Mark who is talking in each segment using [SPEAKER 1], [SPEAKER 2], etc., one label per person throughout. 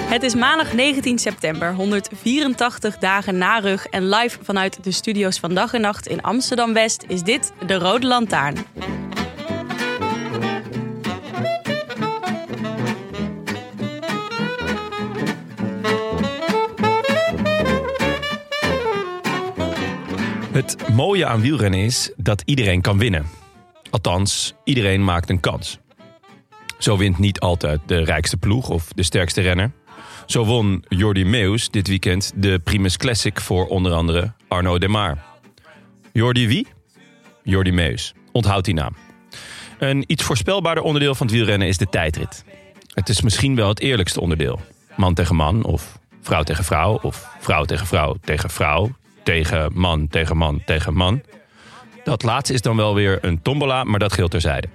[SPEAKER 1] Het is maandag 19 september, 184 dagen na rug en live vanuit de studio's van Dag en Nacht in Amsterdam West is dit de Rode Lantaarn.
[SPEAKER 2] Het mooie aan wielrennen is dat iedereen kan winnen. Althans, iedereen maakt een kans. Zo wint niet altijd de rijkste ploeg of de sterkste renner. Zo won Jordi Meus dit weekend de Primus Classic voor onder andere Arno Demar. Jordi wie? Jordi Meus. Onthoud die naam. Een iets voorspelbaarder onderdeel van het wielrennen is de tijdrit. Het is misschien wel het eerlijkste onderdeel. Man tegen man of vrouw tegen vrouw of vrouw tegen vrouw tegen vrouw tegen man tegen man tegen man. Dat laatste is dan wel weer een tombola, maar dat geldt terzijde.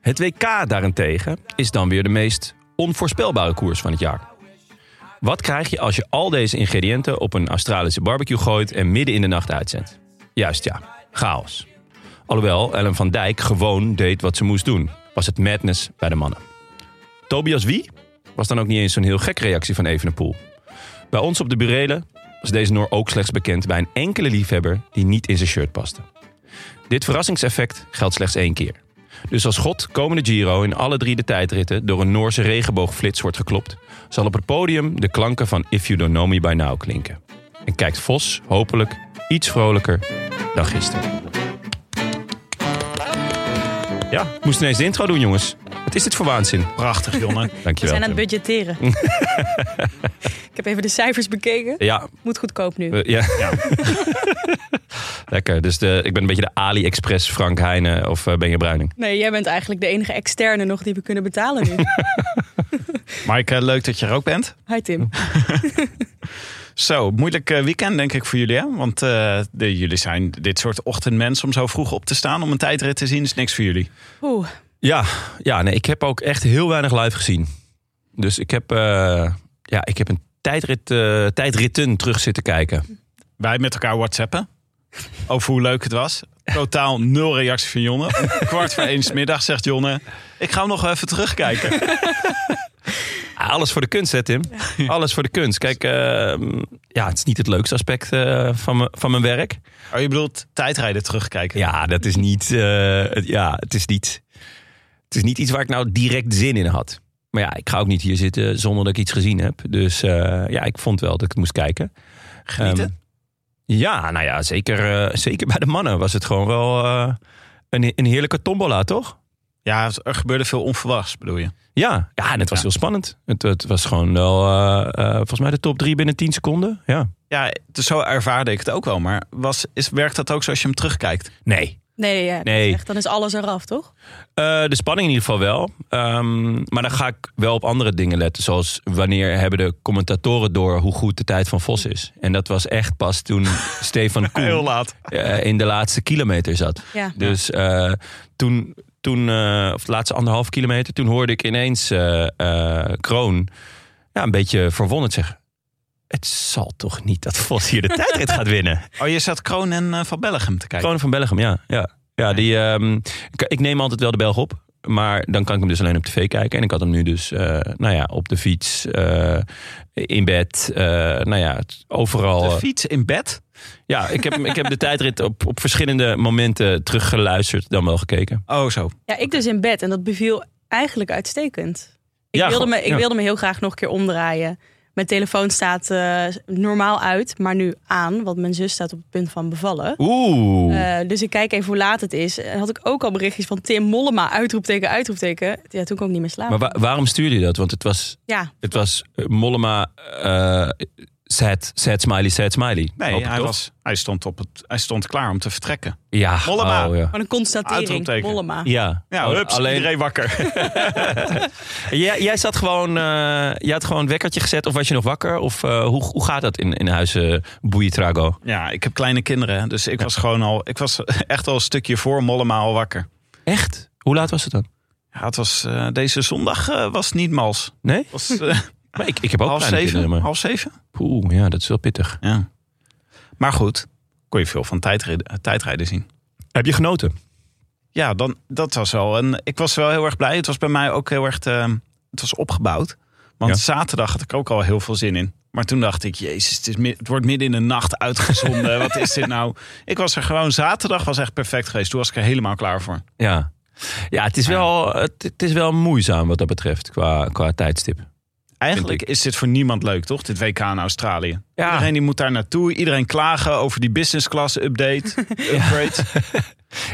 [SPEAKER 2] Het WK daarentegen is dan weer de meest onvoorspelbare koers van het jaar. Wat krijg je als je al deze ingrediënten op een Australische barbecue gooit en midden in de nacht uitzendt? Juist ja, chaos. Alhoewel Ellen van Dijk gewoon deed wat ze moest doen, was het madness bij de mannen. Tobias Wie was dan ook niet eens zo'n heel gekke reactie van Evenepoel. Bij ons op de burelen was deze Noor ook slechts bekend bij een enkele liefhebber die niet in zijn shirt paste. Dit verrassingseffect geldt slechts één keer. Dus als God komende Giro in alle drie de tijdritten door een Noorse regenboogflits wordt geklopt, zal op het podium de klanken van If You Don't Know Me By Now klinken. En kijkt Vos hopelijk iets vrolijker dan gisteren. Ja, ik moest ineens de intro doen, jongens. Wat is dit voor waanzin?
[SPEAKER 3] Prachtig, Jonne.
[SPEAKER 1] We
[SPEAKER 2] Dankjewel.
[SPEAKER 1] zijn aan het
[SPEAKER 2] Tim.
[SPEAKER 1] budgetteren. Ik heb even de cijfers bekeken.
[SPEAKER 2] Ja,
[SPEAKER 1] Moet goedkoop nu.
[SPEAKER 2] Eh, ja. Lekker. Dus de, ik ben een beetje de AliExpress Frank Heijnen of eh, Benja Bruining.
[SPEAKER 1] Nee, jij bent eigenlijk de enige externe nog die we kunnen betalen nu.
[SPEAKER 3] Mike, eh, leuk dat je er ook bent.
[SPEAKER 1] Hi Tim.
[SPEAKER 3] Zo, moeilijk eh, weekend denk ik voor jullie, hè? Want eh, de, jullie zijn dit soort ochtendmens om zo vroeg op te staan om een tijdrit te zien, is niks voor jullie.
[SPEAKER 1] Oeh,
[SPEAKER 2] Ja, ja nee, ik heb ook echt heel weinig live gezien. Dus ik heb, eh, ja, ik heb een tijdrit, eh, tijdritten terug zitten kijken.
[SPEAKER 3] Wij met elkaar whatsappen over hoe leuk het was. Totaal nul reactie van Jonne. Om kwart voor één 's middag zegt Jonne, ik ga hem nog even terugkijken.
[SPEAKER 2] Alles voor de kunst, hè Tim? Alles voor de kunst. Kijk, eh, ja, het is niet het leukste aspect eh, van, mijn- van mijn werk.
[SPEAKER 3] Oh, je bedoelt tijdrijden terugkijken?
[SPEAKER 2] Ja, dat is niet. eh, het- ja, het is niet. Het is niet iets waar ik nou direct zin in had. Maar ja, ik ga ook niet hier zitten zonder dat ik iets gezien heb. Dus eh, ja, ik vond wel dat ik het moest kijken.
[SPEAKER 3] Genieten?
[SPEAKER 2] Ehm, ja, nou ja, zeker, eh, zeker bij de mannen was het gewoon wel eh, een, een heerlijke tombola, toch?
[SPEAKER 3] Ja, er gebeurde veel onverwachts, bedoel je?
[SPEAKER 2] Ja, ja en het was
[SPEAKER 3] Ja.
[SPEAKER 2] heel spannend. Het, het was gewoon wel, eh, eh, volgens mij de top drie binnen 10 seconden. Ja.
[SPEAKER 3] Ja, dus zo ervaarde ik het ook wel. Maar was, is, werkt dat ook zoals je hem terugkijkt?
[SPEAKER 2] Nee,
[SPEAKER 1] nee, ja,
[SPEAKER 2] Nee.
[SPEAKER 1] Echt, dan is alles eraf, toch?
[SPEAKER 2] Eh, de spanning in ieder geval wel. Ehm, maar dan ga ik wel op andere dingen letten. Zoals wanneer hebben de commentatoren door hoe goed de tijd van Vos is. En dat was echt pas toen Stefan Koen
[SPEAKER 3] laat.
[SPEAKER 2] eh, in de laatste kilometer zat.
[SPEAKER 1] Ja.
[SPEAKER 2] Dus eh, toen, toen eh, of de laatste anderhalf kilometer, toen hoorde ik ineens eh, eh, Kroon ja, een beetje verwonderd zeggen. Het zal toch niet dat Vos hier de tijdrit gaat winnen?
[SPEAKER 3] Oh, je zat Kroon en eh, Van Bellegem te kijken.
[SPEAKER 2] Kroon van Belgium, ja. ja. ja die, ehm, ik, ik neem altijd wel de Belg op. Maar dan kan ik hem dus alleen op tv kijken. En ik had hem nu dus eh, nou ja, op de fiets, eh, in bed, eh, nou ja, het- overal.
[SPEAKER 3] de
[SPEAKER 2] eh,
[SPEAKER 3] fiets in bed.
[SPEAKER 2] ja, ik heb, hem- ik heb de tijdrit op, op verschillende momenten teruggeluisterd, dan wel gekeken.
[SPEAKER 3] Oh, zo.
[SPEAKER 1] Ja, ik dus in bed en dat beviel eigenlijk uitstekend. Ik,
[SPEAKER 2] Ja,
[SPEAKER 1] wilde,
[SPEAKER 2] gewoon-
[SPEAKER 1] me, ik
[SPEAKER 2] ja.
[SPEAKER 1] wilde me heel graag nog een keer omdraaien. Mijn telefoon staat eh, normaal uit, maar nu aan, want mijn zus staat op het punt van bevallen.
[SPEAKER 2] Oeh.
[SPEAKER 1] Eh, dus ik kijk even hoe laat het is. En had ik ook al berichtjes van Tim Mollema, uitroepteken, uitroepteken. Ja, toen kon ik niet meer slapen.
[SPEAKER 2] maar wa- waarom stuurde je dat? Want het was,
[SPEAKER 1] ja,
[SPEAKER 2] het was eh, Mollema, eh sad, sad smiley, sad smiley. Hoop
[SPEAKER 3] Nee,
[SPEAKER 2] ik
[SPEAKER 3] hij,
[SPEAKER 2] toch?
[SPEAKER 3] was, hij, stond op het, hij stond klaar om te vertrekken.
[SPEAKER 2] Ja.
[SPEAKER 3] Mollema.
[SPEAKER 2] oh, ja.
[SPEAKER 1] gewoon een constatering.
[SPEAKER 3] Uitroepteken.
[SPEAKER 1] Mollema.
[SPEAKER 2] Ja,
[SPEAKER 3] Ja,
[SPEAKER 2] Oh,
[SPEAKER 3] hups,
[SPEAKER 2] alleen
[SPEAKER 3] iedereen wakker.
[SPEAKER 2] jij, jij zat gewoon, eh jij had gewoon een wekkertje gezet, of was je nog wakker? Of eh, hoe, hoe gaat dat in, in eh, huizen Boeitrago?
[SPEAKER 3] Ja, ik heb kleine kinderen, dus ik was gewoon al... Ik was echt al een stukje voor Mollema al wakker.
[SPEAKER 2] Echt? Hoe laat was het dan?
[SPEAKER 3] Ja, het was, eh, deze zondag eh, was het niet mals.
[SPEAKER 2] Nee?
[SPEAKER 3] Het was eh,
[SPEAKER 2] Maar ik, ik heb Hm. ook
[SPEAKER 3] half,
[SPEAKER 2] kleine
[SPEAKER 3] zeven,
[SPEAKER 2] kinderen. Maar...
[SPEAKER 3] half zeven.
[SPEAKER 2] Oeh, ja, dat is wel pittig.
[SPEAKER 3] Ja. Maar goed, kon je veel van tijdrijden, eh, tijdrijden zien.
[SPEAKER 2] Heb je genoten?
[SPEAKER 3] Ja, dan, dat was wel. En ik was wel heel erg blij. Het was bij mij ook heel erg. te- het was opgebouwd. Want
[SPEAKER 2] Ja.
[SPEAKER 3] zaterdag had ik ook al heel veel zin in. Maar toen dacht ik, jezus, het, is mi- het wordt midden in de nacht uitgezonden. Wat is dit nou? Ik was er gewoon. Zaterdag was echt perfect geweest. Toen was ik er helemaal klaar voor.
[SPEAKER 2] Ja. Ja, het is,
[SPEAKER 3] Maar ja.
[SPEAKER 2] wel, het, het is wel moeizaam wat dat betreft qua, qua tijdstip.
[SPEAKER 3] Eigenlijk is dit voor niemand leuk, toch? Dit WK in Australië.
[SPEAKER 2] Ja.
[SPEAKER 3] Iedereen die moet daar naartoe. Iedereen klagen over die business class update. Upgrade.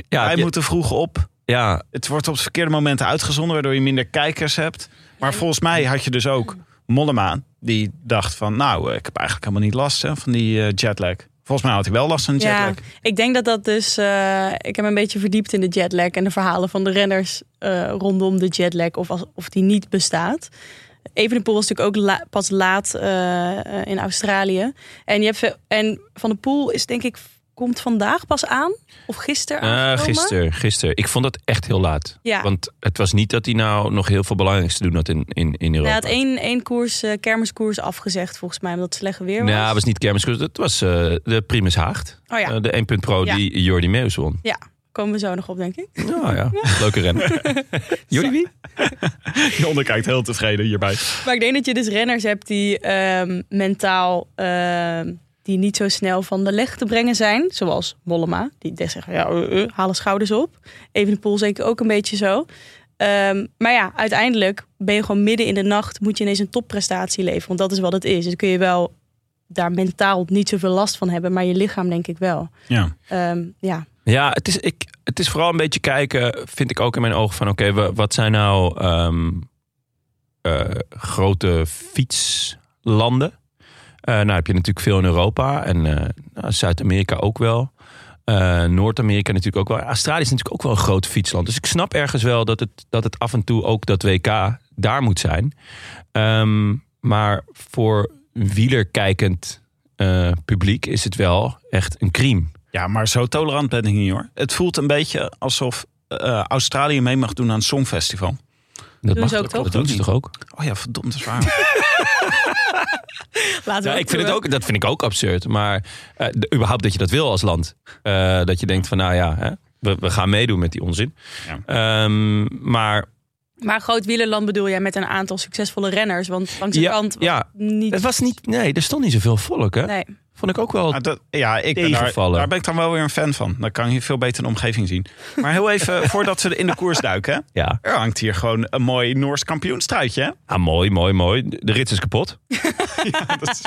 [SPEAKER 2] Ja,
[SPEAKER 3] Wij
[SPEAKER 2] je-
[SPEAKER 3] moeten vroeg op.
[SPEAKER 2] ja,
[SPEAKER 3] het wordt op het verkeerde moment uitgezonden, waardoor je minder kijkers hebt. Maar volgens mij had je dus ook Mollema, die dacht van, nou, ik heb eigenlijk helemaal niet last hè, van die eh, jetlag. Volgens mij had hij wel last van
[SPEAKER 1] Ja,
[SPEAKER 3] jetlag.
[SPEAKER 1] ik denk dat dat dus. eh, ik heb me een beetje verdiept in de jetlag en de verhalen van de renners eh, rondom de jetlag of, als, of die niet bestaat. Evenepoel was natuurlijk ook la- pas laat eh, eh, in Australië. En, je hebt, ve- en Van de Poel is denk ik komt vandaag pas aan of gisteren
[SPEAKER 2] eh,
[SPEAKER 1] aangekomen.
[SPEAKER 2] gisteren. Gisteren. Ik vond dat echt heel laat.
[SPEAKER 1] Ja.
[SPEAKER 2] Want het was niet dat hij nou nog heel veel belangrijks te doen had in, in, in
[SPEAKER 1] Nou,
[SPEAKER 2] Europa.
[SPEAKER 1] hij had één, één koers, eh, kermiskoers afgezegd volgens mij, omdat het slecht weer was.
[SPEAKER 2] Nou, het was niet kermiskoers. Dat was eh, de Primus Haagd.
[SPEAKER 1] Oh ja.
[SPEAKER 2] Eh, de 1.0 pro
[SPEAKER 1] Ja.
[SPEAKER 2] die Jordi Meus won.
[SPEAKER 1] Ja, komen we zo nog op denk ik.
[SPEAKER 2] Nou ja, leuke ren. Jordi wie?
[SPEAKER 3] Jonne kijkt heel tevreden hierbij.
[SPEAKER 1] Maar ik denk dat je dus renners hebt die ehm, mentaal ehm, die niet zo snel van de leg te brengen zijn. Zoals Mollema, die des zeggen, ja, eh, eh, halen schouders op. Evenepoel zeker ook een beetje zo. Ehm, maar ja, uiteindelijk ben je gewoon midden in de nacht... moet je ineens een topprestatie leveren, want dat is wat het is. Dus kun je wel daar mentaal niet zoveel last van hebben... maar je lichaam denk ik wel.
[SPEAKER 3] Ja.
[SPEAKER 1] Ehm, ja,
[SPEAKER 2] Ja, het is, ik, het is vooral een beetje kijken, vind ik ook in mijn ogen, van oké, wa- wat zijn nou ehm, eh, grote fietslanden? Eh nou heb je natuurlijk veel in Europa en eh, nou, Zuid-Amerika ook wel. Eh, Noord-Amerika natuurlijk ook wel. Australië is natuurlijk ook wel een groot fietsland. Dus ik snap ergens wel dat het, dat het af en toe ook dat WK daar moet zijn. Ehm, maar voor wielerkijkend eh, publiek is het wel echt een crime.
[SPEAKER 3] ja, maar zo tolerant ben ik niet hoor. Het voelt een beetje alsof eh, Australië mee mag doen aan het Songfestival.
[SPEAKER 2] Dat
[SPEAKER 1] Doen ze ook toch?
[SPEAKER 2] Dat doen ze toch ook?
[SPEAKER 3] Oh ja, verdomd, dat is waar.
[SPEAKER 1] laten we
[SPEAKER 2] Ja, ik vind het ook, dat vind ik ook absurd. Maar eh, de- überhaupt dat je dat wil als land. Eh, dat je denkt van nou ja, hè, we, we gaan meedoen met die onzin. Ehm, maar
[SPEAKER 1] Maar groot wielerland bedoel jij met een aantal succesvolle renners? Want langs de
[SPEAKER 2] Ja,
[SPEAKER 1] kant was
[SPEAKER 2] ja.
[SPEAKER 1] niet...
[SPEAKER 2] het was niet, nee, er stond niet zoveel volk. Hè?
[SPEAKER 1] Nee. Ah,
[SPEAKER 2] Vond ik ook wel.
[SPEAKER 3] Maar dat- ja, ik ben daar,
[SPEAKER 2] Tegenvallen.
[SPEAKER 3] daar ben ik dan wel weer een fan van. Dan kan je veel beter de omgeving zien. Maar heel even, voordat we in de koers duiken. hè.
[SPEAKER 2] Ja,
[SPEAKER 3] Er hangt hier gewoon een mooi Noors kampioenstruitje. hè?
[SPEAKER 2] ah, mooi, mooi, mooi. De rits is kapot.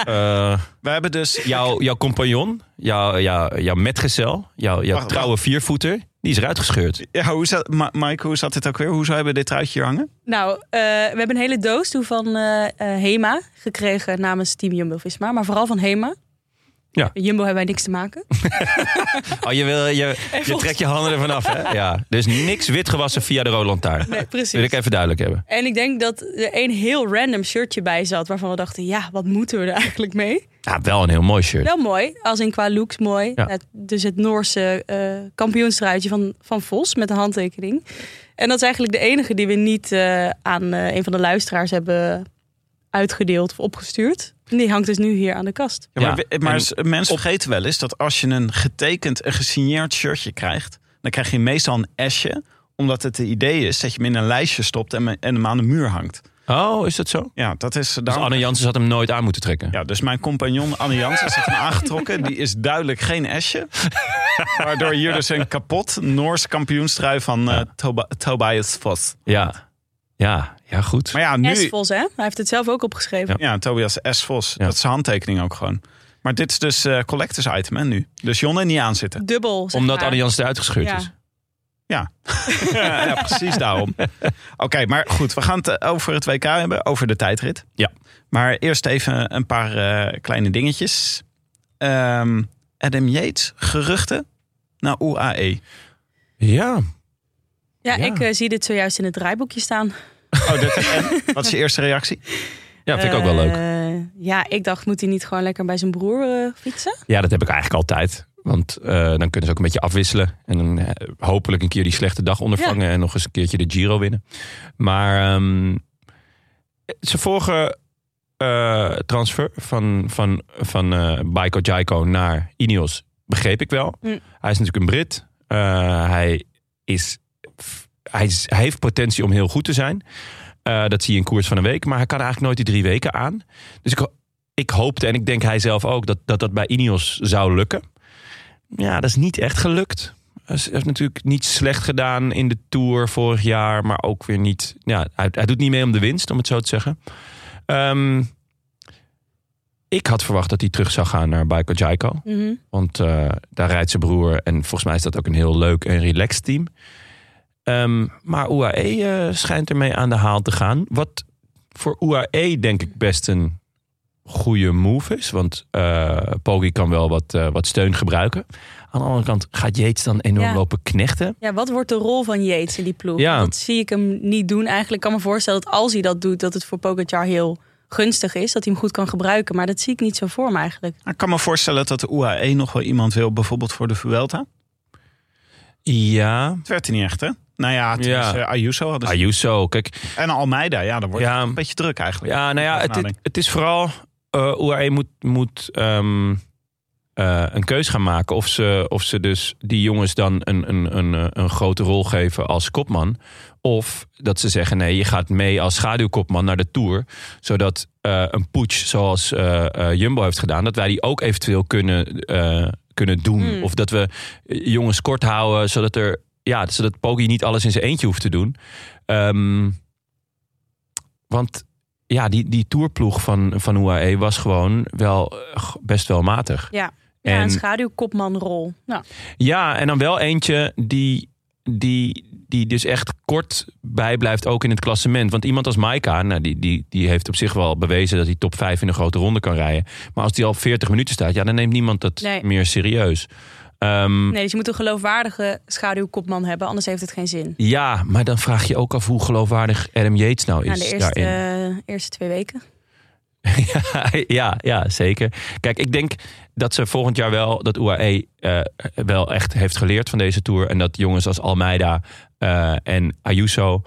[SPEAKER 2] Eh,
[SPEAKER 3] We hebben dus...
[SPEAKER 2] jouw, jouw compagnon, jouw, jouw, jouw metgezel, jouw, jouw
[SPEAKER 3] Wacht,
[SPEAKER 2] trouwe viervoeter, die is eruit gescheurd.
[SPEAKER 3] Ja, hoe zat, Ma- Mike, hoe zat dit ook weer? Hoezo hebben we dit truitje hier hangen?
[SPEAKER 1] Nou, eh, we hebben een hele doos toe van eh, eh, Hema gekregen namens Team Jumbo-Visma. Maar vooral van Hema.
[SPEAKER 2] Ja.
[SPEAKER 1] Jumbo hebben wij niks te maken.
[SPEAKER 2] Oh, je, wil, je, je trekt je handen ervan af, hè? Ja. Dus niks wit gewassen via de Roland Taart.
[SPEAKER 1] Nee,
[SPEAKER 2] Wil
[SPEAKER 1] precies.
[SPEAKER 2] ik even duidelijk hebben.
[SPEAKER 1] En ik denk dat er een heel random shirtje bij zat... waarvan we dachten, ja, wat moeten we er eigenlijk mee?
[SPEAKER 2] Ja, wel een heel mooi shirt.
[SPEAKER 1] Wel mooi, als in qua looks mooi.
[SPEAKER 2] Ja.
[SPEAKER 1] Nou, dus het Noorse eh kampioenstruitje van, van Vos met een handtekening. En dat is eigenlijk de enige die we niet eh, aan eh, een van de luisteraars hebben uitgedeeld of opgestuurd. En die hangt dus nu hier aan de kast.
[SPEAKER 3] Ja, maar
[SPEAKER 2] Ja,
[SPEAKER 3] we- maar
[SPEAKER 2] en-
[SPEAKER 3] s- mensen vergeten wel eens dat als je een getekend, en gesigneerd shirtje krijgt... dan krijg je meestal een esje, omdat het het idee is dat je hem in een lijstje stopt... en, me- en hem aan de muur hangt.
[SPEAKER 2] Oh, is dat zo?
[SPEAKER 3] Ja, dat is...
[SPEAKER 2] Dus
[SPEAKER 3] daarom-
[SPEAKER 2] Anne Jansen had hem nooit aan moeten trekken.
[SPEAKER 3] Ja, dus mijn compagnon Anne Jansen is hem aangetrokken. Die is duidelijk geen esje. Waardoor hier dus een kapot Noors kampioenstrui van eh, Toba- Tobias Vos.
[SPEAKER 2] Ja, ja, ja, Ja, goed.
[SPEAKER 3] Maar ja, nu...
[SPEAKER 1] S-Vos, hè? Hij heeft het zelf ook opgeschreven.
[SPEAKER 3] Ja, Tobias S. Vos.
[SPEAKER 2] Ja.
[SPEAKER 3] Dat is zijn handtekening ook gewoon. Maar dit is dus eh, collectors item hè, nu. Dus Jon er niet aan zitten.
[SPEAKER 1] Dubbel. zeg
[SPEAKER 2] Omdat
[SPEAKER 1] maar.
[SPEAKER 2] Allianz eruit gescheurd
[SPEAKER 1] Ja.
[SPEAKER 2] is.
[SPEAKER 3] ja, ja, precies daarom. Oké, maar goed. We gaan het eh, over het WK hebben. Over de tijdrit.
[SPEAKER 2] Ja.
[SPEAKER 3] Maar eerst even een paar eh, kleine dingetjes. Ehm, Adam Yates, geruchten naar E. UAE.
[SPEAKER 2] Ja,
[SPEAKER 1] Ja,
[SPEAKER 2] Ja.
[SPEAKER 1] ik eh, zie dit zojuist in het draaiboekje staan.
[SPEAKER 3] Oh, dat is, en? Wat is je eerste reactie?
[SPEAKER 2] ja vind ik ook wel leuk.
[SPEAKER 1] Eh, Ja, ik dacht, moet hij niet gewoon lekker bij zijn broer eh, fietsen?
[SPEAKER 2] Ja, dat heb ik eigenlijk altijd. Want eh, dan kunnen ze ook een beetje afwisselen. En dan eh, hopelijk een keer die slechte dag ondervangen. En nog eens een keertje de Giro winnen. Maar ehm, zijn vorige eh, transfer van, van, van eh Baiko Jaiko naar Ineos begreep ik wel.
[SPEAKER 1] Mm.
[SPEAKER 2] Hij is natuurlijk een Brit. Eh, hij, is, hij, is- hij heeft potentie om heel goed te zijn. Eh, dat zie je in koers van een week. Maar hij kan eigenlijk nooit die drie weken aan. Dus ik, ho- ik hoopte, en ik denk hij zelf ook, dat dat, dat bij Ineos zou lukken. Ja, dat is niet echt gelukt. Hij is- hij heeft natuurlijk niet slecht gedaan in de Tour vorig jaar. Maar ook weer niet... Ja, hij, hij doet niet mee om de winst, om het zo te zeggen. Ehm, ik had verwacht dat hij terug zou gaan naar Baiko Jaiko.
[SPEAKER 1] Mhm.
[SPEAKER 2] Want eh, daar rijdt zijn broer. En volgens mij is dat ook een heel leuk en relaxed team. Ehm, maar UAE eh, schijnt ermee aan de haal te gaan. Wat voor UAE denk ik best een goede move is. Want eh Poggi kan wel wat, eh, wat steun gebruiken. Aan de andere kant gaat Yates dan enorm
[SPEAKER 1] Ja.
[SPEAKER 2] lopen knechten.
[SPEAKER 1] Ja, wat wordt de rol van Yates in die ploeg?
[SPEAKER 2] Ja.
[SPEAKER 1] Dat zie ik hem niet doen. Eigenlijk Ik kan me voorstellen dat als hij dat doet, dat het voor Pogacar heel gunstig is. Dat hij hem goed kan gebruiken. Maar dat zie ik niet zo voor me eigenlijk.
[SPEAKER 3] Nou, Ik kan me voorstellen dat de UAE nog wel iemand wil. Bijvoorbeeld voor de Vuelta.
[SPEAKER 2] Ja,
[SPEAKER 3] Het werd er niet echt, hè? Nou ja, het
[SPEAKER 2] Ja.
[SPEAKER 3] is, eh, Ayuso hadden ze.
[SPEAKER 2] Ayuso. Kijk,
[SPEAKER 3] En Almeida, ja, dan wordt
[SPEAKER 2] Ja.
[SPEAKER 3] het een beetje druk eigenlijk.
[SPEAKER 2] ja, nou ja, het, is- het is vooral... eh UAE moet, moet ehm, eh, een keus gaan maken. Of ze, of ze dus die jongens dan een, een, een, eh, een grote rol geven als kopman. Of dat ze zeggen, nee, je gaat mee als schaduwkopman naar de Tour. Zodat eh, een putsch zoals eh, eh, Jumbo heeft gedaan... dat wij die ook eventueel kunnen, eh, kunnen doen.
[SPEAKER 1] Hmm.
[SPEAKER 2] Of dat we eh, jongens kort houden, zodat er... Ja, zodat Poggi niet alles in zijn eentje hoeft te doen. Ehm, want ja, die, die tourploeg van, van UAE was gewoon wel eh, g- best wel matig.
[SPEAKER 1] Ja. Ja,
[SPEAKER 2] En
[SPEAKER 1] een schaduwkopmanrol. Nou,
[SPEAKER 2] ja, en dan wel eentje die, die, die dus echt kort bijblijft ook in het klassement. Want iemand als Maika, nou, die, die, die heeft op zich wel bewezen dat hij top 5 in een grote ronde kan rijden. Maar als die al 40 minuten staat, ja, dan neemt niemand dat
[SPEAKER 1] Nee.
[SPEAKER 2] meer serieus. Ehm,
[SPEAKER 1] nee, dus je moet een geloofwaardige schaduwkopman hebben. Anders heeft het geen zin.
[SPEAKER 2] Ja, maar dan vraag je ook af hoe geloofwaardig Adam Yates nou is
[SPEAKER 1] Na de eerste,
[SPEAKER 2] daarin.
[SPEAKER 1] eh, eerste twee weken.
[SPEAKER 2] ja, ja, ja, zeker. Kijk, ik denk dat ze volgend jaar wel, dat UAE eh, wel echt heeft geleerd van deze tour. En dat jongens als Almeida eh, en Ayuso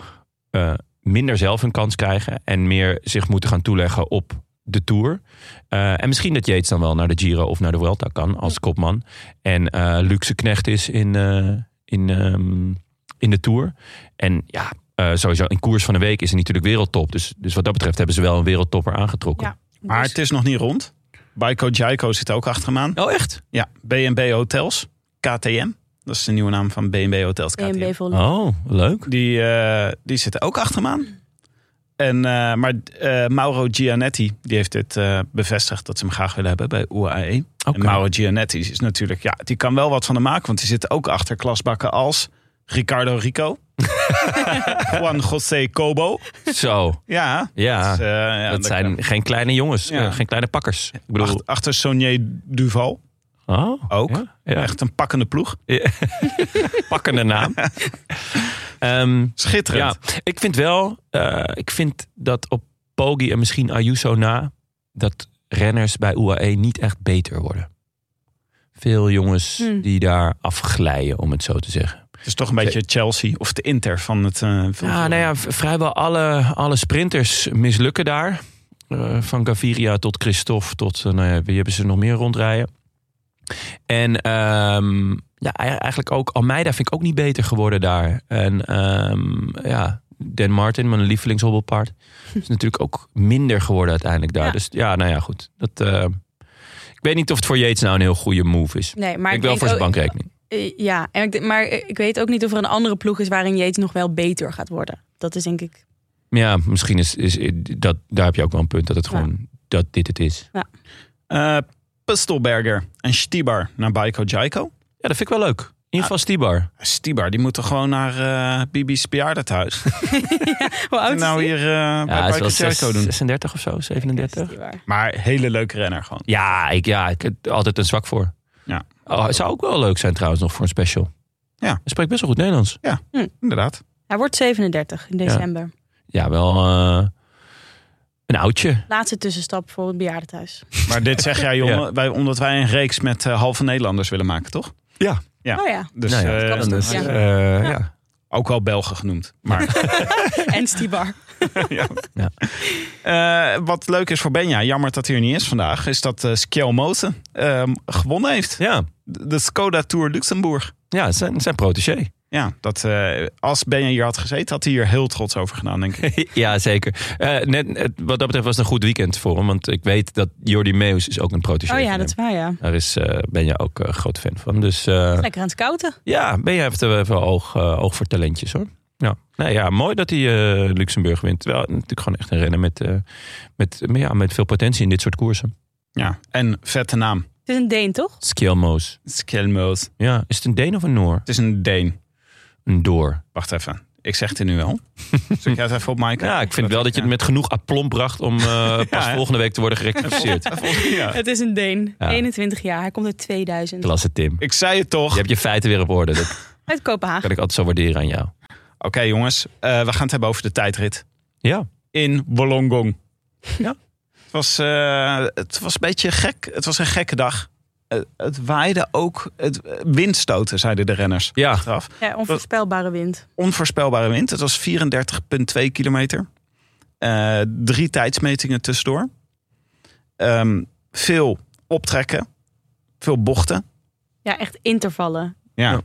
[SPEAKER 2] eh, minder zelf een kans krijgen. En meer zich moeten gaan toeleggen op de tour. Eh, en misschien dat Yates dan wel naar de Giro of naar de Vuelta kan als kopman. En eh luxe knecht is in, eh, in, ehm, in de tour. En ja. eh, sowieso in koers van een week is hij natuurlijk wereldtop. Dus, dus wat dat betreft hebben ze wel een wereldtopper aangetrokken.
[SPEAKER 1] Ja.
[SPEAKER 3] Maar
[SPEAKER 1] Dus-
[SPEAKER 3] het is nog niet rond. Baiko Jaiko zit ook achter hem aan.
[SPEAKER 2] Oh, echt?
[SPEAKER 3] Ja, B&B Hotels, KTM. Dat is de nieuwe naam van B&B Hotels, KTM.
[SPEAKER 1] BNB vol.
[SPEAKER 2] Oh, leuk.
[SPEAKER 3] Die, eh, die zitten ook achter hem aan. En, eh, maar eh, Mauro Gianetti die heeft dit eh, bevestigd dat ze hem graag willen hebben bij UAE.
[SPEAKER 2] Oké.
[SPEAKER 3] En Mauro Gianetti is natuurlijk, ja, die kan wel wat van hem maken. Want die zit ook achter klasbakken als Ricardo Rico. Juan José Cobo.
[SPEAKER 2] Zo,
[SPEAKER 3] Ja,
[SPEAKER 2] ja.
[SPEAKER 3] Dus, eh, ja,
[SPEAKER 2] Ah, dat
[SPEAKER 3] dan-
[SPEAKER 2] zijn geen kleine jongens,
[SPEAKER 3] Ja.
[SPEAKER 2] eh, geen kleine pakkers. Ik bedoel,
[SPEAKER 3] Ach- achter Sonier Duval.
[SPEAKER 2] oh,
[SPEAKER 3] Ook.
[SPEAKER 2] Ja, ja.
[SPEAKER 3] Echt een pakkende ploeg.
[SPEAKER 2] pakkende naam. Ehm,
[SPEAKER 3] Schitterend.
[SPEAKER 2] ja, ik vind wel, eh, ik vind dat op Poggi en misschien Ayuso na, dat renners bij UAE niet echt beter worden. Veel jongens
[SPEAKER 1] Hmm.
[SPEAKER 2] die daar afglijden, om het zo te zeggen.
[SPEAKER 3] Het is toch een beetje Chelsea of de Inter van het... eh, van
[SPEAKER 2] Ja,
[SPEAKER 3] het-
[SPEAKER 2] nou ja, v- vrijwel alle, alle sprinters mislukken daar. Eh, van Gaviria tot Christophe tot, eh, nou ja, wie hebben ze nog meer rondrijden. En ehm, ja, ei- eigenlijk ook Almeida vind ik ook niet beter geworden daar. En ehm, ja, Dan Martin, mijn lievelingshobbelpaard, is natuurlijk ook minder geworden uiteindelijk daar.
[SPEAKER 1] Ja.
[SPEAKER 2] Dus ja, nou ja, goed. Dat, eh, ik weet niet of het voor Yates nou een heel goede move is.
[SPEAKER 1] Nee, maar
[SPEAKER 2] ik wel voor
[SPEAKER 1] denk
[SPEAKER 2] zijn
[SPEAKER 1] ook-
[SPEAKER 2] bankrekening.
[SPEAKER 1] Eh, ja, eh, en ik, denk- maar ik weet ook niet of er een andere ploeg is waarin Yates nog wel beter gaat worden. Dat is denk ik
[SPEAKER 2] Maar ja, misschien is, is dat, daar heb je ook wel een punt dat het gewoon dat dit het is.
[SPEAKER 3] Eh Pustelberger en Stibar naar Baiko Jaiko.
[SPEAKER 2] Ja, dat vind ik wel leuk.
[SPEAKER 3] Ah.
[SPEAKER 2] Inval Stibar.
[SPEAKER 3] Stibar, die moet toch gewoon naar eh, Bibi's bejaardentehuis.
[SPEAKER 1] Hoe oud
[SPEAKER 3] en nou
[SPEAKER 1] is
[SPEAKER 3] hier eh, bij
[SPEAKER 2] Ja, het is
[SPEAKER 3] Baiko
[SPEAKER 2] wel
[SPEAKER 3] Jaiko doen.
[SPEAKER 2] 36 of zo,
[SPEAKER 1] die?
[SPEAKER 2] 37.
[SPEAKER 1] Is die waar?
[SPEAKER 3] Maar hele leuke renner gewoon.
[SPEAKER 2] Ja, ik, ja, ik heb altijd een zwak voor.
[SPEAKER 3] Ja.
[SPEAKER 2] Oh, het zou ook wel leuk zijn trouwens nog voor een special.
[SPEAKER 3] Ja.
[SPEAKER 2] Hij spreekt best wel goed Nederlands.
[SPEAKER 3] Inderdaad.
[SPEAKER 1] Hij wordt 37 in december.
[SPEAKER 2] Ja, wel eh, een oudje.
[SPEAKER 1] Laatste tussenstap voor het bejaardentehuis.
[SPEAKER 3] Maar dit zeg jij, jongen, wij, omdat wij een reeks met eh, halve Nederlanders willen maken, toch? Ja.
[SPEAKER 1] Oh ja,
[SPEAKER 3] Dus
[SPEAKER 2] Nou ja,
[SPEAKER 3] eh,
[SPEAKER 2] dat kan dus,
[SPEAKER 1] ja.
[SPEAKER 2] eh, ja.
[SPEAKER 3] ook wel Belgen genoemd. Maar,
[SPEAKER 1] en Stibar.
[SPEAKER 3] ja.
[SPEAKER 2] Ja.
[SPEAKER 3] Eh, wat leuk is voor Benja, jammer dat hij er niet is vandaag, is dat eh Skjell Moten eh, gewonnen heeft.
[SPEAKER 2] Ja,
[SPEAKER 3] De de Skoda Tour Luxemburg.
[SPEAKER 2] ja het zijn, het zijn protégé.
[SPEAKER 3] Ja, dat, eh, als Benja hier had gezeten, had hij hier heel trots over gedaan, denk ik.
[SPEAKER 2] ja, zeker. Eh, net, het- wat dat betreft was het een goed weekend voor hem. Want ik weet dat Jordi Meus is ook een protégé
[SPEAKER 1] Oh
[SPEAKER 2] van
[SPEAKER 1] ja,
[SPEAKER 2] hem.
[SPEAKER 1] dat is waar, ja.
[SPEAKER 2] Daar is, eh, ben je ook eh, groot fan van. Dus eh,
[SPEAKER 1] Lekker aan het scouten.
[SPEAKER 2] ja, ben je heeft er wel oog, eh, oog voor talentjes hoor. Ja, nou ja, mooi dat hij eh, Luxemburg wint. Wel, natuurlijk gewoon echt een rennen met, eh, met, maar ja, met veel potentie in dit soort koersen.
[SPEAKER 3] Ja, en vette naam.
[SPEAKER 1] Het is een Deen, toch?
[SPEAKER 2] Skjelmoos.
[SPEAKER 3] Skjell Moten.
[SPEAKER 2] Ja, is het een Deen of een Noor?
[SPEAKER 3] Het is een Deen.
[SPEAKER 2] Een Door.
[SPEAKER 3] Wacht even, ik zeg dit nu wel. Zeg jij het even op, Mike?
[SPEAKER 2] Ja, ik vind wel dat je het met genoeg aplomb bracht om eh, pas
[SPEAKER 3] hè?
[SPEAKER 2] volgende week te worden gerectificeerd.
[SPEAKER 3] Ja.
[SPEAKER 1] Het is een Deen.
[SPEAKER 2] Ja.
[SPEAKER 1] 21 jaar, hij komt uit 2000.
[SPEAKER 2] Klasse Tim.
[SPEAKER 3] Ik zei het toch.
[SPEAKER 2] Je hebt je feiten weer op orde. Dat
[SPEAKER 1] Uit Kopenhagen.
[SPEAKER 2] kan ik altijd zo waarderen aan jou.
[SPEAKER 3] Oké jongens, eh, we gaan het hebben over de tijdrit.
[SPEAKER 2] Ja.
[SPEAKER 3] in Wollongong.
[SPEAKER 2] Ja.
[SPEAKER 3] Het was, eh, het was een beetje gek. Het was een gekke dag. Eh, het waaide ook het, eh, windstoten, zeiden de renners.
[SPEAKER 2] Ja.
[SPEAKER 3] Achteraf.
[SPEAKER 1] Ja, onvoorspelbare wind.
[SPEAKER 3] Onvoorspelbare wind. Het was 34,2 kilometer. Eh, drie tijdsmetingen tussendoor. Ehm, veel optrekken. Veel bochten.
[SPEAKER 1] Ja, echt intervallen.
[SPEAKER 3] Ja.
[SPEAKER 2] Ja.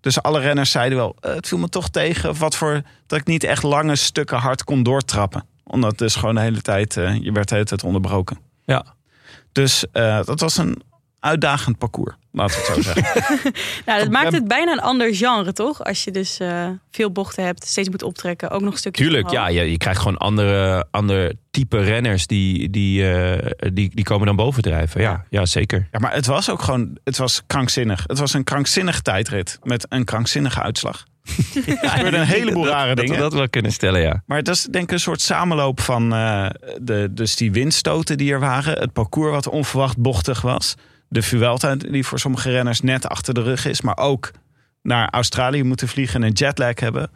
[SPEAKER 3] Dus alle renners zeiden wel, eh, het viel me toch tegen wat voor, dat ik niet echt lange stukken hard kon doortrappen. Omdat dus gewoon de hele tijd, eh, je werd de hele tijd onderbroken.
[SPEAKER 2] Ja.
[SPEAKER 3] Dus eh, dat was een uitdagend parcours, laten we het zo zeggen.
[SPEAKER 1] Nou, dat
[SPEAKER 3] Kom,
[SPEAKER 1] maakt
[SPEAKER 3] we-
[SPEAKER 1] het bijna een ander genre, toch? Als je dus eh, veel bochten hebt, steeds moet optrekken, ook nog stukjes.
[SPEAKER 2] Tuurlijk, ja.
[SPEAKER 1] omhoog.
[SPEAKER 2] Je, je krijgt gewoon andere, ander type renners die, die, eh, die, die komen dan bovendrijven. Ja, ja zeker.
[SPEAKER 3] ja, maar het was ook gewoon, het was krankzinnig. Het was een krankzinnige tijdrit met een krankzinnige uitslag.
[SPEAKER 2] Er
[SPEAKER 3] gebeurden een heleboel rare dingen.
[SPEAKER 2] Dat we dat wel kunnen stellen, ja.
[SPEAKER 3] Maar dat is denk ik een soort samenloop van eh, de, dus die windstoten die er waren. Het parcours wat onverwacht bochtig was. De Vuelta die voor sommige renners net achter de rug is. Maar ook naar Australië moeten vliegen en een jetlag hebben.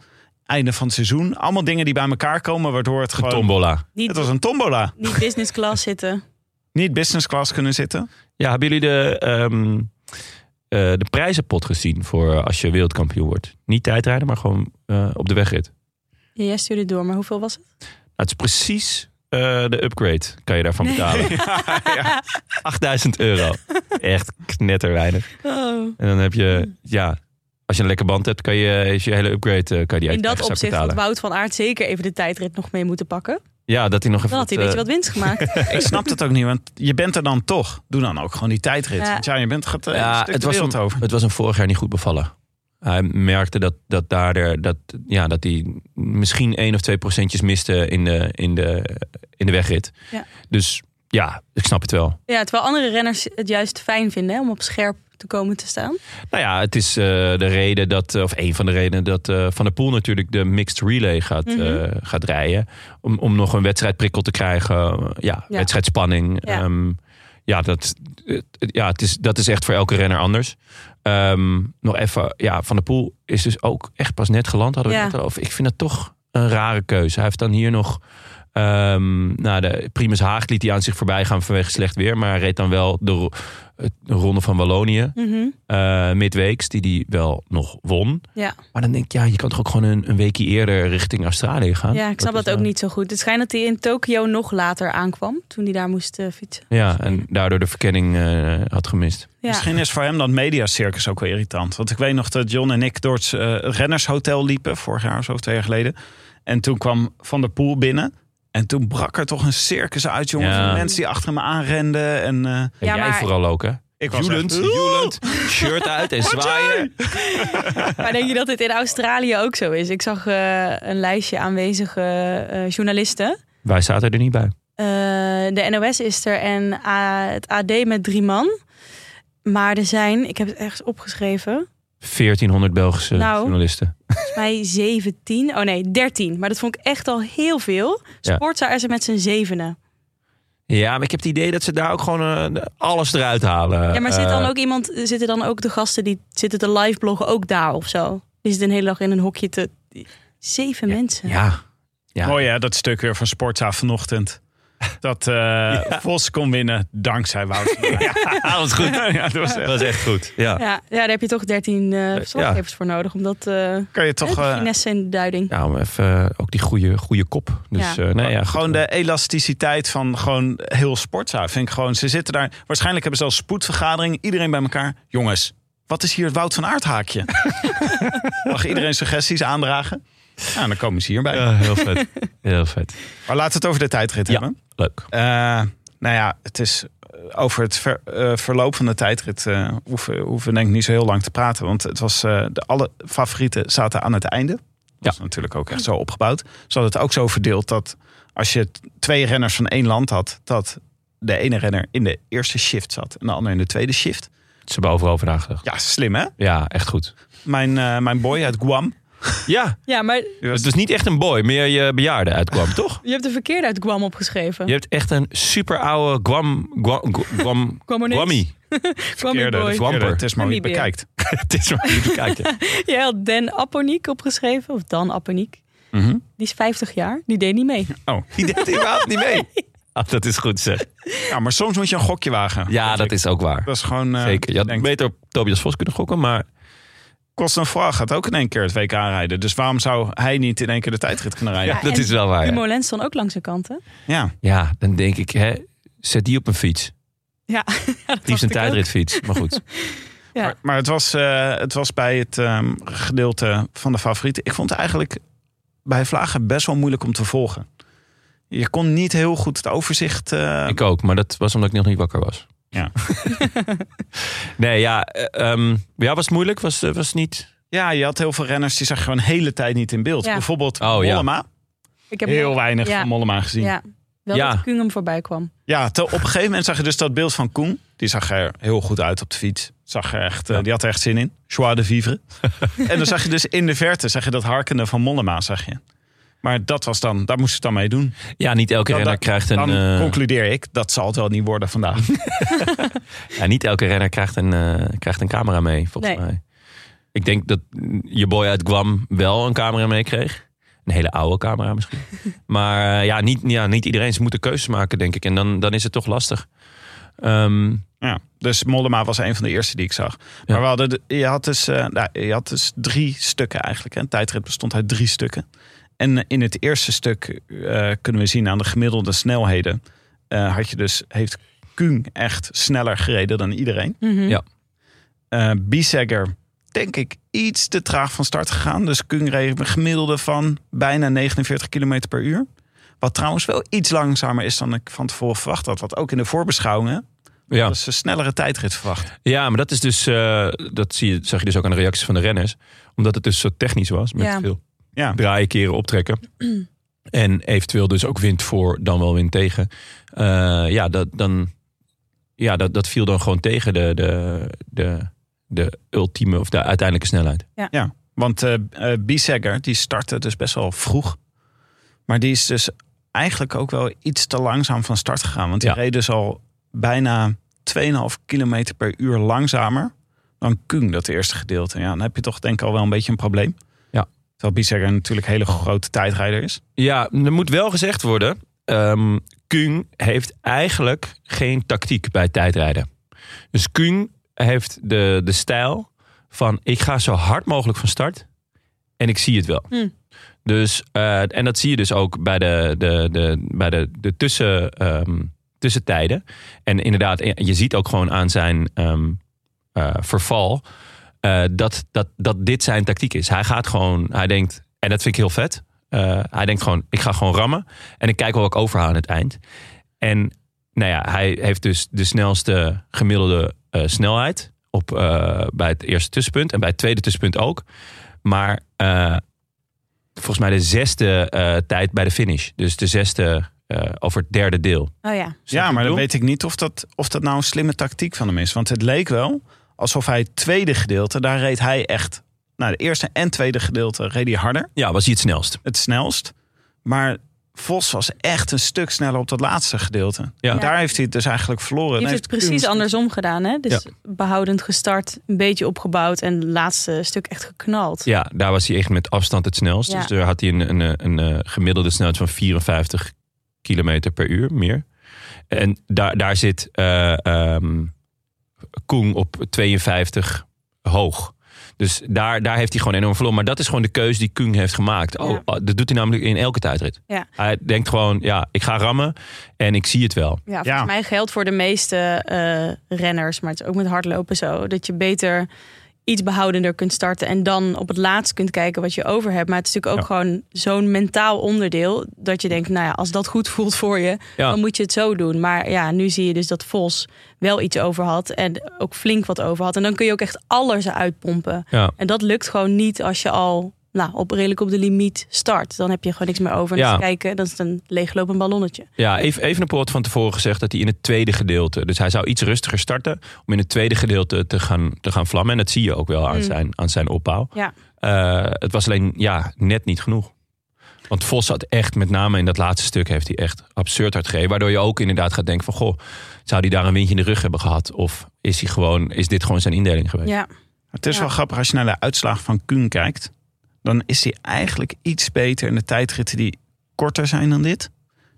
[SPEAKER 3] Einde van het seizoen. Allemaal dingen die bij elkaar komen waardoor het gewoon...
[SPEAKER 2] Tombola.
[SPEAKER 1] Niet,
[SPEAKER 3] Het was een tombola.
[SPEAKER 1] niet business class zitten.
[SPEAKER 3] Niet business class kunnen zitten.
[SPEAKER 2] Ja, hebben jullie de, ehm, eh, de prijzenpot gezien voor eh, als je wereldkampioen wordt? Niet tijdrijden, maar gewoon eh, op de wegrit.
[SPEAKER 1] Ja, Jij stuurde door, maar hoeveel was het?
[SPEAKER 2] Nou, het is precies eh, de upgrade, kan je daarvan betalen. 8000 euro. Echt knetterweinig.
[SPEAKER 1] Oh.
[SPEAKER 2] En dan heb je, ja, als je een lekker band hebt, kan je is je hele upgrade eh, kan je
[SPEAKER 1] In
[SPEAKER 2] die uit je
[SPEAKER 1] dat
[SPEAKER 2] eigen zak
[SPEAKER 1] opzicht had
[SPEAKER 2] betalen.
[SPEAKER 1] Wout van Aert zeker even de tijdrit nog mee moeten pakken.
[SPEAKER 2] Ja, dat eh, hij nog even.
[SPEAKER 1] Dan had hij een
[SPEAKER 2] wat,
[SPEAKER 1] beetje wat winst gemaakt.
[SPEAKER 3] Ik snap het ook niet, want je bent er dan toch. Doe dan ook gewoon die tijdrit.
[SPEAKER 1] Ja.
[SPEAKER 3] Want ja, je bent gaat eh,
[SPEAKER 2] eh,
[SPEAKER 3] een
[SPEAKER 2] ja,
[SPEAKER 3] stuk
[SPEAKER 2] het
[SPEAKER 3] de
[SPEAKER 2] was
[SPEAKER 3] wereld
[SPEAKER 2] hem,
[SPEAKER 3] over.
[SPEAKER 2] Het was hem vorig jaar niet goed bevallen. Hij merkte dat, dat daar de- dat, ja, dat hij misschien 1 of 2 procentjes miste in de, in de, in de wegrit.
[SPEAKER 1] Ja.
[SPEAKER 2] Dus ja, ik snap het wel.
[SPEAKER 1] Ja, terwijl andere renners het juist fijn vinden hè, om op scherp te komen te staan.
[SPEAKER 2] Nou ja, het is eh, de reden dat, eh, of een van de redenen dat eh, Van der Poel natuurlijk de mixed relay gaat,
[SPEAKER 1] Mhm.
[SPEAKER 2] eh, gaat rijden. Om, om nog een wedstrijdprikkel te krijgen. eh, Ja,
[SPEAKER 1] Ja.
[SPEAKER 2] wedstrijdspanning.
[SPEAKER 1] Ja.
[SPEAKER 2] Ja, ja, dat, het- ja het is, dat is echt voor elke renner anders. Ehm, nog even, ja, Van der Poel is dus ook echt pas net geland. Hadden we
[SPEAKER 1] Ja.
[SPEAKER 2] het net al over. Ik vind dat toch een rare keuze. Hij heeft dan hier nog... ehm nou, de Primus Haag liet hij aan zich voorbij gaan vanwege slecht weer. Maar hij reed dan wel de, ro- het- de ronde van Wallonië
[SPEAKER 1] Mhm.
[SPEAKER 2] eh midweeks, die die wel nog won.
[SPEAKER 1] Ja.
[SPEAKER 2] Maar dan denk ik, ja, je kan toch ook gewoon een, een weekje eerder richting Australië gaan?
[SPEAKER 1] Ja, ik snap dat,
[SPEAKER 2] is,
[SPEAKER 1] ook
[SPEAKER 2] eh,
[SPEAKER 1] niet zo goed. Het schijnt dat hij in Tokio nog later aankwam, toen hij daar moest eh, fietsen.
[SPEAKER 2] Ja, en daardoor de verkenning eh, had gemist.
[SPEAKER 1] Ja.
[SPEAKER 3] Misschien is voor hem dat mediacircus ook wel irritant. Want ik weet nog dat John en ik door het eh, rennershotel liepen. Vorig jaar of zo, of twee jaar geleden. En toen kwam Van der Poel binnen. En toen brak er toch een circus uit, jongen.
[SPEAKER 2] Ja.
[SPEAKER 3] Van mensen die achter hem aanrenden. En eh,
[SPEAKER 2] En
[SPEAKER 1] Ja,
[SPEAKER 2] jij
[SPEAKER 1] maar-
[SPEAKER 2] vooral ook, hè?
[SPEAKER 3] Ik was
[SPEAKER 2] Julend,
[SPEAKER 3] echt, "Oeh!"
[SPEAKER 2] julend, shirt uit en zwaaien.
[SPEAKER 1] Maar denk je dat dit in Australië ook zo is? Ik zag eh, een lijstje aanwezige eh, journalisten.
[SPEAKER 2] Wij zaten er niet bij.
[SPEAKER 1] Eh, de NOS is er en A- het AD met drie man. Maar er zijn, ik heb het ergens opgeschreven,
[SPEAKER 2] 1400 Belgische
[SPEAKER 1] Nou.
[SPEAKER 2] journalisten.
[SPEAKER 1] volgens mij 17. Oh nee, 13. Maar dat vond ik echt al heel veel.
[SPEAKER 2] Ja.
[SPEAKER 1] Sportza is er met z'n zevenen.
[SPEAKER 2] Ja, maar ik heb het idee dat ze daar ook gewoon eh, alles eruit halen.
[SPEAKER 1] ja, maar zit
[SPEAKER 2] Eh,
[SPEAKER 1] dan ook iemand, zitten dan ook de gasten die zitten te live bloggen ook daar of zo? Die zitten een hele dag in een hokje te. Zeven mensen.
[SPEAKER 2] Ja. ja.
[SPEAKER 3] Mooi hè, dat stuk weer van Sportza vanochtend. Dat eh Vos kon winnen dankzij Wouter. ja,
[SPEAKER 2] Ah, dat is goed.
[SPEAKER 3] dat was echt-
[SPEAKER 2] Dat is echt goed. Ja.
[SPEAKER 1] Ja, ja, daar heb je toch 13 eh verslaggevers voor nodig. Omdat eh
[SPEAKER 3] Kan je
[SPEAKER 1] toch,
[SPEAKER 3] toch eh,
[SPEAKER 1] finesse in de duiding.
[SPEAKER 2] Ja, maar even eh, ook die goede, goede kop. Dus,
[SPEAKER 1] Ja.
[SPEAKER 2] eh, nee, ja, goed.
[SPEAKER 3] gewoon de elasticiteit van gewoon heel Sportza. Vind ik gewoon, ze zitten daar. Waarschijnlijk hebben ze al spoedvergadering. Iedereen bij elkaar. Jongens, wat is hier het Wout van Aert haakje? Mag iedereen suggesties aandragen? Nou, dan komen ze hierbij.
[SPEAKER 2] Ja, heel vet. Heel vet.
[SPEAKER 3] Maar laten we het over de tijdrit
[SPEAKER 2] Ja.
[SPEAKER 3] hebben.
[SPEAKER 2] Leuk.
[SPEAKER 3] Eh, nou ja, het is eh, over het ver- eh, verloop van de tijdrit eh, hoeven, hoeven denk ik niet zo heel lang te praten. Want het was, eh, de alle favorieten zaten aan het einde. Dat
[SPEAKER 2] Ja.
[SPEAKER 3] is natuurlijk ook echt zo opgebouwd. Ze hadden het ook zo verdeeld dat als je t- twee renners van één land had, dat de ene renner in de eerste shift zat en de ander in de tweede shift.
[SPEAKER 2] Ze hebben overal over nagedacht.
[SPEAKER 3] Ja, slim hè?
[SPEAKER 2] Ja, echt goed.
[SPEAKER 3] Mijn, eh, mijn boy uit Guam.
[SPEAKER 2] Ja,
[SPEAKER 1] Ja, maar
[SPEAKER 3] die was-
[SPEAKER 2] het is niet echt een boy, meer je bejaarde uitkwam, toch?
[SPEAKER 1] je hebt de verkeerde uit Guam opgeschreven.
[SPEAKER 2] Je hebt echt een super oude Guam, Guam, Guam, dus
[SPEAKER 1] Guamonees.
[SPEAKER 2] Guammy.
[SPEAKER 1] Kwam ik
[SPEAKER 3] verkeerde,
[SPEAKER 1] boy.
[SPEAKER 3] de verkeerde.
[SPEAKER 2] Wamper.
[SPEAKER 3] Het is maar wie het
[SPEAKER 1] Namibia.
[SPEAKER 3] bekijkt.
[SPEAKER 2] Het is maar goed te kijken.
[SPEAKER 1] Jij had Dan Apponiek opgeschreven, of Dan Apponiek.
[SPEAKER 3] Mhm.
[SPEAKER 1] Die is 50 jaar, die deed niet mee.
[SPEAKER 3] Oh,
[SPEAKER 2] Die deed überhaupt niet mee. Ah, dat is goed zeg.
[SPEAKER 3] ja, maar soms moet je een gokje wagen.
[SPEAKER 2] Ja, dat is ook waar.
[SPEAKER 3] Dat is gewoon. eh,
[SPEAKER 2] Zeker. Je had
[SPEAKER 3] denk-
[SPEAKER 2] beter op Tobias Vos kunnen gokken, maar
[SPEAKER 3] Kostenvraag gaat ook in één keer het WK rijden. Dus waarom zou hij niet in één keer de tijdrit kunnen rijden?
[SPEAKER 2] ja,
[SPEAKER 3] Ja,
[SPEAKER 2] dat
[SPEAKER 1] en
[SPEAKER 2] is wel waar.
[SPEAKER 1] Die
[SPEAKER 2] Ah, Ja.
[SPEAKER 1] Molenz dan ook langs de kanten.
[SPEAKER 2] Ja, dan denk ik, hè, zet die op een fiets.
[SPEAKER 1] Ja, dat
[SPEAKER 2] Liefst een
[SPEAKER 1] dacht ik ook.
[SPEAKER 2] tijdritfiets, maar goed.
[SPEAKER 1] Ja.
[SPEAKER 3] Maar, maar het, was, eh, het was bij het ehm, gedeelte van de favorieten. Ik vond het eigenlijk bij Vlagen best wel moeilijk om te volgen. Je kon niet heel goed het overzicht. eh,
[SPEAKER 2] Ik ook, maar dat was omdat ik nog niet wakker was.
[SPEAKER 3] Ja.
[SPEAKER 2] nee, ja, eh, ehm, ja, was het moeilijk? Was, eh, was het niet...
[SPEAKER 3] ja, je had heel veel renners die zag je gewoon de hele tijd niet in beeld.
[SPEAKER 1] Ja.
[SPEAKER 3] Bijvoorbeeld
[SPEAKER 2] Oh, ja.
[SPEAKER 3] Mollema.
[SPEAKER 1] Ik heb
[SPEAKER 3] Heel weinig
[SPEAKER 1] Ja.
[SPEAKER 3] van Mollema gezien. Ja,
[SPEAKER 1] Ja, wel
[SPEAKER 2] Ja.
[SPEAKER 1] dat Kungum voorbij kwam.
[SPEAKER 3] te- op een gegeven moment zag je dus dat beeld van Koen. Die zag er heel goed uit op de fiets. Zag er echt, eh,
[SPEAKER 2] Ja.
[SPEAKER 3] Die had er echt zin in. Joie de vivre. en dan zag je dus in de verte zag je dat harkende van Mollema. Zag je. Maar dat was dan, daar moest het dan mee doen.
[SPEAKER 2] Ja, niet elke
[SPEAKER 3] Dan,
[SPEAKER 2] renner
[SPEAKER 3] dan-
[SPEAKER 2] krijgt een...
[SPEAKER 3] dan
[SPEAKER 2] eh,
[SPEAKER 3] concludeer ik, dat zal het wel niet worden vandaag.
[SPEAKER 2] ja, niet elke renner krijgt een, eh, krijgt een camera mee, volgens
[SPEAKER 1] Nee.
[SPEAKER 2] mij. Ik denk dat mm, je boy uit Guam wel een camera mee kreeg. Een hele oude camera misschien. maar eh, ja, niet, ja, niet iedereen. Ze moeten keuzes maken, denk ik. En dan, dan is het toch lastig. Ehm,
[SPEAKER 3] ja, dus Mollema was een van de eerste die ik zag. Maar we hadden, de- je, had dus, eh, nou, je had dus drie stukken eigenlijk. Hè. Een tijdrit bestond uit drie stukken. En eh, in het eerste stuk eh, kunnen we zien aan de gemiddelde snelheden... eh, had je dus, heeft Kuhn echt sneller gereden dan iedereen.
[SPEAKER 1] Mhm.
[SPEAKER 2] Ja.
[SPEAKER 3] eh Biesegger, denk ik, iets te traag van start gegaan. Dus Kung reed een gemiddelde van bijna 49 km per uur. Wat trouwens wel iets langzamer is dan ik van tevoren verwacht had. Wat ook in de voorbeschouwingen
[SPEAKER 2] ja.
[SPEAKER 3] was een snellere tijdrit verwacht.
[SPEAKER 2] ja, maar dat is dus... eh, dat zie je, zag je dus ook aan de reacties van de renners. Omdat het dus zo technisch was. Met
[SPEAKER 1] Ja.
[SPEAKER 2] veel
[SPEAKER 3] Ja,
[SPEAKER 2] draaien, keren, optrekken. en eventueel dus ook wind voor, dan wel wind tegen. Eh, ja, dat, dan, ja dat, dat viel dan gewoon tegen de, de, de, de ultieme of de uiteindelijke snelheid.
[SPEAKER 3] ja. want eh eh, Biesegger die startte dus best wel vroeg. Maar die is dus eigenlijk ook wel iets te langzaam van start gegaan. Want die
[SPEAKER 2] Ja.
[SPEAKER 3] reed dus al bijna 2,5 km per uur langzamer dan Kung, dat eerste gedeelte. Ja, dan heb je toch denk ik al wel een beetje een probleem.
[SPEAKER 2] Ja.
[SPEAKER 3] Terwijl Biesegger natuurlijk een hele grote tijdrijder is.
[SPEAKER 2] Ja, er moet wel gezegd worden. ehm Kuhn heeft eigenlijk geen tactiek bij tijdrijden. Dus Kuhn heeft de, de stijl van ik ga zo hard mogelijk van start en ik zie het wel.
[SPEAKER 1] Hmm.
[SPEAKER 2] Dus, eh, en dat zie je dus ook bij de, de, de, bij de, de tussen, ehm, tussentijden. En inderdaad, je ziet ook gewoon aan zijn ehm, eh, verval eh, dat, dat, dat dit zijn tactiek is. Hij gaat gewoon, hij denkt, en dat vind ik heel vet. eh, hij denkt gewoon, ik ga gewoon rammen. En ik kijk wel wat ik overhaal aan het eind. En Nou ja, hij heeft dus de snelste gemiddelde eh, snelheid op, eh, bij het eerste tussenpunt en bij het tweede tussenpunt ook. Maar eh, volgens mij de zesde eh, tijd bij de finish. Dus de zesde eh, over het derde deel.
[SPEAKER 1] Oh ja.
[SPEAKER 2] Snap
[SPEAKER 3] ja,
[SPEAKER 2] je wat ik
[SPEAKER 3] maar dan
[SPEAKER 2] bedoel?
[SPEAKER 3] weet ik niet of dat, of dat nou een slimme tactiek van hem is. Want het leek wel alsof hij het tweede gedeelte, daar reed hij echt... Nou, de eerste en tweede gedeelte reed hij harder,
[SPEAKER 2] Ja, was hij het snelst.
[SPEAKER 3] het snelst. Maar Vos was echt een stuk sneller op dat laatste gedeelte.
[SPEAKER 2] Ja.
[SPEAKER 3] En daar heeft hij het dus eigenlijk verloren.
[SPEAKER 1] Je
[SPEAKER 3] Dan
[SPEAKER 1] hebt het
[SPEAKER 3] heeft Kums
[SPEAKER 1] precies
[SPEAKER 3] het-
[SPEAKER 1] andersom gedaan, hè? Dus behoudend gestart, een beetje opgebouwd en het laatste stuk echt geknald.
[SPEAKER 2] Ja, daar was hij echt met afstand het snelst.
[SPEAKER 1] Ja.
[SPEAKER 2] Dus daar had hij een, een, een, eh, gemiddelde snelheid van 54 kilometer per uur, meer. En daar, daar zit eh ehm, Koen op 52 hoog. Dus daar, daar heeft hij gewoon enorm verloren. Maar dat is gewoon de keuze die Kung heeft gemaakt. Oh,
[SPEAKER 1] Ja.
[SPEAKER 2] oh, dat doet hij namelijk in elke tijdrit.
[SPEAKER 1] Ja.
[SPEAKER 2] Hij denkt gewoon, ja, ik ga rammen en ik zie het wel.
[SPEAKER 1] Ja, volgens mij geldt voor de meeste eh, renners, maar het is ook met hardlopen zo, dat je beter iets behoudender kunt starten en dan op het laatst kunt kijken wat je over hebt. Maar het is natuurlijk ook gewoon zo'n mentaal onderdeel dat je denkt, nou ja, als dat goed voelt voor je,
[SPEAKER 2] Ja.
[SPEAKER 1] dan moet je het zo doen. Maar ja, nu zie je dus dat Vos wel iets over had en ook flink wat over had. En dan kun je ook echt alles eruit pompen.
[SPEAKER 2] Ja.
[SPEAKER 1] En dat lukt gewoon niet als je al nou, op, redelijk op de limiet start. Dan heb je gewoon niks meer over. En
[SPEAKER 2] Ja.
[SPEAKER 1] als je kijken, dan is het een leeglopend ballonnetje.
[SPEAKER 2] Ja, even, Evenepoel had van tevoren gezegd dat hij in het tweede gedeelte... dus hij zou iets rustiger starten om in het tweede gedeelte te gaan, te gaan vlammen. En dat zie je ook wel aan,
[SPEAKER 1] Mm.
[SPEAKER 2] zijn, aan zijn opbouw.
[SPEAKER 1] Ja.
[SPEAKER 2] Eh, het was alleen ja, net niet genoeg. Want Vos had echt, met name in dat laatste stuk... heeft hij echt absurd hard gereden. Waardoor je ook inderdaad gaat denken van... goh, zou hij daar een windje in de rug hebben gehad? Of is, hij gewoon, is dit gewoon zijn indeling geweest?
[SPEAKER 1] Ja.
[SPEAKER 3] Het is
[SPEAKER 1] Ja.
[SPEAKER 3] wel grappig als je naar de uitslag van Kuhn kijkt. Dan is hij eigenlijk iets beter in de tijdritten die korter zijn dan dit.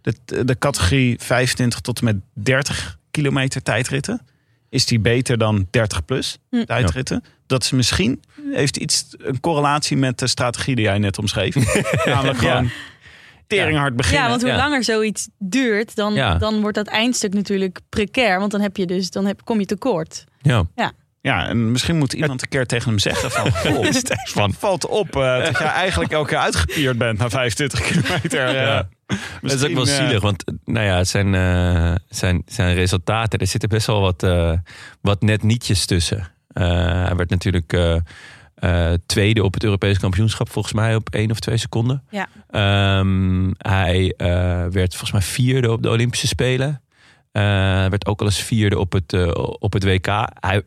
[SPEAKER 3] De, de categorie 25 tot en met 30 kilometer tijdritten. Is die beter dan 30 plus
[SPEAKER 1] Hm.
[SPEAKER 3] tijdritten? Dat is misschien heeft iets een correlatie met de strategie die jij net omschreef. Namelijk
[SPEAKER 2] Ja.
[SPEAKER 3] gewoon teringhard beginnen.
[SPEAKER 1] Ja, want hoe
[SPEAKER 2] ja.
[SPEAKER 1] langer zoiets duurt, dan,
[SPEAKER 2] Ja.
[SPEAKER 1] dan wordt dat eindstuk natuurlijk precair. Want dan heb je dus, dan heb, kom je tekort.
[SPEAKER 2] Ja.
[SPEAKER 3] Ja, en misschien moet iemand een keer tegen hem zeggen van... Goh, Stefan, valt op eh, dat jij eigenlijk elke keer uitgepierd bent na 25 kilometer. eh.
[SPEAKER 2] Ja. Dat is ook wel
[SPEAKER 3] Misschien, eh,
[SPEAKER 2] zielig, want eh, nou ja, zijn, eh, zijn, zijn resultaten, er zitten best wel wat, eh, wat net nietjes tussen. Eh, hij werd natuurlijk eh, eh, tweede op het Europese kampioenschap, volgens mij op één of twee seconden.
[SPEAKER 1] Ja.
[SPEAKER 2] Ehm, hij eh, werd volgens mij vierde op de Olympische Spelen. Eh, Hij werd ook al eens vierde op het, eh, op het WK. Hij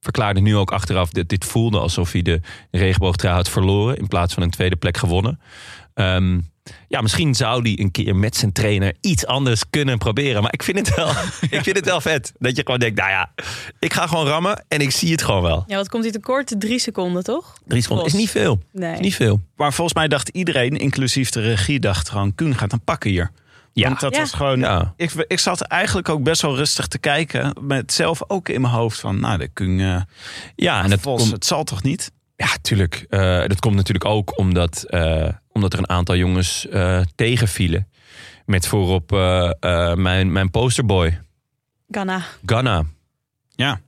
[SPEAKER 2] verklaarde nu ook achteraf dat dit voelde alsof hij de regenboogtrui had verloren in plaats van een tweede plek gewonnen. Ehm, ja, misschien zou die een keer met zijn trainer iets anders kunnen proberen. Maar ik vind het wel, ik vind het wel vet. Dat je gewoon denkt, nou ja, ik ga gewoon rammen en ik zie het gewoon wel.
[SPEAKER 1] Ja, wat komt hij tekort? Drie seconden, toch?
[SPEAKER 2] Drie seconden is
[SPEAKER 1] Vos.
[SPEAKER 2] niet veel. Is
[SPEAKER 1] Nee.
[SPEAKER 2] niet veel.
[SPEAKER 3] Maar volgens mij dacht iedereen, inclusief de regie, dacht gewoon... Kuhn gaat hem pakken hier.
[SPEAKER 2] Ja.
[SPEAKER 3] Want dat
[SPEAKER 1] Ja.
[SPEAKER 3] was gewoon...
[SPEAKER 2] Ja.
[SPEAKER 3] Ik, ik zat eigenlijk ook best wel rustig te kijken. Met zelf ook in mijn hoofd van... Nou, de Kuhn, eh,
[SPEAKER 2] Ja, en dat
[SPEAKER 3] Vos,
[SPEAKER 2] komt,
[SPEAKER 3] het zal toch niet?
[SPEAKER 2] ja, tuurlijk. Eh, dat komt natuurlijk ook omdat, eh, omdat er een aantal jongens eh, tegenvielen. Met voorop eh, eh, mijn, mijn posterboy, Oh.
[SPEAKER 1] Ghana.
[SPEAKER 2] Ghana.
[SPEAKER 3] Ja.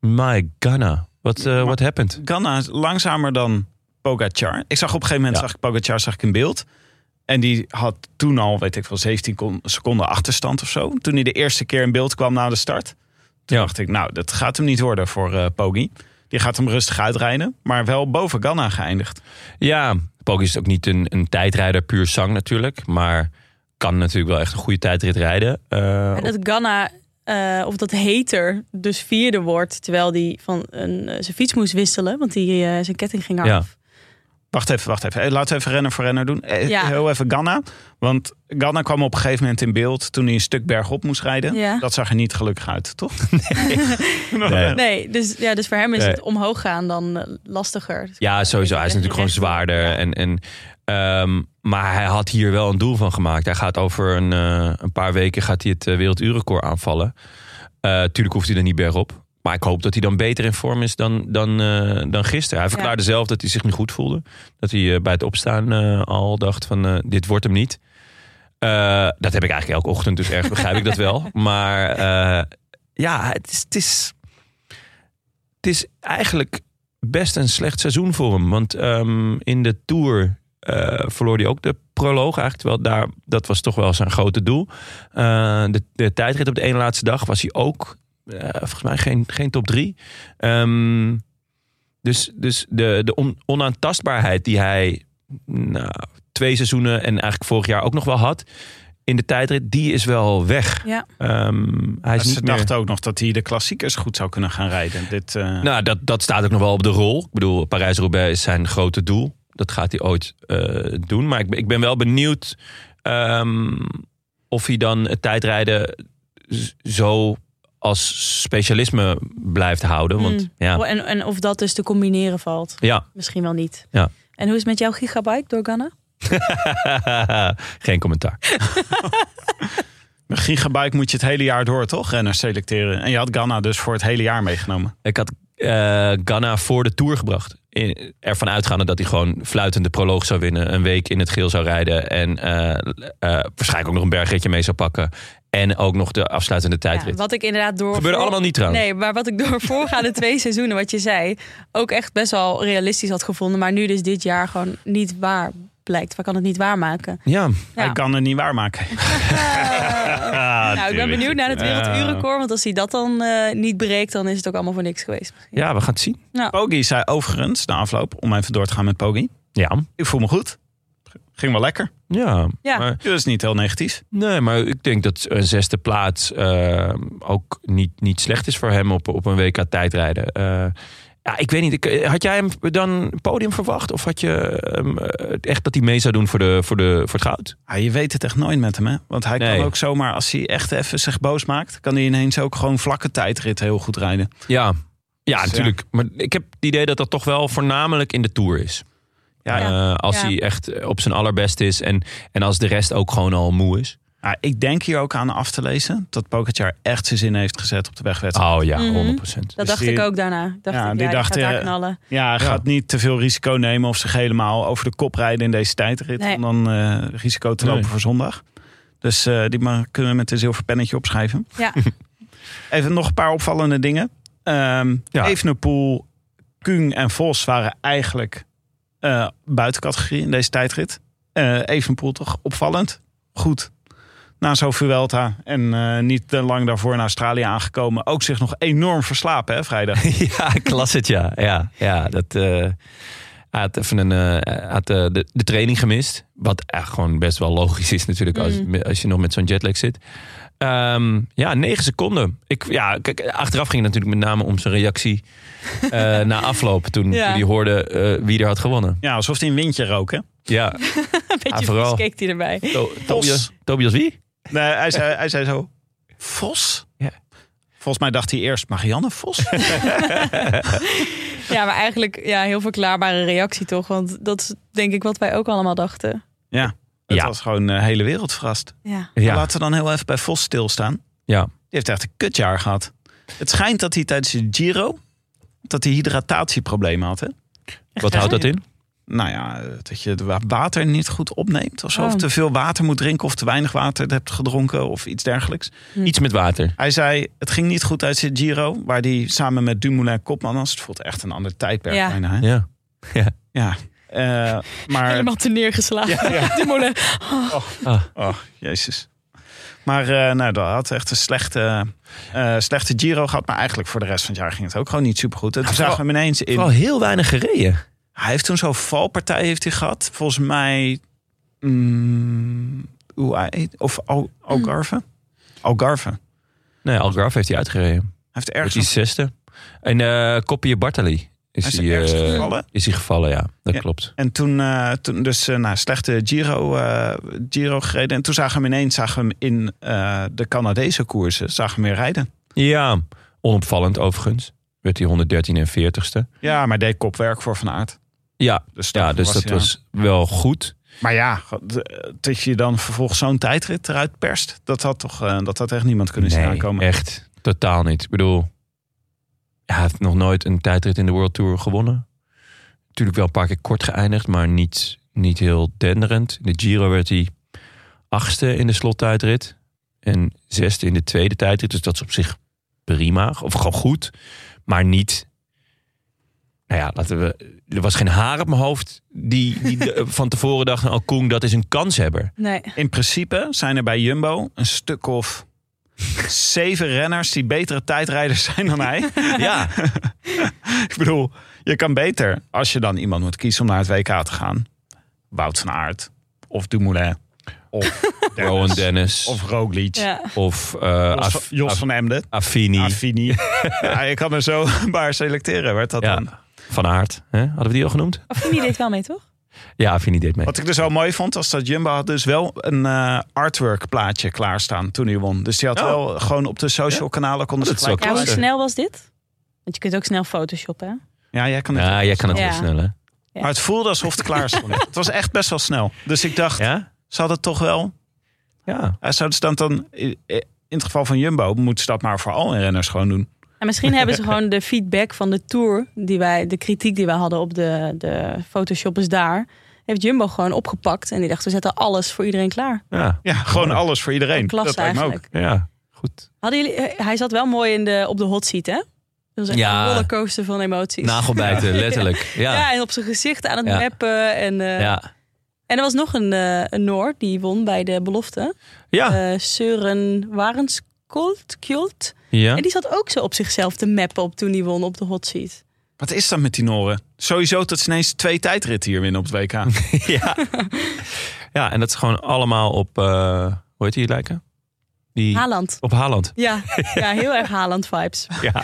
[SPEAKER 2] My Ghana. Wat eh what happened?
[SPEAKER 3] Ganna is langzamer dan Pogacar. Ik zag op een gegeven moment,
[SPEAKER 2] Ja.
[SPEAKER 3] zag ik Pogacar zag ik in beeld. En die had toen al, weet ik wel, 17 kon- seconden achterstand of zo. Toen hij de eerste keer in beeld kwam na de start. Toen
[SPEAKER 2] Ja.
[SPEAKER 3] dacht ik, nou, dat gaat hem niet worden voor eh Poggi. Die gaat hem rustig uitrijden. Maar wel boven Ganna geëindigd.
[SPEAKER 2] Ja, Poggi is ook niet een, een tijdrijder puur zang natuurlijk. Maar kan natuurlijk wel echt een goede tijdrit rijden. Eh,
[SPEAKER 1] En dat Ghana, eh, of dat heter, dus vierde wordt. Terwijl hij van een, eh, zijn fiets moest wisselen, want die, eh, zijn ketting ging af.
[SPEAKER 2] Ja.
[SPEAKER 3] Wacht even, wacht even. Eh, Laten we even renner voor renner doen. Eh,
[SPEAKER 1] Ja.
[SPEAKER 3] Heel even Ganna. Want Ganna kwam op een gegeven moment in beeld toen hij een stuk bergop moest rijden.
[SPEAKER 1] Ja.
[SPEAKER 3] Dat zag er niet gelukkig uit, toch?
[SPEAKER 2] Nee.
[SPEAKER 1] Nee, dus, ja, dus voor hem is
[SPEAKER 2] Nee.
[SPEAKER 1] het omhoog gaan dan eh, lastiger.
[SPEAKER 2] Ja, sowieso. Hij is natuurlijk gewoon zwaarder. En, en, ehm, maar hij had hier wel een doel van gemaakt. Hij gaat over een, eh, een paar weken gaat hij het eh, werelduurrecord aanvallen. Eh, tuurlijk hoeft hij er niet bergop. Maar ik hoop dat hij dan beter in vorm is dan, dan, eh, dan gisteren. Hij verklaarde zelf dat hij zich niet goed voelde. Dat hij eh, bij het opstaan eh, al dacht van eh, dit wordt hem niet. Eh, dat heb ik eigenlijk elke ochtend, dus erg begrijp ik dat wel. Maar eh, ja, het is, het, is, het is eigenlijk best een slecht seizoen voor hem. Want ehm, in de Tour eh, verloor hij ook de proloog eigenlijk. Terwijl daar, dat was toch wel zijn grote doel. Eh, de, de tijdrit op de ene laatste dag was hij ook, eh, volgens mij, geen, geen top drie. Ehm, dus dus de, de on- onaantastbaarheid die hij nou, twee seizoenen en eigenlijk vorig jaar ook nog wel had in de tijdrit, die is wel weg.
[SPEAKER 1] Ja.
[SPEAKER 2] Ehm, hij is
[SPEAKER 3] ze
[SPEAKER 2] niet meer...
[SPEAKER 3] dachten ook nog dat hij de klassiekers goed zou kunnen gaan rijden. Dit, eh,
[SPEAKER 2] Nou, dat, dat staat ook nog wel op de rol. Ik bedoel, Parijs-Roubaix is zijn grote doel. Dat gaat hij ooit eh, doen. Maar ik, ben- ik ben wel benieuwd ehm, of hij dan het tijdrijden z- zo als specialisme blijft houden. Want
[SPEAKER 1] Mm.
[SPEAKER 2] ja,
[SPEAKER 1] En, en of dat dus te combineren valt.
[SPEAKER 2] ja.
[SPEAKER 1] Misschien wel niet.
[SPEAKER 2] Ja.
[SPEAKER 1] En hoe is het met jouw gigabyte door Ghana?
[SPEAKER 2] geen commentaar.
[SPEAKER 3] Met gigabyte moet je het hele jaar door, toch? Renners selecteren. En je had Ganna dus voor het hele jaar meegenomen.
[SPEAKER 2] Ik had eh Ganna voor de Tour gebracht. In, ervan uitgaande dat hij gewoon fluitende proloog zou winnen. Een week in het geel zou rijden. En eh, eh, waarschijnlijk ook nog een bergritje mee zou pakken. En ook nog de afsluitende tijdrit.
[SPEAKER 1] Ja, wat ik inderdaad door.
[SPEAKER 2] Gebeurde allemaal niet trouwens.
[SPEAKER 1] Nee, maar wat ik door voorgaande twee seizoenen, wat je zei, ook echt best wel realistisch had gevonden. Maar nu dus dit jaar gewoon niet waar blijkt. We kan het niet waarmaken.
[SPEAKER 2] Ja,
[SPEAKER 1] Ja.
[SPEAKER 3] Hij kan het niet waarmaken.
[SPEAKER 2] Ah,
[SPEAKER 1] nou, ik ben benieuwd naar het werelduurrecord. Want als hij dat dan eh, niet breekt, dan is het ook allemaal voor niks geweest.
[SPEAKER 2] ja, we gaan het zien.
[SPEAKER 3] Poggi zei overigens, na afloop, om even door te gaan met Poggi.
[SPEAKER 2] Ja.
[SPEAKER 3] Ik voel me goed. Ging wel lekker.
[SPEAKER 2] Ja,
[SPEAKER 1] Ja.
[SPEAKER 2] Maar,
[SPEAKER 3] Dat is niet heel negatief.
[SPEAKER 2] nee, maar ik denk dat een zesde plaats eh, ook niet, niet slecht is voor hem op, op een WK tijdrijden. Eh, ja, ik weet niet, ik- had jij hem dan podium verwacht? Of had je hem, eh, echt dat hij mee zou doen voor, de, voor, de, voor het goud?
[SPEAKER 3] Ah, je weet het echt nooit met hem, hè? Want hij
[SPEAKER 2] Nee.
[SPEAKER 3] kan ook zomaar, als hij echt even zich boos maakt... kan hij ineens ook gewoon vlakke tijdrit heel goed rijden.
[SPEAKER 2] Ja, ja
[SPEAKER 3] Dus,
[SPEAKER 2] natuurlijk. Maar ik heb het idee dat dat toch wel voornamelijk in de Tour is.
[SPEAKER 3] Ja,
[SPEAKER 2] Eh, als
[SPEAKER 1] Ja.
[SPEAKER 2] hij echt op zijn allerbest is en, en als de rest ook gewoon al moe is.
[SPEAKER 3] Ah, ik denk hier ook aan af te lezen... dat Pogacar echt zijn zin heeft gezet op de wegwedstrijd.
[SPEAKER 2] Oh ja,
[SPEAKER 1] Mhm.
[SPEAKER 2] 100%.
[SPEAKER 1] Dat
[SPEAKER 3] Dus
[SPEAKER 1] dacht
[SPEAKER 3] die-
[SPEAKER 1] ik ook daarna. Ik Dacht
[SPEAKER 3] Ja,
[SPEAKER 1] ik,
[SPEAKER 3] die
[SPEAKER 1] ja, die
[SPEAKER 3] dacht,
[SPEAKER 1] gaat daar
[SPEAKER 3] eh,
[SPEAKER 1] knallen.
[SPEAKER 3] Ja, hij gaat niet te veel risico nemen of zich helemaal over de kop rijden in deze tijdrit.
[SPEAKER 1] Nee.
[SPEAKER 3] Om dan eh, risico te
[SPEAKER 2] Nee.
[SPEAKER 3] lopen voor zondag. Dus eh, die maar kunnen we met een zilver pennetje opschrijven.
[SPEAKER 1] Ja.
[SPEAKER 3] Even nog een paar opvallende dingen. Ehm
[SPEAKER 2] Ja.
[SPEAKER 3] Evenepoel, Kung en Vos waren eigenlijk eh buiten categorie in deze tijdrit. Eh Evenepoel toch opvallend. Goed. Na zo'n Vuelta en eh, niet te lang daarvoor naar Australië aangekomen. Ook zich nog enorm verslapen hè, vrijdag.
[SPEAKER 2] ja, ik las het, ja. Ja, ja dat, eh, hij had even een, eh, hij had, eh, de, de training gemist. Wat echt gewoon best wel logisch is natuurlijk als, als je nog met zo'n jetlag zit. Ehm, ja, negen seconden. Ik, ja, kijk, achteraf ging het natuurlijk met name om zijn reactie eh, na afloop. Toen
[SPEAKER 1] Ja.
[SPEAKER 2] toen hij hoorde eh, wie er had gewonnen.
[SPEAKER 3] Ja, alsof hij een windje rook hè.
[SPEAKER 2] Ja,
[SPEAKER 1] Een beetje
[SPEAKER 2] ah, vooral.
[SPEAKER 1] vies keek hij erbij.
[SPEAKER 2] To- Tobias, Tobias wie?
[SPEAKER 3] Nee, hij zei, hij zei zo, Vos?
[SPEAKER 2] Ja.
[SPEAKER 3] Volgens mij dacht hij eerst Marianne Vos.
[SPEAKER 1] Ja, maar eigenlijk ja, heel verklaarbare reactie toch. Want dat is denk ik wat wij ook allemaal dachten.
[SPEAKER 3] ja, het
[SPEAKER 2] Ja.
[SPEAKER 3] was gewoon de hele wereld verrast.
[SPEAKER 1] Ja.
[SPEAKER 3] Maar
[SPEAKER 2] Ja,
[SPEAKER 3] Laten we dan heel even bij Vos stilstaan.
[SPEAKER 2] ja.
[SPEAKER 3] Die heeft echt een kutjaar gehad. Het schijnt dat hij tijdens de Giro, dat hij hydratatieproblemen had. Hè?
[SPEAKER 2] wat houdt dat in?
[SPEAKER 3] Nou ja, dat je het wa- water niet goed opneemt of zo.
[SPEAKER 1] Oh.
[SPEAKER 3] Of te veel water moet drinken of te weinig water hebt gedronken of iets dergelijks.
[SPEAKER 2] Iets met water.
[SPEAKER 3] Hij zei, het ging niet goed tijdens de Giro, waar hij samen met Dumoulin kopman was. Het voelt echt een ander tijdperk
[SPEAKER 1] Ja.
[SPEAKER 3] bijna. Hè?
[SPEAKER 2] Ja.
[SPEAKER 3] Ja, eh, maar...
[SPEAKER 1] Helemaal te neergeslagen.
[SPEAKER 3] Ja, ja.
[SPEAKER 1] Dumoulin.
[SPEAKER 3] Oh, jezus. Maar eh, nou, dat had echt een slechte, eh, slechte Giro gehad. Maar eigenlijk voor de rest van het jaar ging het ook gewoon niet supergoed. En toen
[SPEAKER 2] vooral-
[SPEAKER 3] zagen we hem ineens in.
[SPEAKER 2] Vooral heel weinig gereden.
[SPEAKER 3] Hij heeft toen zo'n valpartij heeft hij gehad. Volgens mij... mm, UAE of Al- Algarve?
[SPEAKER 2] Mm.
[SPEAKER 3] Algarve. Hij
[SPEAKER 2] Nee, Algarve heeft hij uitgereden.
[SPEAKER 3] heeft
[SPEAKER 2] Wordt hij
[SPEAKER 3] ergens,
[SPEAKER 2] zesde. En eh Kopje Bartali is
[SPEAKER 3] hij is
[SPEAKER 2] hij, eh,
[SPEAKER 3] ergens gevallen.
[SPEAKER 2] is hij gevallen, ja. Dat
[SPEAKER 3] Ja.
[SPEAKER 2] klopt.
[SPEAKER 3] En toen, eh, toen dus eh nou, slechte Giro, eh, Giro gereden. En toen zagen we hem ineens zagen we hem in eh, de Canadese koersen zagen we hem weer rijden.
[SPEAKER 2] Ja, onopvallend overigens. Werd hij 113 en 40ste.
[SPEAKER 3] Ja, maar deed kopwerk voor Van Aert.
[SPEAKER 2] Ja,
[SPEAKER 3] Dus,
[SPEAKER 2] ja
[SPEAKER 3] daarvoor
[SPEAKER 2] dus dat
[SPEAKER 3] hij aan.
[SPEAKER 2] was wel goed.
[SPEAKER 3] Maar ja, de- dat je dan vervolgens zo'n tijdrit eruit perst, dat had toch eh, dat had echt niemand kunnen zien aankomen.
[SPEAKER 2] echt totaal niet. Ik bedoel, hij heeft nog nooit een tijdrit in de World Tour gewonnen. Natuurlijk wel een paar keer kort geëindigd, maar niet, niet heel denderend. In de Giro werd hij achtste in de slottijdrit. En zesde in de tweede tijdrit. Dus dat is op zich prima. Of gewoon goed. Maar niet nou ja, laten we, er was geen haar op mijn hoofd die, die de- van tevoren dacht, oh Koen, dat is een kanshebber.
[SPEAKER 1] Nee.
[SPEAKER 3] In principe zijn er bij Jumbo een stuk of zeven renners die betere tijdrijders zijn dan hij.
[SPEAKER 2] Ja,
[SPEAKER 3] Ik bedoel, je kan beter als je dan iemand moet kiezen om naar het WK te gaan. Wout van Aert of Dumoulin of Dennis,
[SPEAKER 2] Rowan Dennis
[SPEAKER 3] of Roglic
[SPEAKER 1] Ja.
[SPEAKER 2] of eh,
[SPEAKER 3] Jos,
[SPEAKER 2] Af-
[SPEAKER 3] Jos
[SPEAKER 2] Af-
[SPEAKER 3] van Emden.
[SPEAKER 2] Affini
[SPEAKER 3] Affini. ja, je kan er zo een paar selecteren. Werd dat
[SPEAKER 2] Ja.
[SPEAKER 3] dan.
[SPEAKER 2] van Aert. Hè? Hadden we die al genoemd?
[SPEAKER 1] Affini deed wel mee, toch?
[SPEAKER 2] Ja, Affini deed mee.
[SPEAKER 3] Wat ik dus wel mooi vond, was dat Jumbo had dus wel een eh, artwork plaatje klaarstaan toen hij won. Dus die had
[SPEAKER 2] Oh.
[SPEAKER 3] wel gewoon op de social kanalen konden ze
[SPEAKER 2] Dat is wel
[SPEAKER 3] gelijk...
[SPEAKER 1] Ja, hoe
[SPEAKER 2] Klaar.
[SPEAKER 1] snel was dit? Want je kunt ook snel photoshoppen, hè?
[SPEAKER 3] Ja, jij kan het.
[SPEAKER 2] Ja, jij kan het
[SPEAKER 1] Ja.
[SPEAKER 2] heel snel, hè?
[SPEAKER 3] Maar het voelde alsof het klaar stond. het was echt best wel snel. Dus ik dacht,
[SPEAKER 2] Ja?
[SPEAKER 3] ze hadden toch wel...
[SPEAKER 2] Ja.
[SPEAKER 3] eh, Zouden ze dat dan... In het geval van Jumbo moeten ze dat maar voor alle renners gewoon doen.
[SPEAKER 1] En misschien hebben ze gewoon de feedback van de tour, die wij, de kritiek die wij hadden op de, de photoshoppers daar, heeft Jumbo gewoon opgepakt. En die dacht, we zetten alles voor iedereen klaar.
[SPEAKER 2] Ja.
[SPEAKER 3] Ja, gewoon alles voor iedereen.
[SPEAKER 1] Klasse
[SPEAKER 3] dat lijkt me
[SPEAKER 1] eigenlijk.
[SPEAKER 3] ook.
[SPEAKER 2] Ja. Goed.
[SPEAKER 1] Hadden jullie, eh, hij zat wel mooi in de, op de hot seat, hè? Dat was echt
[SPEAKER 2] Ja.
[SPEAKER 1] een rollercoaster van emoties.
[SPEAKER 2] Nagelbijten, letterlijk. Ja.
[SPEAKER 1] ja.
[SPEAKER 2] Ja.
[SPEAKER 1] en op zijn gezicht aan het
[SPEAKER 2] Ja.
[SPEAKER 1] meppen. En, eh,
[SPEAKER 2] Ja.
[SPEAKER 1] en er was nog een, eh een Noor die won bij de belofte.
[SPEAKER 2] Ja.
[SPEAKER 1] Eh Søren Warenskolt. Kjolt. En die zat ook zo op zichzelf te mappen op toen hij won op de hot seat.
[SPEAKER 3] Wat is dat met die Noren? Sowieso dat ze ineens twee tijdritten hier winnen op het WK.
[SPEAKER 2] Ja. Ja, en dat is gewoon allemaal op, eh, hoe heet die lijken? Die,
[SPEAKER 1] Haaland.
[SPEAKER 2] op Haaland.
[SPEAKER 1] Ja, ja heel erg Haaland vibes.
[SPEAKER 2] Ja.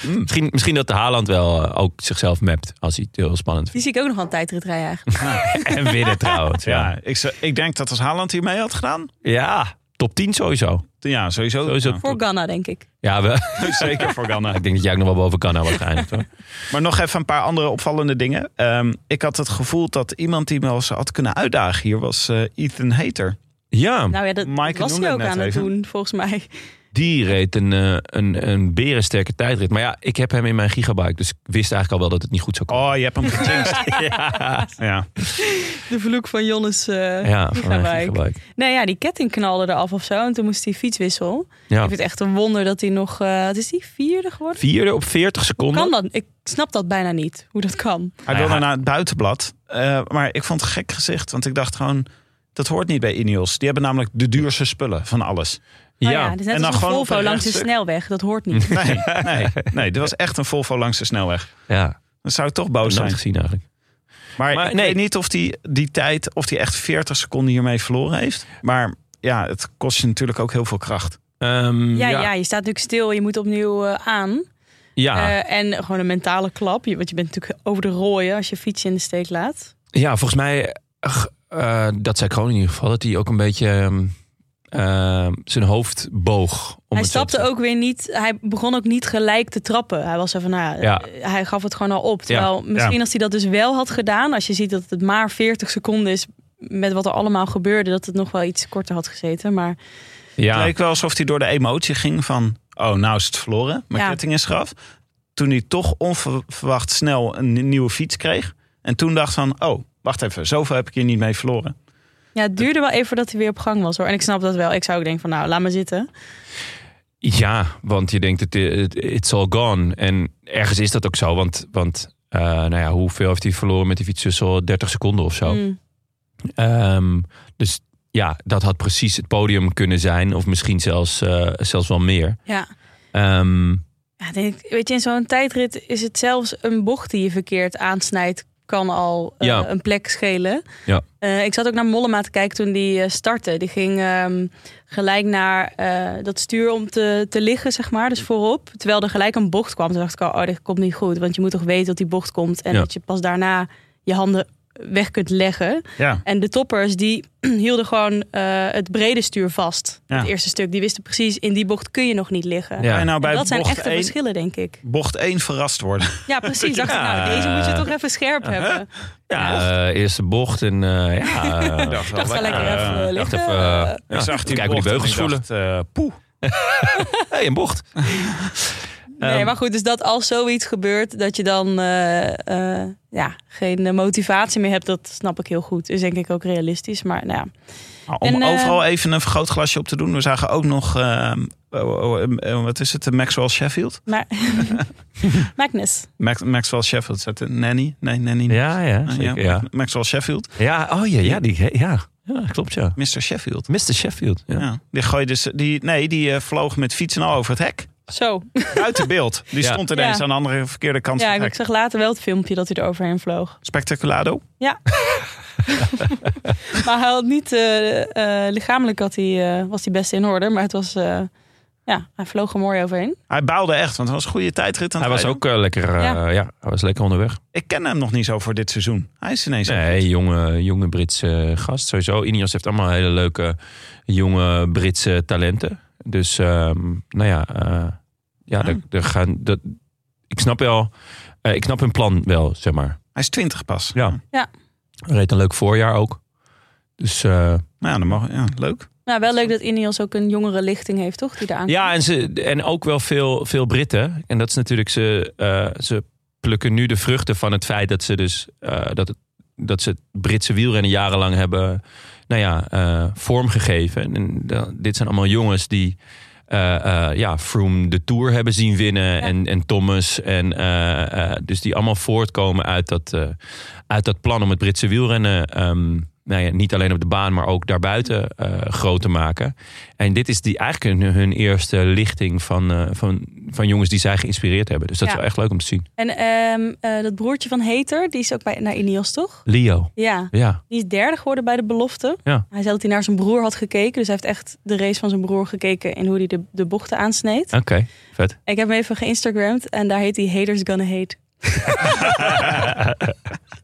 [SPEAKER 2] Hmm. misschien, misschien dat de Haaland wel eh, ook zichzelf mapt als hij het heel
[SPEAKER 1] Die
[SPEAKER 2] spannend
[SPEAKER 1] zie
[SPEAKER 2] vindt.
[SPEAKER 1] ik ook nog aan het tijdrit rijden eigenlijk.
[SPEAKER 2] En winnen trouwens. Ja.
[SPEAKER 3] Ja, ik, zou- ik denk dat als Haaland hier mee had gedaan...
[SPEAKER 2] ja, top 10 sowieso.
[SPEAKER 3] Ja, sowieso.
[SPEAKER 2] Sowieso.
[SPEAKER 3] Ja.
[SPEAKER 1] Voor Ghana, denk ik.
[SPEAKER 2] Ja, we,
[SPEAKER 3] Zeker voor Ganna.
[SPEAKER 2] ik denk dat jij ook nog wel boven Canada wordt geëindigd hoor.
[SPEAKER 3] Maar nog even een paar andere opvallende dingen. Ehm, ik had het gevoel dat iemand die me als had kunnen uitdagen hier was eh, Ethan Hater.
[SPEAKER 2] Ja,
[SPEAKER 1] Nou ja, dat
[SPEAKER 3] Maaike
[SPEAKER 1] was
[SPEAKER 3] noemde
[SPEAKER 1] hij
[SPEAKER 3] het
[SPEAKER 1] ook
[SPEAKER 3] net
[SPEAKER 1] aan het
[SPEAKER 3] even.
[SPEAKER 1] doen, volgens mij.
[SPEAKER 2] die reed een, eh, een, een berensterke tijdrit. Maar ja, ik heb hem in mijn gigabyte, dus ik wist eigenlijk al wel dat het niet goed zou komen.
[SPEAKER 3] Oh, je hebt hem gechanged.
[SPEAKER 2] ja,
[SPEAKER 3] ja.
[SPEAKER 1] De vloek van Jonnes eh
[SPEAKER 2] ja van mijn
[SPEAKER 1] Gigabyte.
[SPEAKER 2] gigabyte.
[SPEAKER 1] Nee, ja, die ketting knalde eraf of zo. En toen moest hij fietswissel.
[SPEAKER 2] Ja.
[SPEAKER 1] Ik vind het echt een wonder dat hij nog... eh, wat is die? Vierde geworden?
[SPEAKER 2] Vierde op 40
[SPEAKER 1] Kan
[SPEAKER 2] seconden.
[SPEAKER 1] dat? Ik snap dat bijna niet, hoe dat kan.
[SPEAKER 3] Hij
[SPEAKER 2] Ja.
[SPEAKER 3] wilde naar het buitenblad. Eh, maar ik vond het een gek gezicht, want ik dacht gewoon... Dat hoort niet bij Ineos. Die hebben namelijk de duurste spullen van alles.
[SPEAKER 1] Ja,
[SPEAKER 2] Ja.
[SPEAKER 1] Oh ja het is net
[SPEAKER 3] En dan
[SPEAKER 1] als een
[SPEAKER 3] gewoon op
[SPEAKER 1] Volvo
[SPEAKER 3] een
[SPEAKER 1] langs de
[SPEAKER 3] rechtstuk.
[SPEAKER 1] snelweg. Dat hoort niet.
[SPEAKER 3] Nee, nee, nee. Dit was echt een Volvo langs de snelweg.
[SPEAKER 2] ja.
[SPEAKER 3] Dan zou ik toch boos
[SPEAKER 2] nooit
[SPEAKER 3] zijn.
[SPEAKER 2] gezien eigenlijk.
[SPEAKER 3] Maar,
[SPEAKER 2] Maar
[SPEAKER 3] ik
[SPEAKER 2] nee.
[SPEAKER 3] weet niet of die, die tijd, of die echt 40 seconden hiermee verloren heeft. Maar ja, het kost je natuurlijk ook heel veel kracht.
[SPEAKER 2] Ehm,
[SPEAKER 1] Ja, ja.
[SPEAKER 2] ja.
[SPEAKER 1] je staat natuurlijk stil. Je moet opnieuw eh, aan.
[SPEAKER 2] Ja.
[SPEAKER 1] Eh, en gewoon een mentale klap. Je- Want je bent natuurlijk over de rooien als je fiets in de steek laat.
[SPEAKER 2] Ja, volgens mij, ach, eh, dat zei Kroon in ieder geval, dat hij ook een beetje ehm, ehm, zijn hoofd boog. Om
[SPEAKER 1] hij
[SPEAKER 2] het zo te
[SPEAKER 1] stapte
[SPEAKER 2] zeggen.
[SPEAKER 1] ook weer niet. Hij begon ook niet gelijk te trappen. Hij was er van, nou,
[SPEAKER 2] Ja.
[SPEAKER 1] eh, hij gaf het gewoon al op. Terwijl misschien
[SPEAKER 3] ja.
[SPEAKER 1] als hij dat dus wel had gedaan, als je ziet dat het maar 40 seconden is met wat er allemaal gebeurde, dat het nog wel iets korter had gezeten. Maar
[SPEAKER 3] Het
[SPEAKER 2] Ja,
[SPEAKER 3] leek wel alsof hij door de emotie ging van... oh, nou is het verloren, mijn
[SPEAKER 1] Ja.
[SPEAKER 3] ketting is graf. Toen hij toch onverwacht snel een ni- nieuwe fiets kreeg. En toen dacht van, oh, wacht even, zoveel heb ik hier niet mee verloren.
[SPEAKER 1] ja, het duurde wel even voordat hij weer op gang was hoor. En ik snap dat wel. Ik zou ook denken van, nou, laat maar zitten.
[SPEAKER 2] ja, want je denkt, het, het- it's all gone. En ergens is dat ook zo, want, want eh, nou ja, hoeveel heeft hij verloren met die fiets tussen al 30 seconden of zo?
[SPEAKER 1] Mm.
[SPEAKER 2] Ehm, dus ja, dat had precies het podium kunnen zijn, of misschien zelfs, eh, zelfs wel meer.
[SPEAKER 1] Ja.
[SPEAKER 2] Ehm,
[SPEAKER 1] Ja, denk, ik, weet je, in zo'n tijdrit is het zelfs een bocht die je verkeerd aansnijdt, kan al eh,
[SPEAKER 2] Ja.
[SPEAKER 1] een plek schelen.
[SPEAKER 2] Ja.
[SPEAKER 1] Eh, ik zat ook naar Mollema te kijken toen die eh, startte. Die ging ehm, gelijk naar eh, dat stuur om te, te liggen, zeg maar, dus voorop. Terwijl er gelijk een bocht kwam. Toen dacht ik al, oh, dit komt niet goed. Want je moet toch weten dat die bocht komt en
[SPEAKER 2] Ja.
[SPEAKER 1] dat je pas daarna je handen weg kunt leggen.
[SPEAKER 3] Ja,
[SPEAKER 1] En de toppers die hielden gewoon eh, het brede stuur vast.
[SPEAKER 3] Ja.
[SPEAKER 1] Het eerste stuk. Die wisten precies, in die bocht kun je nog niet liggen.
[SPEAKER 2] ja.
[SPEAKER 3] en nou bij
[SPEAKER 1] En dat zijn
[SPEAKER 3] bocht,
[SPEAKER 1] echte
[SPEAKER 3] één,
[SPEAKER 1] verschillen, denk ik.
[SPEAKER 3] bocht één verrast worden.
[SPEAKER 1] Ja, precies. Dacht ik, nou, deze moet je toch even scherp hebben.
[SPEAKER 2] ja, eh, eerste bocht en eh, ja, eh,
[SPEAKER 3] dacht
[SPEAKER 1] Ik dacht wel lekker
[SPEAKER 2] eh,
[SPEAKER 1] even
[SPEAKER 2] dacht
[SPEAKER 1] liggen.
[SPEAKER 2] even, eh, ja,
[SPEAKER 3] Ik zag
[SPEAKER 2] even
[SPEAKER 3] die
[SPEAKER 2] kijken hoe die
[SPEAKER 3] bocht en
[SPEAKER 2] beugels
[SPEAKER 3] ik
[SPEAKER 2] voelen.
[SPEAKER 3] dacht, eh, poeh.
[SPEAKER 2] Hé, een bocht.
[SPEAKER 1] nee,
[SPEAKER 2] ehm,
[SPEAKER 1] maar goed, dus dat als zoiets gebeurt, dat je dan eh, eh, ja, geen eh, motivatie meer hebt, dat snap ik heel goed. Is denk ik ook realistisch. Maar nou ja,
[SPEAKER 3] Maar Om
[SPEAKER 1] En, eh,
[SPEAKER 3] overal even een vergrootglasje op te doen. We zagen ook nog, eh, oh, oh, eh, eh, wat is het, de Maxwell Sheffield?
[SPEAKER 1] Maar Magnus.
[SPEAKER 3] Max, Maxwell Sheffield, is dat een nanny? Nee, nanny. niet.
[SPEAKER 2] Ja, ja,
[SPEAKER 3] Ah,
[SPEAKER 2] zeker,
[SPEAKER 3] ja.
[SPEAKER 2] ja.
[SPEAKER 3] Maxwell Sheffield,
[SPEAKER 2] Ja, oh ja, ja, die, ja. ja klopt ja.
[SPEAKER 3] Mr. Sheffield.
[SPEAKER 2] Mr. Sheffield. Ja.
[SPEAKER 3] Ja. Die gooide dus, die, nee, die eh, vloog met fiets en al over het hek.
[SPEAKER 1] Zo.
[SPEAKER 3] Buiten beeld. Die
[SPEAKER 2] Ja.
[SPEAKER 3] stond ineens
[SPEAKER 1] Ja.
[SPEAKER 3] aan de andere verkeerde kant
[SPEAKER 1] Ja,
[SPEAKER 3] van
[SPEAKER 1] ik
[SPEAKER 3] het hek.
[SPEAKER 1] zag later wel het filmpje dat hij er overheen vloog.
[SPEAKER 3] Spectaculado.
[SPEAKER 1] Maar hij had niet, eh, eh, lichamelijk had hij, eh, was hij best in orde. Maar het was, eh, ja, hij vloog er mooi overheen.
[SPEAKER 3] Hij baalde echt, want het was een goede tijdrit. Aan
[SPEAKER 2] Hij
[SPEAKER 3] het
[SPEAKER 2] was
[SPEAKER 3] rijden.
[SPEAKER 2] ook eh, lekker, eh,
[SPEAKER 1] Ja.
[SPEAKER 2] ja. hij was lekker onderweg.
[SPEAKER 3] Ik ken hem nog niet zo voor dit seizoen. Hij is ineens...
[SPEAKER 2] Nee, jonge, jonge Britse gast sowieso. Ineos heeft allemaal hele leuke jonge Britse talenten. Dus ehm, nou ja, eh, ja,
[SPEAKER 3] Ah.
[SPEAKER 2] er- er gaan, dat, ik snap wel, eh, ik snap hun plan wel, zeg maar.
[SPEAKER 3] Hij is twintig pas.
[SPEAKER 2] Ja.
[SPEAKER 1] Ja.
[SPEAKER 2] Hij reed een leuk voorjaar ook. Dus eh,
[SPEAKER 3] Nou, ja, dan mag, ja, leuk.
[SPEAKER 1] Nou, wel leuk dat Ineos ook een jongere lichting heeft, toch? Die daar aan
[SPEAKER 2] Ja, en, ze, en ook wel veel, veel Britten. En dat is natuurlijk, ze, eh, ze plukken nu de vruchten van het feit dat ze dus eh, dat, het, dat ze het Britse wielrennen jarenlang hebben nou ja, eh, vormgegeven. En da- dit zijn allemaal jongens die eh, eh, ja, Froome de Tour hebben zien winnen. En, en Thomas. En, eh, eh, dus die allemaal voortkomen uit dat, eh, uit dat plan om het Britse wielrennen... ehm, nou ja, niet alleen op de baan, maar ook daarbuiten eh, groot te maken. En dit is die, eigenlijk hun, hun eerste lichting van, eh, van, van jongens die zij geïnspireerd hebben. Dus dat
[SPEAKER 1] Ja.
[SPEAKER 2] is wel echt leuk om te zien.
[SPEAKER 1] En ehm, eh, dat broertje van Heter, die is ook bij, naar Ineos, toch?
[SPEAKER 2] Leo.
[SPEAKER 1] Ja,
[SPEAKER 2] Ja,
[SPEAKER 1] die is derde geworden bij de belofte.
[SPEAKER 2] Ja.
[SPEAKER 1] Hij zei dat hij naar zijn broer had gekeken. Dus hij heeft echt de race van zijn broer gekeken en hoe hij de, de bochten aansneed.
[SPEAKER 2] oké. Vet.
[SPEAKER 1] Ik heb hem even geïnstagramd en daar heet hij Haters Gonna Hate.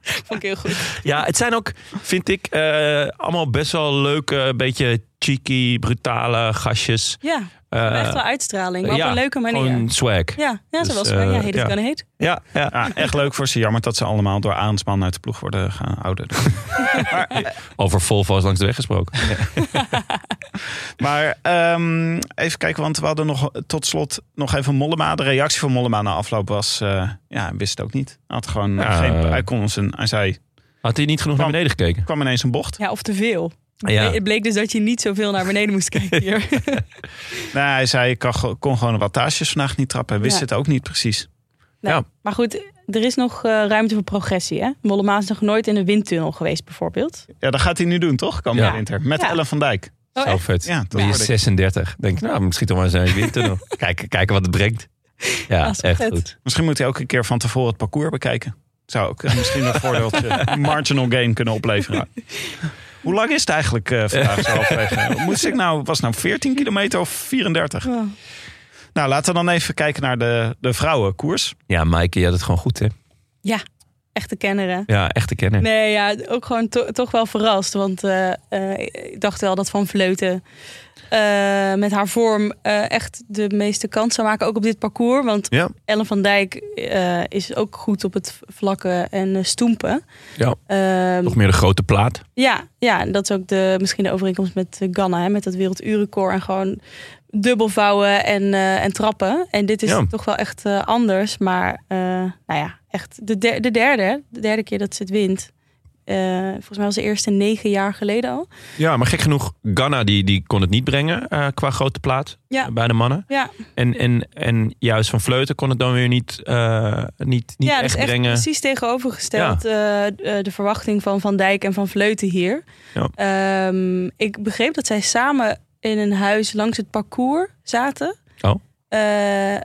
[SPEAKER 1] Vond ik heel goed.
[SPEAKER 2] Ja, het zijn ook, vind ik, eh, allemaal best wel leuke, beetje cheeky, brutale gastjes.
[SPEAKER 1] Ja,
[SPEAKER 2] Eh,
[SPEAKER 1] echt wel uitstraling, maar
[SPEAKER 2] ja,
[SPEAKER 1] op een leuke manier.
[SPEAKER 2] Gewoon swag.
[SPEAKER 1] Ja, ja ze
[SPEAKER 2] Dus,
[SPEAKER 1] was wel. Ja,
[SPEAKER 2] eh,
[SPEAKER 1] Haters
[SPEAKER 2] ja.
[SPEAKER 1] Gonna Hate.
[SPEAKER 2] Ja, ja.
[SPEAKER 3] Ja, echt leuk voor ze. Jammer dat ze allemaal door Arendsman uit de ploeg worden gehouden.
[SPEAKER 2] Over Volvo's langs de weg gesproken.
[SPEAKER 3] Maar ehm, even kijken, want we hadden nog tot slot nog even Mollema. De reactie van Mollema na afloop was, eh, ja, hij wist het ook niet. Hij Had gewoon
[SPEAKER 2] Ja.
[SPEAKER 3] geen, hij kon ons een, hij zei,
[SPEAKER 2] Had hij niet genoeg naar beneden gekeken?
[SPEAKER 3] kwam ineens een bocht.
[SPEAKER 1] Ja, of te veel.
[SPEAKER 2] Ja.
[SPEAKER 1] Het bleek dus dat je niet zoveel naar beneden moest kijken hier.
[SPEAKER 3] Nee, hij zei, ik kan, ge- kon gewoon de wattages vandaag niet trappen. Hij wist
[SPEAKER 1] Ja.
[SPEAKER 3] het ook niet precies.
[SPEAKER 1] Nee,
[SPEAKER 2] Ja.
[SPEAKER 1] Maar goed, er is nog eh, ruimte voor progressie. Hè? Mollema is nog nooit in de windtunnel geweest, bijvoorbeeld.
[SPEAKER 3] Ja, dat gaat hij nu doen, toch? Komende
[SPEAKER 2] Ja.
[SPEAKER 3] winter. Met
[SPEAKER 1] Ja.
[SPEAKER 3] Ellen van Dijk.
[SPEAKER 1] Oh,
[SPEAKER 2] Zo
[SPEAKER 1] echt?
[SPEAKER 2] vet.
[SPEAKER 3] Ja, dat
[SPEAKER 2] Die
[SPEAKER 3] hoorde
[SPEAKER 2] is
[SPEAKER 3] ik.
[SPEAKER 2] 36. Denk, ik, nou, misschien toch maar zijn winter nog. Kijken, kijken wat het brengt. Ja,
[SPEAKER 1] Ah, is
[SPEAKER 2] echt
[SPEAKER 1] vet.
[SPEAKER 2] goed.
[SPEAKER 3] Misschien moet hij ook een keer van tevoren het parcours bekijken. Zou ook eh, misschien een voordeeltje marginal gain kunnen opleveren. Hoe lang is het eigenlijk eh, vandaag zo halfweg? Moest ik nou, was het nou 14 kilometer of 34?
[SPEAKER 1] Ja.
[SPEAKER 3] Nou, laten we dan even kijken naar de, de vrouwenkoers.
[SPEAKER 2] Ja, Maaike, je had het gewoon goed, hè?
[SPEAKER 1] Ja, echte kenner. hè?
[SPEAKER 2] Ja, echt te kennen.
[SPEAKER 1] Nee, ja, ook gewoon to- toch wel verrast. Want eh, eh, ik dacht wel dat Van Vleuten eh, met haar vorm eh, echt de meeste kans zou maken. Ook op dit parcours. Want
[SPEAKER 2] Ja.
[SPEAKER 1] Ellen van Dijk eh, is ook goed op het vlakken en eh, stoempen.
[SPEAKER 2] Ja.
[SPEAKER 1] Ehm,
[SPEAKER 2] Nog meer de grote plaat.
[SPEAKER 1] Ja, ja, en dat is ook de, misschien de overeenkomst met eh, Ghana, hè, met dat werelduurrecord. En gewoon dubbel vouwen en, eh, en trappen. En dit is
[SPEAKER 2] Ja.
[SPEAKER 1] toch wel echt eh, anders. Maar eh, nou ja, echt de, der- de derde, hè, de derde keer dat ze het wint. Eh, volgens mij was de eerste negen jaar geleden al.
[SPEAKER 2] Ja, maar gek genoeg, Ghana die, die kon het niet brengen eh, qua grote plaat
[SPEAKER 1] Ja.
[SPEAKER 2] bij de mannen.
[SPEAKER 1] Ja,
[SPEAKER 2] En, en, en juist van Vleuten kon het dan weer niet, eh, niet, niet
[SPEAKER 1] ja
[SPEAKER 2] echt
[SPEAKER 1] dus echt
[SPEAKER 2] brengen.
[SPEAKER 1] precies tegenovergesteld eh, eh, de verwachting van Van Dijk en Van Vleuten hier.
[SPEAKER 2] Ja.
[SPEAKER 1] Ehm, ik begreep dat zij samen in een huis langs het parcours zaten.
[SPEAKER 2] Oh.
[SPEAKER 1] Eh,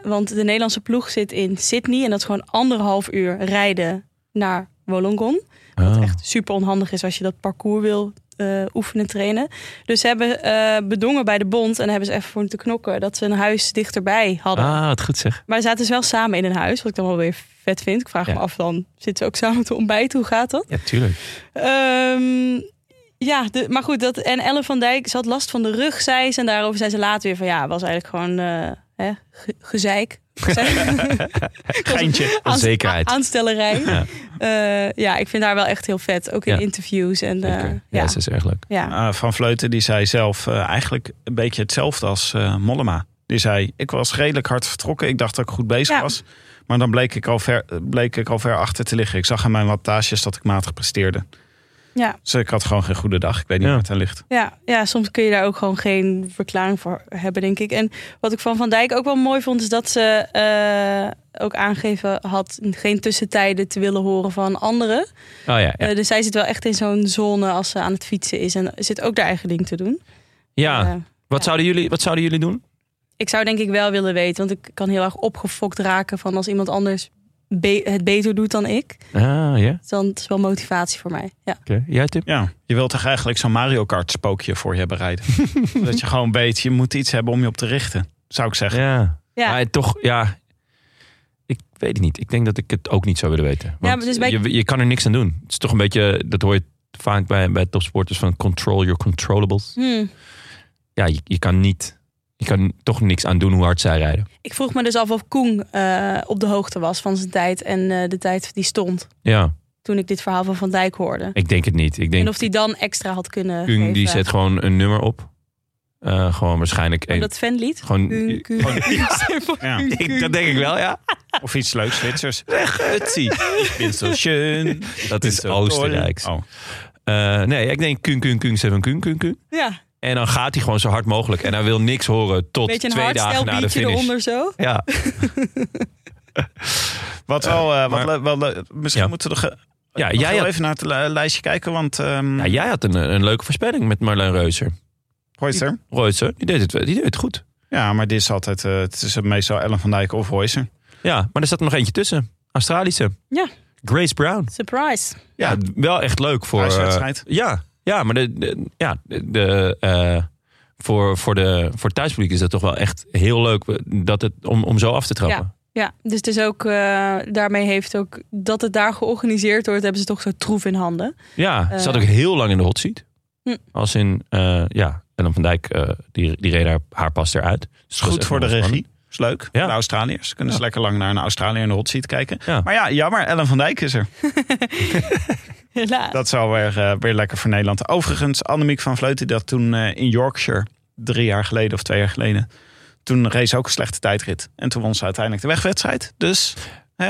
[SPEAKER 1] want de Nederlandse ploeg zit in Sydney en dat is gewoon anderhalf uur rijden naar Wollongong. Wat
[SPEAKER 2] Oh.
[SPEAKER 1] echt super onhandig is als je dat parcours wil eh, oefenen, trainen. Dus ze hebben eh, bedongen bij de bond en hebben ze even voor moeten knokken dat ze een huis dichterbij hadden.
[SPEAKER 2] Ah, het goed zeg.
[SPEAKER 1] Maar ze zaten dus wel samen in een huis, wat ik dan wel weer vet vind. Ik vraag
[SPEAKER 2] Ja.
[SPEAKER 1] me af, dan zitten ze ook samen te ontbijten. Hoe gaat dat?
[SPEAKER 2] Ja, tuurlijk.
[SPEAKER 1] Ehm, ja, de- maar goed. Dat, en Ellen van Dijk, ze had last van de rug, zei ze. En daarover zei ze later weer van, ja, was eigenlijk gewoon eh, hè, ge- gezeik.
[SPEAKER 3] Geintje.
[SPEAKER 2] Onzekerheid.
[SPEAKER 1] Aanst- Aanstellerij.
[SPEAKER 2] Ja.
[SPEAKER 1] Ja. ja, ik vind haar wel echt heel vet. Ook in
[SPEAKER 2] Ja.
[SPEAKER 1] interviews. En, eh,
[SPEAKER 2] Zeker. ja,
[SPEAKER 1] ja.
[SPEAKER 2] ze is erg leuk.
[SPEAKER 1] Ja.
[SPEAKER 3] Eh, van Vleuten die zei zelf eh, eigenlijk een beetje hetzelfde als eh, Mollema. Die zei, ik was redelijk hard vertrokken. Ik dacht dat ik goed bezig
[SPEAKER 1] Ja.
[SPEAKER 3] was. Maar dan bleek ik, al ver, bleek ik al ver achter te liggen. Ik zag aan mijn wattages dat ik matig presteerde.
[SPEAKER 1] Ja,
[SPEAKER 3] Dus ik had gewoon geen goede dag. Ik weet niet
[SPEAKER 2] Ja.
[SPEAKER 3] waar het aan ligt.
[SPEAKER 1] ja, ja, soms kun je daar ook gewoon geen verklaring voor hebben, denk ik. En wat ik van Van Dijk ook wel mooi vond, is dat ze eh, ook aangegeven had geen tussentijden te willen horen van anderen.
[SPEAKER 2] Oh ja, ja.
[SPEAKER 1] Eh, dus zij zit wel echt in zo'n zone als ze aan het fietsen is en zit ook haar eigen ding te doen.
[SPEAKER 2] ja.
[SPEAKER 1] Eh,
[SPEAKER 2] Wat, zouden jullie, wat zouden jullie doen?
[SPEAKER 1] ik zou denk ik wel willen weten, want ik kan heel erg opgefokt raken van als iemand anders be- het beter doet dan ik.
[SPEAKER 2] Ah, ja.
[SPEAKER 1] Dus Dan is wel motivatie voor mij. Ja.
[SPEAKER 2] Oké. Jij, Tim?
[SPEAKER 3] Ja, je wilt toch eigenlijk zo'n Mario Kart spookje voor je bereiden. dat je gewoon weet, je moet iets hebben om je op te richten. Zou ik zeggen.
[SPEAKER 2] Ja.
[SPEAKER 1] Ja.
[SPEAKER 2] Maar toch, ja. Ik weet het niet. Ik denk dat ik het ook niet zou willen weten. Want
[SPEAKER 1] maar dus bij-
[SPEAKER 2] je, je kan er niks aan doen. Het is toch een beetje, dat hoor je vaak bij, bij topsporters van control your controllables.
[SPEAKER 1] Hmm.
[SPEAKER 2] Ja, je, je kan niet, je kan toch niks aan doen hoe hard zij rijden.
[SPEAKER 1] Ik vroeg me dus af of Koen eh, op de hoogte was van zijn tijd en eh, de tijd die stond
[SPEAKER 2] Ja,
[SPEAKER 1] toen ik dit verhaal van Van Dijk hoorde.
[SPEAKER 2] ik denk het niet. Ik
[SPEAKER 1] En
[SPEAKER 2] denk,
[SPEAKER 1] of hij dan extra had kunnen
[SPEAKER 2] Kung
[SPEAKER 1] geven.
[SPEAKER 2] die zet gewoon een nummer op. Eh, gewoon waarschijnlijk
[SPEAKER 1] Maar
[SPEAKER 2] één.
[SPEAKER 1] dat fanlied.
[SPEAKER 2] gewoon,
[SPEAKER 1] Kung, Kung, Kung.
[SPEAKER 3] Ja.
[SPEAKER 2] Ik- dat denk ik wel, ja.
[SPEAKER 3] Of iets leuks, Zwitsers. Gutsy. Ik ben zo schön.
[SPEAKER 2] Dat
[SPEAKER 3] Ik
[SPEAKER 2] is
[SPEAKER 3] ben zo toll.
[SPEAKER 2] Oostenrijks.
[SPEAKER 3] Oh.
[SPEAKER 2] Eh, nee, ik denk kun, kun, kun, seven, kun, kun, kun.
[SPEAKER 1] Ja,
[SPEAKER 2] En dan gaat hij gewoon zo hard mogelijk. En hij wil niks horen tot
[SPEAKER 1] beetje een
[SPEAKER 2] twee dagen
[SPEAKER 1] hardstyle
[SPEAKER 2] na de
[SPEAKER 1] beatje
[SPEAKER 2] finish.
[SPEAKER 1] eronder zo.
[SPEAKER 2] Ja,
[SPEAKER 3] Wat wel, eh, wat
[SPEAKER 2] maar-
[SPEAKER 3] le- wel le- misschien
[SPEAKER 2] Ja.
[SPEAKER 3] moeten we er ge-
[SPEAKER 2] ja,
[SPEAKER 3] nog
[SPEAKER 2] jij,
[SPEAKER 3] heel
[SPEAKER 2] had,
[SPEAKER 3] even naar het li- lijstje kijken, want ehm
[SPEAKER 2] ja jij had een, een leuke voorspelling met Marleen Reuser.
[SPEAKER 3] Hoyser.
[SPEAKER 2] Reuser, die deed het, wel- die deed het goed.
[SPEAKER 3] Ja, maar dit is altijd, eh, het is meestal Ellen van Dijk of Hoyser.
[SPEAKER 2] Ja, maar er zat er nog eentje tussen. Australische.
[SPEAKER 1] Ja.
[SPEAKER 2] Grace Brown.
[SPEAKER 1] Surprise.
[SPEAKER 2] Ja, wel echt leuk voor...
[SPEAKER 3] Thuiswedstrijd.
[SPEAKER 2] eh, ja, ja, maar de, de- ja, de, de, eh, voor, voor, de, voor het thuispubliek is dat toch wel echt heel leuk eh, dat het, om, om zo af te trappen.
[SPEAKER 1] Ja, dus het is ook, eh, daarmee heeft ook dat het daar georganiseerd wordt, hebben ze toch zo'n troef in handen.
[SPEAKER 2] Ja, ze
[SPEAKER 1] Eh.
[SPEAKER 2] zat ook heel lang in de hot seat.
[SPEAKER 1] Hm.
[SPEAKER 2] Als in, eh, ja, Ellen van Dijk, eh, die, die reed haar, haar pas eruit. Dus het
[SPEAKER 3] Is
[SPEAKER 2] was
[SPEAKER 3] goed
[SPEAKER 2] echt
[SPEAKER 3] voor de
[SPEAKER 2] wel spannend.
[SPEAKER 3] regie. Is leuk.
[SPEAKER 2] Ja.
[SPEAKER 3] De Australiërs. Kunnen ze lekker lang naar een Australiër in de hot seat kijken.
[SPEAKER 2] Ja.
[SPEAKER 3] Maar ja, jammer. Ellen van Dijk is er.
[SPEAKER 1] Helaas.
[SPEAKER 3] Dat is wel weer, eh, weer lekker voor Nederland. Overigens, Annemiek van Vleuten, die dat toen eh, in Yorkshire, drie jaar geleden of twee jaar geleden, toen race ook een slechte tijdrit. En toen won ze uiteindelijk de wegwedstrijd. Dus
[SPEAKER 2] Ja,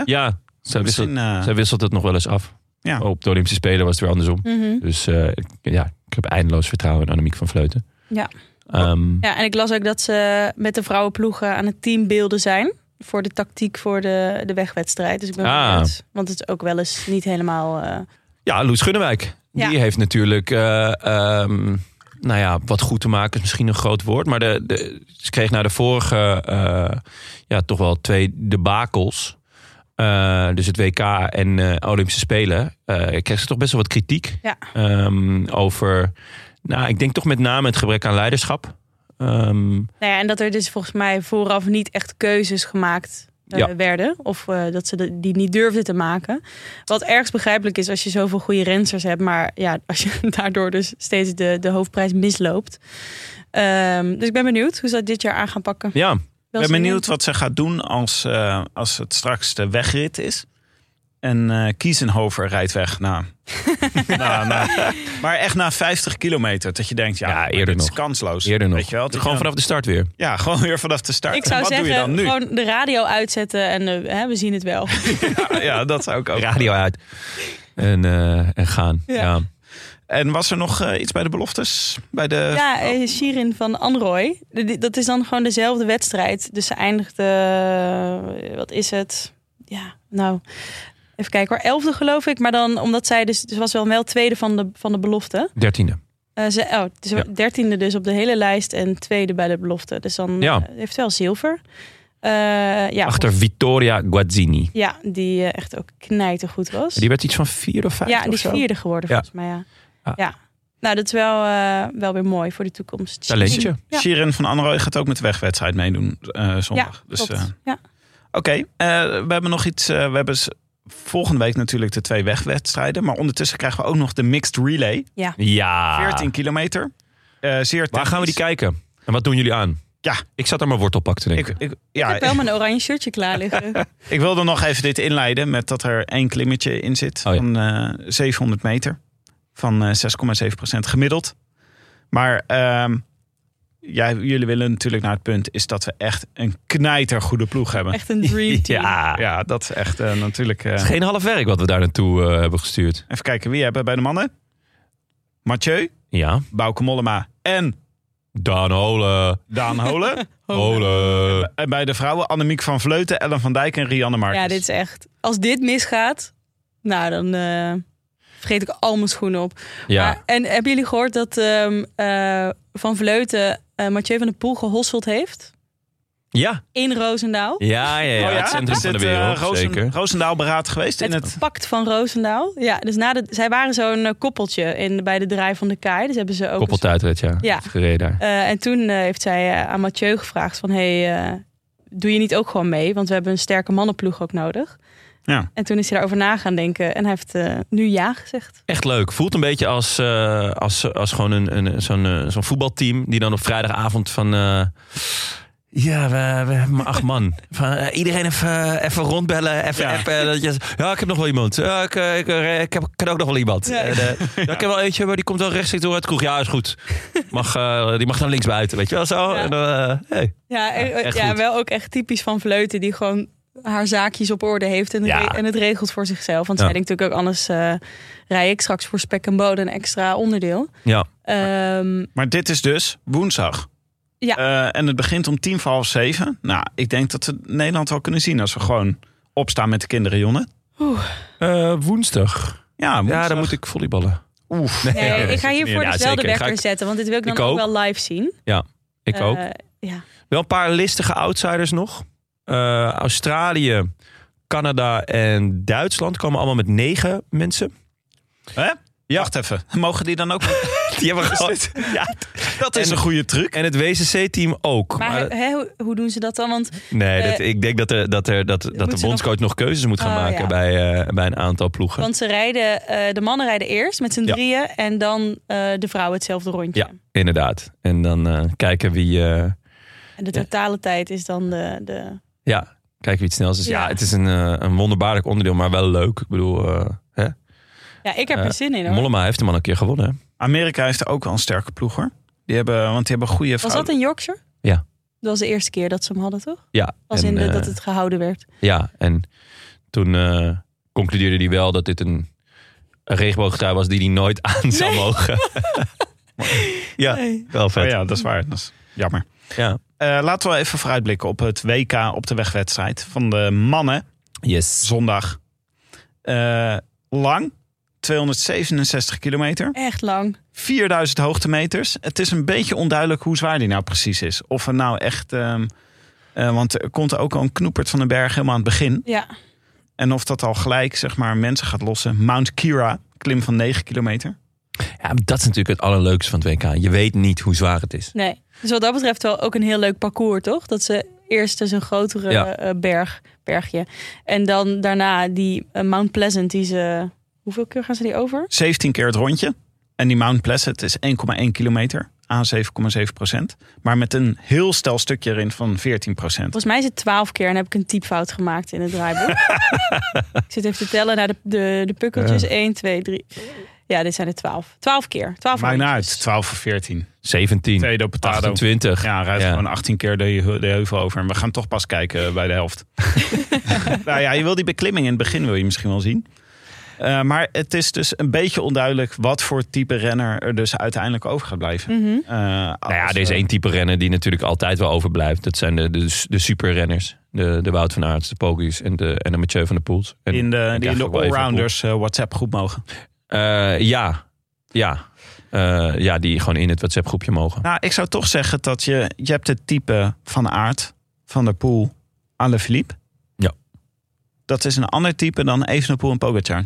[SPEAKER 2] zij wisselt,
[SPEAKER 3] misschien, eh,
[SPEAKER 2] zij wisselt het nog wel eens af.
[SPEAKER 3] Ja.
[SPEAKER 2] Op de Olympische Spelen was het weer andersom.
[SPEAKER 1] Mhm.
[SPEAKER 2] Dus eh, ik, ja, ik heb eindeloos vertrouwen in Annemiek van Vleuten.
[SPEAKER 1] Ja.
[SPEAKER 2] Ehm,
[SPEAKER 1] Ja, en ik las ook dat ze met de vrouwenploegen aan het team beelden zijn voor de tactiek voor de, de wegwedstrijd. Dus ik ben
[SPEAKER 2] Ah.
[SPEAKER 1] benieuwd, want het is ook wel eens niet helemaal... eh,
[SPEAKER 2] ja, Loes Gunnewijk.
[SPEAKER 1] Ja.
[SPEAKER 2] Die heeft natuurlijk, eh, ehm, nou ja, wat goed te maken is misschien een groot woord. Maar de, de, ze kreeg na de vorige, eh, ja, toch wel twee debakels. Eh, dus het WK en eh, Olympische Spelen. eh kreeg ze toch best wel wat kritiek.
[SPEAKER 1] Ja.
[SPEAKER 2] Ehm, over, nou, ik denk toch met name het gebrek aan leiderschap. Ehm,
[SPEAKER 1] nou ja, en dat er dus volgens mij vooraf niet echt keuzes gemaakt eh,
[SPEAKER 2] Ja.
[SPEAKER 1] werden. Of eh, dat ze de- die niet durfden te maken. Wat ergens begrijpelijk is als je zoveel goede rensters hebt. Maar ja, als je daardoor dus steeds de, de hoofdprijs misloopt. Ehm, dus ik ben benieuwd hoe ze dat dit jaar aan gaan pakken.
[SPEAKER 2] ja,
[SPEAKER 3] Ik
[SPEAKER 1] Wel
[SPEAKER 3] ben
[SPEAKER 1] zin in.
[SPEAKER 3] benieuwd wat ze gaat doen als, eh, als het straks de wegrit is. En eh Kiezenhover rijdt weg na, na, na- Maar echt na 50 kilometer. Dat je denkt, ja,
[SPEAKER 2] Ja,
[SPEAKER 3] maar
[SPEAKER 2] eerder
[SPEAKER 3] dit is
[SPEAKER 2] nog.
[SPEAKER 3] kansloos.
[SPEAKER 2] eerder nog.
[SPEAKER 3] Weet je wel?
[SPEAKER 2] Gewoon vanaf de start weer.
[SPEAKER 3] Ja, gewoon weer vanaf de start.
[SPEAKER 1] Ik zou
[SPEAKER 3] En wat
[SPEAKER 1] zeggen,
[SPEAKER 3] doe je dan nu?
[SPEAKER 1] gewoon de radio uitzetten en eh, hè, we zien het wel.
[SPEAKER 3] Ja, ja, dat zou ik ook.
[SPEAKER 2] radio uit. En, eh, en gaan. Ja.
[SPEAKER 1] Ja.
[SPEAKER 3] En was er nog eh, iets bij de beloftes? Bij de...
[SPEAKER 1] Ja, eh, Shirin van Anrooy. De- die- Dat is dan gewoon dezelfde wedstrijd. Dus ze eindigde, eh, wat is het? Ja, nou, even kijken hoor. Elfde geloof ik. Maar dan, omdat zij dus, ze was wel, wel tweede van de, van de belofte.
[SPEAKER 2] Dertiende.
[SPEAKER 1] Eh, ze, oh, ze
[SPEAKER 2] Ja.
[SPEAKER 1] dertiende dus op de hele lijst en tweede bij de belofte. Dus dan
[SPEAKER 2] Ja.
[SPEAKER 1] eh, heeft ze wel zilver. Eh, ja,
[SPEAKER 2] Achter Vittoria Guazzini.
[SPEAKER 1] Ja, die eh, echt ook knijtergoed was.
[SPEAKER 2] Die werd iets van vier of vijf
[SPEAKER 1] Ja, die
[SPEAKER 2] of
[SPEAKER 1] is
[SPEAKER 2] zo.
[SPEAKER 1] vierde geworden
[SPEAKER 2] Ja.
[SPEAKER 1] volgens mij. Ja.
[SPEAKER 2] Ah.
[SPEAKER 1] ja. Nou, dat is wel, eh, wel weer mooi voor de toekomst.
[SPEAKER 2] Talentje.
[SPEAKER 1] Ja.
[SPEAKER 3] Shirin van Anrooy gaat ook met de wegwedstrijd meedoen eh, zondag. dus,
[SPEAKER 1] Klopt.
[SPEAKER 3] eh,
[SPEAKER 1] ja.
[SPEAKER 3] Oké, eh, we hebben nog iets. eh, we hebben s- volgende week natuurlijk de twee wegwedstrijden. Maar ondertussen krijgen we ook nog de mixed relay.
[SPEAKER 2] Ja.
[SPEAKER 3] 14 kilometer. Eh, zeer
[SPEAKER 2] Ah. Waar gaan we die kijken? En wat doen jullie aan?
[SPEAKER 3] Ja.
[SPEAKER 2] Ik zat aan mijn wortelpak te denken.
[SPEAKER 3] kijken? Ik, ik,
[SPEAKER 1] Ik
[SPEAKER 3] ja,
[SPEAKER 1] heb wel
[SPEAKER 3] ik,
[SPEAKER 1] mijn oranje shirtje klaar liggen.
[SPEAKER 3] ik wilde nog even dit inleiden met dat er één klimmetje in zit.
[SPEAKER 2] Oh ja.
[SPEAKER 3] Van eh, 700 meter. Van eh, 6,7 gemiddeld. Maar ehm, ja, jullie willen natuurlijk naar het punt... is dat we echt een knijtergoede ploeg hebben.
[SPEAKER 1] Echt een dream team.
[SPEAKER 2] ja.
[SPEAKER 3] Ja, dat is echt eh, natuurlijk... eh,
[SPEAKER 2] Het is geen half werk wat we daar naartoe eh, hebben gestuurd.
[SPEAKER 3] even kijken, wie hebben we bij de mannen? Mathieu,
[SPEAKER 2] Ja.
[SPEAKER 3] Bouke Mollema en
[SPEAKER 2] Dan Holen.
[SPEAKER 3] Daan Holen.
[SPEAKER 2] Holen.
[SPEAKER 3] en bij de vrouwen Annemiek van Vleuten, Ellen van Dijk en Rianne Marcus.
[SPEAKER 1] Ja, dit is echt. Als dit misgaat, nou dan eh, vergeet ik al mijn schoenen op. Maar-
[SPEAKER 2] Ja.
[SPEAKER 1] en hebben jullie gehoord dat ehm, eh, Van Vleuten eh Mathieu van der Poel gehosseld heeft?
[SPEAKER 2] Ja.
[SPEAKER 1] In Roosendaal.
[SPEAKER 2] Ja, ja, ja.
[SPEAKER 3] Oh ja?
[SPEAKER 2] Het centrum
[SPEAKER 3] Is
[SPEAKER 2] van de
[SPEAKER 3] het, eh,
[SPEAKER 2] wereld,
[SPEAKER 3] Roosen-
[SPEAKER 2] zeker.
[SPEAKER 3] Roosendaal beraad geweest in
[SPEAKER 1] Het,
[SPEAKER 3] het...
[SPEAKER 1] pact van Roosendaal. Ja, dus na de, zij waren zo'n eh, koppeltje in, bij de draai van de Kaai. Dus hebben ze ook... een
[SPEAKER 2] Koppeltuitred, ja.
[SPEAKER 1] Ja.
[SPEAKER 2] Is gereden daar.
[SPEAKER 1] Eh, en toen eh, heeft zij eh, aan Mathieu gevraagd van... hey, eh, doe je niet ook gewoon mee? Want we hebben een sterke mannenploeg ook nodig.
[SPEAKER 3] Ja.
[SPEAKER 1] En toen is hij daarover na gaan denken. En hij heeft eh, nu ja gezegd.
[SPEAKER 2] Echt leuk. Voelt een beetje als, eh, als, als gewoon een, een, zo'n, eh, zo'n voetbalteam die dan op vrijdagavond van... eh, ja, we, we hebben maar acht man. Van, eh, iedereen even, eh, even rondbellen, even
[SPEAKER 3] Ja.
[SPEAKER 2] appen. Dat je, ja, ik heb nog wel iemand. Ja, ik, eh, ik, eh, ik heb, ik ken ook nog wel iemand. En, eh, ja, ik heb wel eentje, maar die komt wel rechtstreeks door uit de kroeg. Ja, is goed. Mag, eh, die mag naar links buiten, weet je wel zo.
[SPEAKER 1] Ja.
[SPEAKER 2] En, dan, eh, hey.
[SPEAKER 1] Ja,
[SPEAKER 2] Ja, echt
[SPEAKER 1] ja
[SPEAKER 2] goed.
[SPEAKER 1] wel ook echt typisch van Vleuten. Die gewoon haar zaakjes op orde heeft. En,
[SPEAKER 2] Ja.
[SPEAKER 1] re- en het regelt voor zichzelf. Want
[SPEAKER 2] Ja.
[SPEAKER 1] zij denkt natuurlijk ook anders... eh, rij ik straks voor spek en boden een extra onderdeel.
[SPEAKER 2] Ja,
[SPEAKER 1] Ehm,
[SPEAKER 3] Maar dit is dus woensdag.
[SPEAKER 1] Ja.
[SPEAKER 3] Eh, en het begint om tien voor half zeven. Nou, ik denk dat we Nederland wel kunnen zien als we gewoon opstaan met de kinderen, Jonne.
[SPEAKER 2] woensdag.
[SPEAKER 3] Ja, woensdag.
[SPEAKER 2] Ja, dan moet ik volleyballen.
[SPEAKER 3] Oef.
[SPEAKER 1] nee, ik ga hiervoor
[SPEAKER 2] Ja,
[SPEAKER 1] dus wel de
[SPEAKER 2] zeker. Ga
[SPEAKER 1] wekker
[SPEAKER 2] ik-
[SPEAKER 1] zetten. Want dit wil ik dan
[SPEAKER 2] Ik
[SPEAKER 1] ook.
[SPEAKER 2] ook.
[SPEAKER 1] wel live zien.
[SPEAKER 2] Ik ook.
[SPEAKER 1] Eh, ja.
[SPEAKER 2] Wel een paar listige outsiders nog. Eh, Australië, Canada en Duitsland komen allemaal met negen mensen.
[SPEAKER 3] Hè? Wacht even. Mogen die dan ook...
[SPEAKER 2] Die hebben gehad. Ja,
[SPEAKER 3] dat is
[SPEAKER 2] En-
[SPEAKER 3] een goede truc.
[SPEAKER 2] en het WCC-team ook.
[SPEAKER 1] Maar,
[SPEAKER 2] Maar,
[SPEAKER 1] hè, hoe- hoe doen ze dat dan? Want
[SPEAKER 2] nee, dat,
[SPEAKER 1] eh,
[SPEAKER 2] ik denk dat, er, dat, er, dat, dat de
[SPEAKER 1] moeten ze
[SPEAKER 2] bondscoach nog keuzes moet gaan
[SPEAKER 1] Oh,
[SPEAKER 2] maken
[SPEAKER 1] ja.
[SPEAKER 2] bij, eh, bij een aantal ploegen.
[SPEAKER 1] Want ze rijden, eh, de mannen rijden eerst met z'n
[SPEAKER 2] Ja.
[SPEAKER 1] drieën en dan eh, de vrouwen hetzelfde rondje.
[SPEAKER 2] Ja, inderdaad. En dan eh, kijken wie... eh,
[SPEAKER 1] En de
[SPEAKER 2] Ja.
[SPEAKER 1] totale tijd is dan de. de...
[SPEAKER 2] Ja, kijken wie het snelst is. Ja,
[SPEAKER 1] Ja.
[SPEAKER 2] het is een, eh, een wonderbaarlijk onderdeel, maar wel leuk. Ik bedoel, eh, hè?
[SPEAKER 1] Ja, ik heb
[SPEAKER 2] Eh,
[SPEAKER 1] er zin in hoor.
[SPEAKER 2] Mollema heeft hem al een keer gewonnen. hè?
[SPEAKER 3] Amerika heeft ook al een sterke ploeg, hoor. Die hebben, want die hebben goede
[SPEAKER 1] Was dat
[SPEAKER 3] vrouwen.
[SPEAKER 1] in Yorkshire?
[SPEAKER 2] Ja.
[SPEAKER 1] Dat was de eerste keer dat ze hem hadden, toch?
[SPEAKER 2] Ja,
[SPEAKER 1] Als
[SPEAKER 2] en,
[SPEAKER 1] in de,
[SPEAKER 2] eh,
[SPEAKER 1] dat het gehouden werd.
[SPEAKER 2] Ja, en toen eh, concludeerde hij wel dat dit een, een regenboogtrui was die hij nooit aan zou
[SPEAKER 1] Nee.
[SPEAKER 2] mogen. ja,
[SPEAKER 1] Nee.
[SPEAKER 2] wel vet.
[SPEAKER 3] Oh
[SPEAKER 2] ja.
[SPEAKER 3] ja, dat is waar. Dat is jammer. Eh, laten we even vooruitblikken op het WK op de wegwedstrijd van de mannen.
[SPEAKER 2] Yes.
[SPEAKER 3] zondag. Eh, lang, 267 kilometer,
[SPEAKER 1] Echt lang.
[SPEAKER 3] 4000 hoogtemeters. Het is een beetje onduidelijk hoe zwaar die nou precies is. Of er nou echt... ehm, eh, want er komt ook al een knoepert van de berg helemaal aan het begin.
[SPEAKER 1] Ja.
[SPEAKER 3] En of dat al gelijk zeg maar, mensen gaat lossen. Mount Kira, klim van 9 kilometer.
[SPEAKER 2] Ja, maar dat is natuurlijk het allerleukste van het WK. Je weet niet hoe zwaar het is.
[SPEAKER 1] Nee. Dus wat dat betreft wel ook een heel leuk parcours, toch? Dat ze eerst dus een grotere
[SPEAKER 2] Ja.
[SPEAKER 1] eh, berg, bergje. En dan daarna die eh, Mount Pleasant, die ze. Hoeveel keer gaan ze die over?
[SPEAKER 3] 17 keer het rondje. En die Mount Pleasant is 1,1 kilometer. Aan 7,7 procent. Maar met een heel stel stukje erin van 14 procent.
[SPEAKER 1] Volgens mij is het twaalf keer en heb ik een typfout gemaakt in het draaiboek. ik zit even te tellen naar de, de, de pukkeltjes. 1, 2, 3. Ja, dit zijn er twaalf. Twaalf keer. Twaalf
[SPEAKER 3] Maakt niet
[SPEAKER 1] rondjes.
[SPEAKER 3] uit, 12 of 14.
[SPEAKER 2] 17,
[SPEAKER 3] Tweede potato.
[SPEAKER 2] 28.
[SPEAKER 3] Ja, rijdt
[SPEAKER 2] Ja.
[SPEAKER 3] gewoon 18 keer de, heu- de heuvel over. En we gaan toch pas kijken bij de helft. nou ja, je wil die beklimming in het begin wil je misschien wel zien. Eh, maar het is dus een beetje onduidelijk wat voor type renner er dus uiteindelijk over gaat blijven.
[SPEAKER 1] Mhm.
[SPEAKER 3] Eh, als,
[SPEAKER 2] Nou ja, er is
[SPEAKER 3] eh,
[SPEAKER 2] één type renner die natuurlijk altijd wel overblijft. Dat zijn de, de, de superrenners. De, de Wout van Aerts, de Pogies en de, en de Mathieu van der Poels. En,
[SPEAKER 3] In de,
[SPEAKER 2] en
[SPEAKER 3] die in de
[SPEAKER 2] eigenlijk wel even
[SPEAKER 3] allrounders eh, WhatsApp groep mogen.
[SPEAKER 2] Eh, ja, ja. Eh, ja, die gewoon in het WhatsApp groepje mogen.
[SPEAKER 3] Nou, ik zou toch zeggen dat je, je hebt het type van Aert, Van der Poel, Alaphilippe.
[SPEAKER 2] Ja.
[SPEAKER 3] Dat is een ander type dan Evenepoel en Pogacar.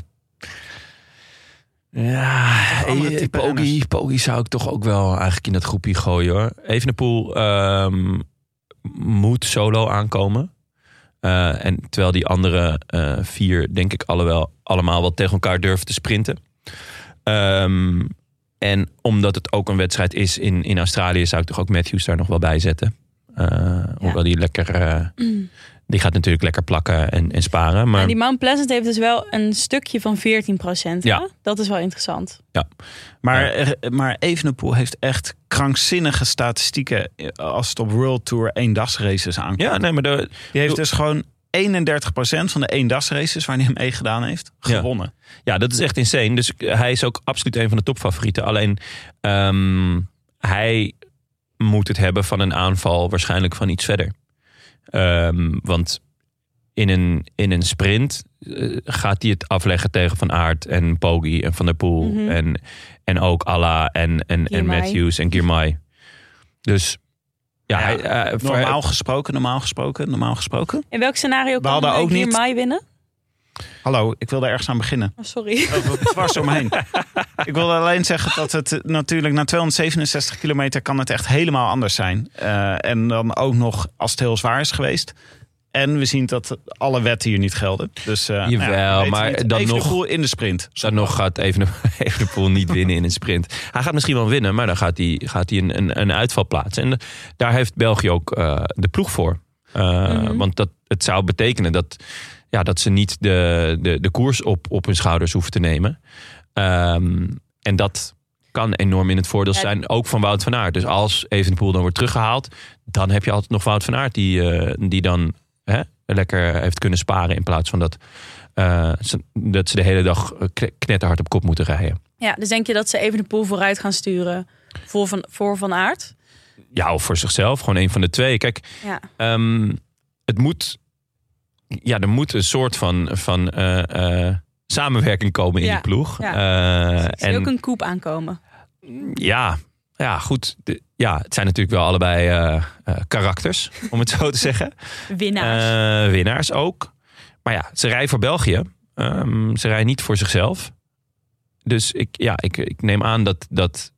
[SPEAKER 2] Ja,
[SPEAKER 3] andere
[SPEAKER 2] eh,
[SPEAKER 3] type
[SPEAKER 2] Poggi,
[SPEAKER 3] renners.
[SPEAKER 2] Poggi zou ik toch ook wel eigenlijk in dat groepje gooien hoor. Evenepoel ehm moet solo aankomen. Eh, en terwijl die andere eh, vier denk ik alle wel, allemaal wel tegen elkaar durven te sprinten. Ehm, en omdat het ook een wedstrijd is in, in Australië zou ik toch ook Matthews daar nog wel bij zetten. Eh, Hoewel die lekker... eh, die gaat natuurlijk lekker plakken en, en sparen. Maar...
[SPEAKER 1] En die Mount Pleasant heeft dus wel een stukje van 14 procent.
[SPEAKER 2] Ja.
[SPEAKER 1] Dat is wel interessant.
[SPEAKER 3] Maar, er- maar Evenepoel heeft echt krankzinnige statistieken eh, als het op World Tour eendagsraces aankomt.
[SPEAKER 2] Ja, nee, maar de,
[SPEAKER 3] Die heeft dus gewoon 31% van de eendags races waar hij hem meegedaan heeft,
[SPEAKER 2] Ja.
[SPEAKER 3] gewonnen.
[SPEAKER 2] Ja, dat is echt insane. Dus eh, hij is ook absoluut een van de topfavorieten. Alleen ehm, hij moet het hebben van een aanval waarschijnlijk van iets verder. Ehm, want in een, in een sprint eh, gaat hij het afleggen tegen Van Aert en Poggi en Van der Poel.
[SPEAKER 1] Mhm.
[SPEAKER 2] en, en ook Allah en, en, en
[SPEAKER 1] Girmay.
[SPEAKER 2] Matthews en Girmay. Dus ja,
[SPEAKER 3] Ja,
[SPEAKER 2] hij, eh, voor-
[SPEAKER 3] Normaal gesproken, normaal gesproken, normaal gesproken.
[SPEAKER 1] In welk scenario
[SPEAKER 3] We
[SPEAKER 1] kan
[SPEAKER 3] hadden
[SPEAKER 1] eh,
[SPEAKER 3] ook niet-
[SPEAKER 1] Girmay winnen?
[SPEAKER 3] Hallo, ik wilde ergens aan beginnen.
[SPEAKER 1] Oh, sorry.
[SPEAKER 3] Over- dwars omheen. ik wilde alleen zeggen dat het eh, natuurlijk na 267 kilometer kan het echt helemaal anders zijn. Eh, en dan ook nog als het heel zwaar is geweest. En we zien dat alle wetten hier niet gelden. Dus, eh, nou ja, we
[SPEAKER 2] Jawel,
[SPEAKER 3] weten
[SPEAKER 2] maar
[SPEAKER 3] niet.
[SPEAKER 2] dan
[SPEAKER 3] Even de
[SPEAKER 2] nog-
[SPEAKER 3] Poel in de sprint.
[SPEAKER 2] Dan nog gaat Evenepoel Evenepoel niet winnen in een sprint. Hij gaat misschien wel winnen, maar dan gaat hij, gaat hij een, een, een uitval plaatsen. En daar heeft België ook eh, de ploeg voor. Eh,
[SPEAKER 1] Mhm.
[SPEAKER 2] Want dat, het zou betekenen dat, ja, dat ze niet de, de, de koers op, op hun schouders hoeven te nemen. Ehm, en dat kan enorm in het voordeel
[SPEAKER 1] Ja.
[SPEAKER 2] zijn, ook van Wout van Aert. Dus als Evenepoel dan wordt teruggehaald, dan heb je altijd nog Wout van Aert... die, eh, die dan hè, lekker heeft kunnen sparen in plaats van dat eh, ze, dat ze de hele dag eh, kne- knetterhard op kop moeten rijden.
[SPEAKER 1] Ja, dus denk je dat ze even de pool vooruit gaan sturen voor Van, voor van Aert?
[SPEAKER 2] Ja, of voor zichzelf, gewoon een van de twee. Kijk,
[SPEAKER 1] Ja.
[SPEAKER 2] ehm, het moet. Ja, er moet een soort van, van eh, eh, samenwerking komen in
[SPEAKER 1] Ja,
[SPEAKER 2] die ploeg.
[SPEAKER 1] ja.
[SPEAKER 2] Eh,
[SPEAKER 1] Ik zie
[SPEAKER 2] en
[SPEAKER 1] ook een koep aankomen.
[SPEAKER 2] ja, ja, goed. De- ja, het zijn natuurlijk wel allebei eh, eh, karakters, om het zo te zeggen.
[SPEAKER 1] Winnaars.
[SPEAKER 2] Eh, winnaars ook. Maar ja, ze rijden voor België. Ehm, ze rijden niet voor zichzelf. Dus ik, ja, ik, ik neem aan dat, dat,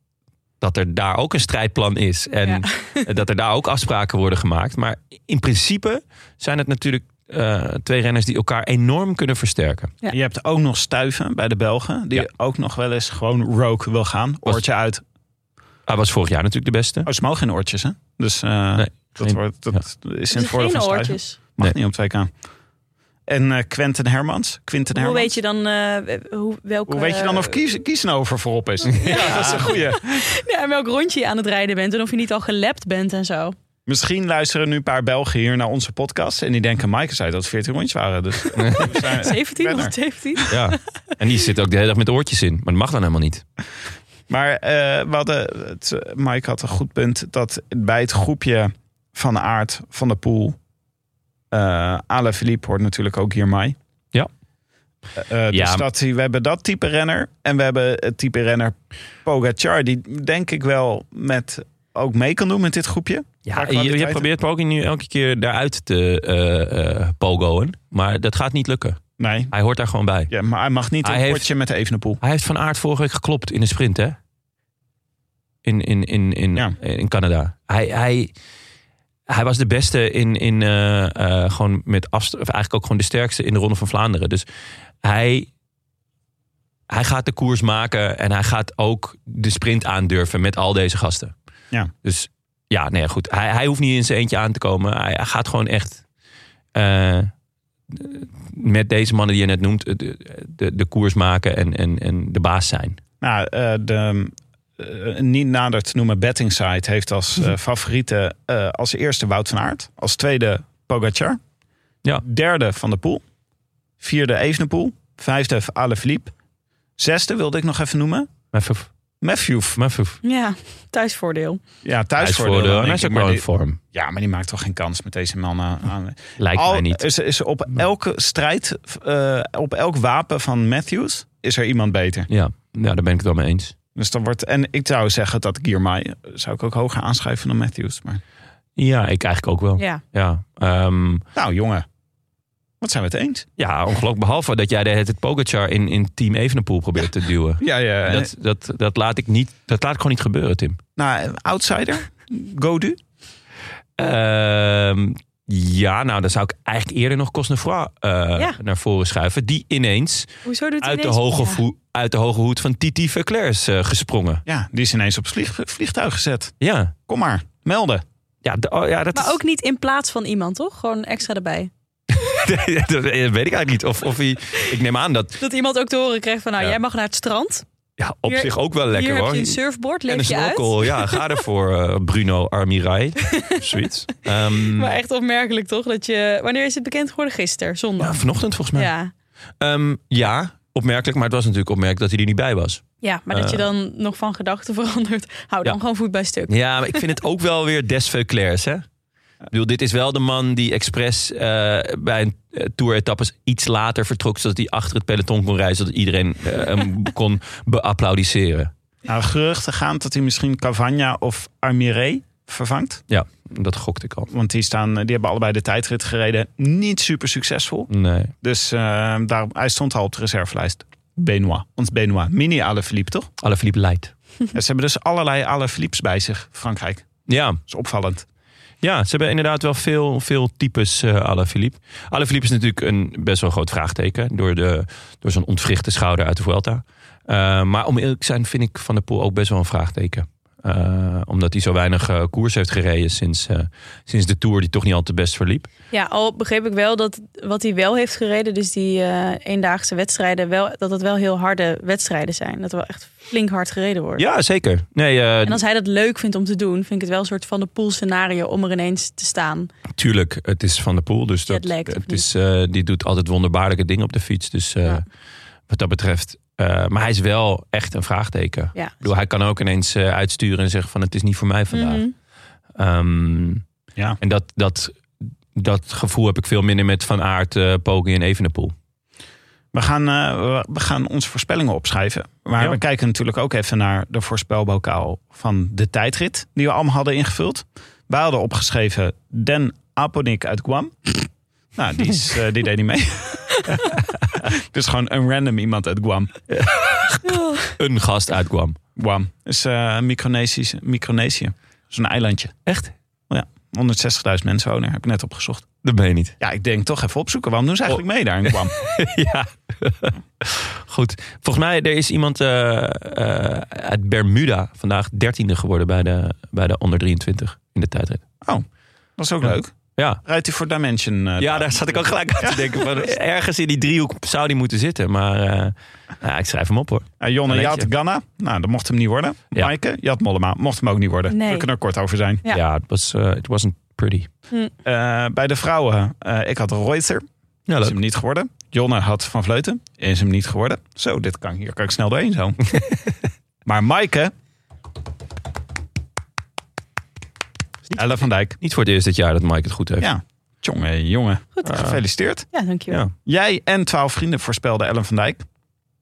[SPEAKER 2] dat er daar ook een strijdplan is. En
[SPEAKER 1] Ja.
[SPEAKER 2] dat er daar ook afspraken worden gemaakt. Maar in principe zijn het natuurlijk eh, twee renners die elkaar enorm kunnen versterken.
[SPEAKER 1] Ja.
[SPEAKER 3] Je hebt ook nog Stuiven bij de Belgen. Die
[SPEAKER 2] Ja.
[SPEAKER 3] ook nog wel eens gewoon rogue wil gaan.
[SPEAKER 2] Was-
[SPEAKER 3] Oortje uit.
[SPEAKER 2] Hij was vorig jaar natuurlijk de beste.
[SPEAKER 3] Oh, ze mogen geen oortjes, hè? Dus eh,
[SPEAKER 2] Nee,
[SPEAKER 3] dat,
[SPEAKER 2] geen-
[SPEAKER 3] wordt, dat is in
[SPEAKER 1] Dus
[SPEAKER 3] het voordeel
[SPEAKER 1] geen
[SPEAKER 3] van Stuiven.
[SPEAKER 1] oortjes.
[SPEAKER 3] Mag
[SPEAKER 2] Nee.
[SPEAKER 3] niet op 2K. En eh, Quentin Hermans. Quinten
[SPEAKER 1] Hoe
[SPEAKER 3] Hermans.
[SPEAKER 1] weet je dan eh, hoe, welke,
[SPEAKER 3] Hoe weet je
[SPEAKER 1] Eh,
[SPEAKER 3] dan of kies, kiezen over voorop is? ja, dat is een goeie.
[SPEAKER 1] Ja, en welk rondje je aan het rijden bent en of je niet al gelapt bent en zo.
[SPEAKER 3] Misschien luisteren nu een paar Belgen hier naar onze podcast. En die denken, Maaike zei dat het 14 rondjes waren. Dus we zijn
[SPEAKER 1] 17
[SPEAKER 3] verder.
[SPEAKER 1] of 17?
[SPEAKER 2] Ja. En die zit ook de hele dag met oortjes in. Maar dat mag dan helemaal niet.
[SPEAKER 3] Maar eh we hadden, het, Mike had een goed punt dat bij het groepje van Aard, van de Poel, eh Alain Philippe hoort natuurlijk ook hiermee.
[SPEAKER 2] Ja.
[SPEAKER 3] Eh, eh,
[SPEAKER 2] Ja.
[SPEAKER 3] Dus dat, we hebben dat type renner en we hebben het type renner Pogacar, die denk ik wel met, ook mee kan doen met dit groepje. Qua
[SPEAKER 2] Ja, je, je
[SPEAKER 3] kwaliteiten.
[SPEAKER 2] probeert ook nu elke keer daaruit te eh eh, pogoen. Maar dat gaat niet lukken.
[SPEAKER 3] Nee,
[SPEAKER 2] Hij hoort daar gewoon bij.
[SPEAKER 3] ja, maar hij mag niet
[SPEAKER 2] Hij
[SPEAKER 3] in het
[SPEAKER 2] heeft-
[SPEAKER 3] potje met de Evenepoel.
[SPEAKER 2] Hij heeft Van Aert vorige week geklopt in de sprint, hè? In, in, in, in,
[SPEAKER 3] Ja.
[SPEAKER 2] in Canada. Hij, hij, hij was de beste in, in eh, eh, gewoon met afstand, of eigenlijk ook gewoon de sterkste in de Ronde van Vlaanderen. Dus hij, hij gaat de koers maken en hij gaat ook de sprint aandurven met al deze gasten.
[SPEAKER 3] Ja.
[SPEAKER 2] Dus ja, nee, goed. Hij, hij hoeft niet in zijn eentje aan te komen. Hij, hij gaat gewoon echt eh, met deze mannen die je net noemt, eh, de, de, de koers maken en, en, en de baas zijn.
[SPEAKER 3] Nou, eh, de eh, niet nader te noemen betting site heeft als
[SPEAKER 2] Mhm.
[SPEAKER 3] eh, favoriete eh, als eerste Wout van Aert. Als tweede Pogacar.
[SPEAKER 2] Ja.
[SPEAKER 3] Derde Van de Poel. Vierde Evenepoel. Vijfde Alaphilippe. Zesde wilde ik nog even noemen.
[SPEAKER 2] Maar voor-
[SPEAKER 3] Matthew.
[SPEAKER 2] maar voor-
[SPEAKER 1] Ja, thuisvoordeel.
[SPEAKER 3] Ja,
[SPEAKER 2] Hij is
[SPEAKER 3] thuisvoordeel.
[SPEAKER 2] voor de,
[SPEAKER 3] dan
[SPEAKER 2] hij
[SPEAKER 3] denk
[SPEAKER 2] is ook
[SPEAKER 3] ik, maar
[SPEAKER 2] wel in
[SPEAKER 3] die-
[SPEAKER 2] vorm.
[SPEAKER 3] Ja, maar die maakt toch geen kans met deze man aan- aan.
[SPEAKER 2] Lijkt
[SPEAKER 3] Al-
[SPEAKER 2] mij niet.
[SPEAKER 3] Is, is op elke strijd, eh, op elk wapen van Matthews, is er iemand beter.
[SPEAKER 2] Ja, nou, daar ben ik het wel mee eens.
[SPEAKER 3] Dus dan wordt, en ik zou zeggen dat Girmay zou ik ook hoger aanschrijven dan Matthews. Maar
[SPEAKER 2] Ja, ik eigenlijk ook wel. Ja,
[SPEAKER 1] Ja.
[SPEAKER 2] ja, ehm,
[SPEAKER 3] Nou, jongen. Wat zijn we het eens?
[SPEAKER 2] ja ongelooflijk. Behalve dat jij de het Pogacar in, in Team Evenepoel probeert te duwen.
[SPEAKER 3] Ja, ja. eh,
[SPEAKER 2] Dat, dat, dat, laat ik niet, dat laat ik gewoon niet gebeuren, Tim.
[SPEAKER 3] nou, outsider. Godu.
[SPEAKER 2] Ehm, ja, nou, dan zou ik eigenlijk eerder nog Cosnefroid eh,
[SPEAKER 1] Ja.
[SPEAKER 2] naar voren schuiven. Die ineens,
[SPEAKER 1] Hoezo doet hij
[SPEAKER 2] uit, de
[SPEAKER 1] ineens-
[SPEAKER 2] hoge
[SPEAKER 1] Ja.
[SPEAKER 2] voe- uit de hoge hoed van Titi Verclair is eh, gesprongen.
[SPEAKER 3] Ja, die is ineens op het vlieg, vliegtuig gezet.
[SPEAKER 2] Ja,
[SPEAKER 3] Kom maar, melden.
[SPEAKER 2] ja, d- oh, ja dat
[SPEAKER 1] Maar
[SPEAKER 2] is-
[SPEAKER 1] ook niet in plaats van iemand, toch? Gewoon extra erbij.
[SPEAKER 2] Nee, dat weet ik eigenlijk niet. Of, of hij, ik neem aan dat
[SPEAKER 1] Dat iemand ook te horen krijgt van, nou,
[SPEAKER 2] Ja.
[SPEAKER 1] jij mag naar het strand.
[SPEAKER 2] ja, op
[SPEAKER 1] Hier-
[SPEAKER 2] zich ook wel lekker
[SPEAKER 1] Hier
[SPEAKER 2] hoor.
[SPEAKER 1] heb je een surfboard, leef
[SPEAKER 2] en een
[SPEAKER 1] je uit.
[SPEAKER 2] snorkel, ja, ga ervoor eh, Bruno Armirai. Zoiets. Ehm,
[SPEAKER 1] Maar echt opmerkelijk toch? Dat je, wanneer is het bekend geworden? Gisteren, zondag.
[SPEAKER 2] ja, vanochtend volgens mij. Ja.
[SPEAKER 1] Ja.
[SPEAKER 2] ja, opmerkelijk, maar het was natuurlijk opmerkelijk dat hij er niet bij was.
[SPEAKER 1] Ja, maar dat je
[SPEAKER 2] Eh.
[SPEAKER 1] dan nog van gedachten verandert. Hou dan
[SPEAKER 2] Ja.
[SPEAKER 1] gewoon voet bij stuk.
[SPEAKER 2] Ja, maar ik vind het ook wel weer Des Veuclairs, hè? Ik bedoel, dit is wel de man die expres eh, bij een eh, tour-etappes iets later vertrok... zodat hij achter het peloton kon rijden, zodat iedereen eh, hem kon beapplaudisseren.
[SPEAKER 3] Nou, geruchten gaan dat hij misschien Cavagna of Armiré vervangt.
[SPEAKER 2] Ja, dat gokte ik al.
[SPEAKER 3] Want die, staan, eh, die hebben allebei de tijdrit gereden. Niet super succesvol.
[SPEAKER 2] Nee.
[SPEAKER 3] Dus eh, daar, hij stond al op de reservelijst. Benoit. Ons Benoit. Mini Alaphilippe, toch?
[SPEAKER 2] Alaphilippe leidt.
[SPEAKER 3] Ja, ze hebben dus allerlei Alaphilippes bij zich. Frankrijk. Dat
[SPEAKER 2] Ja,
[SPEAKER 3] is opvallend.
[SPEAKER 2] ja, ze hebben inderdaad wel veel, veel types eh Alaphilippe. Alaphilippe is natuurlijk een best wel groot vraagteken... door, de- door zo'n ontwrichte schouder uit de Vuelta. Eh, maar om eerlijk te zijn vind ik Van der Poel ook best wel een vraagteken. Eh, omdat hij zo weinig eh, koers heeft gereden sinds, eh, sinds de Tour... die toch niet al te best verliep.
[SPEAKER 1] Ja, al begreep ik wel dat wat hij wel heeft gereden, dus die eh, eendaagse wedstrijden, wel, dat dat wel heel harde wedstrijden zijn. Dat er wel echt flink hard gereden wordt.
[SPEAKER 2] Ja, zeker. Nee, eh,
[SPEAKER 1] En als hij dat leuk vindt om te doen, vind ik het wel een soort van de pool scenario om er ineens te staan.
[SPEAKER 2] Tuurlijk, het is Van der Poel. Dus dat,
[SPEAKER 1] Jetlag, of
[SPEAKER 2] het
[SPEAKER 1] niet?
[SPEAKER 2] is, eh, die doet altijd wonderbaarlijke dingen op de fiets. Dus eh,
[SPEAKER 1] Ja.
[SPEAKER 2] wat dat betreft. eh, maar hij is wel echt een vraagteken. Ik
[SPEAKER 1] Ja.
[SPEAKER 2] bedoel, hij kan ook ineens eh, uitsturen en zeggen van het is niet voor mij vandaag.
[SPEAKER 1] Mhm.
[SPEAKER 2] Ehm,
[SPEAKER 3] Ja.
[SPEAKER 2] en dat, dat, dat gevoel heb ik veel minder met Van Aert, eh Poggi en Evenepoel.
[SPEAKER 3] We gaan, eh, we- we gaan onze voorspellingen opschrijven. Maar
[SPEAKER 2] Ja.
[SPEAKER 3] we kijken natuurlijk ook even naar de voorspelbokaal van de tijdrit. Die we allemaal hadden ingevuld. Wij hadden opgeschreven Den Aponik uit Guam. nou, die, is, eh, die deed niet mee. dus gewoon een random iemand uit Guam.
[SPEAKER 2] Een gast uitkwam.
[SPEAKER 3] Guam is eh Micronesisch- Micronesië. Zo'n eilandje.
[SPEAKER 2] Echt?
[SPEAKER 3] Oh ja, 160.000 mensen wonen. er. Heb ik net opgezocht.
[SPEAKER 2] Dat ben je niet.
[SPEAKER 3] Ja, ik denk toch even opzoeken. Waarom doen ze eigenlijk
[SPEAKER 2] Oh.
[SPEAKER 3] mee daar in Guam?
[SPEAKER 2] ja. Goed. Volgens mij er is iemand eh, eh, uit Bermuda vandaag dertiende geworden bij de, bij de onder 23 in de tijdrit.
[SPEAKER 3] Dat is ook
[SPEAKER 2] Ja.
[SPEAKER 3] leuk.
[SPEAKER 2] Ja.
[SPEAKER 3] Rijdt hij voor Dimension? eh,
[SPEAKER 2] Ja, daar zat ik ook gelijk aan te denken. Van, ergens in die driehoek zou die moeten zitten. Maar eh, ja, ik schrijf hem op hoor.
[SPEAKER 3] Ja, Eh, Jonne,
[SPEAKER 2] Dan
[SPEAKER 3] je
[SPEAKER 2] weet
[SPEAKER 3] had Ganna. Nou, dat mocht hem niet worden.
[SPEAKER 2] Ja.
[SPEAKER 3] Maaike, je had Mollema. Mocht hem ook niet worden.
[SPEAKER 1] Nee.
[SPEAKER 3] We kunnen er kort over zijn.
[SPEAKER 1] Ja.
[SPEAKER 2] Ja, het was, eh, it wasn't pretty.
[SPEAKER 3] Eh, bij de vrouwen, eh, ik had Reuter.
[SPEAKER 2] Ja,
[SPEAKER 3] Is hem niet geworden. Jonne had Van Vleuten. Is hem niet geworden. Zo, dit kan, hier kan ik snel doorheen zo. maar Maaike... Ella van Dijk.
[SPEAKER 2] Niet voor het eerst dit jaar dat Mike het goed heeft.
[SPEAKER 3] Ja. Jongen, jongen.
[SPEAKER 1] Goed.
[SPEAKER 3] Eh, Gefeliciteerd.
[SPEAKER 1] Ja, dankjewel.
[SPEAKER 2] Ja.
[SPEAKER 3] Jij en twaalf vrienden voorspelden Ellen van Dijk.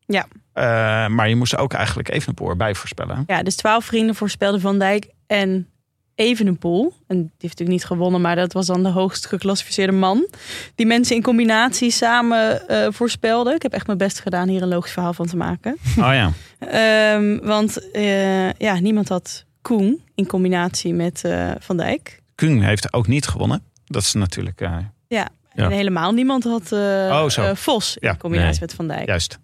[SPEAKER 1] Ja.
[SPEAKER 3] Eh, maar je moest ook eigenlijk even een bij voorspellen. hè?
[SPEAKER 1] Ja, dus twaalf vrienden voorspelden Van Dijk en Evenepoel. En die heeft natuurlijk niet gewonnen, maar dat was dan de hoogst geclassificeerde man. Die mensen in combinatie samen eh, voorspelden. Ik heb echt mijn best gedaan hier een logisch verhaal van te maken.
[SPEAKER 3] Oh ja.
[SPEAKER 1] Ehm, want eh, ja, niemand had Koen in combinatie met eh, Van Dijk.
[SPEAKER 3] Kung heeft ook niet gewonnen. Dat is natuurlijk eh,
[SPEAKER 2] Ja.
[SPEAKER 1] En helemaal niemand had eh
[SPEAKER 3] Oh, zo.
[SPEAKER 1] eh, Vos
[SPEAKER 3] Ja,
[SPEAKER 1] in combinatie
[SPEAKER 2] nee.
[SPEAKER 1] met Van Dijk.
[SPEAKER 3] juist.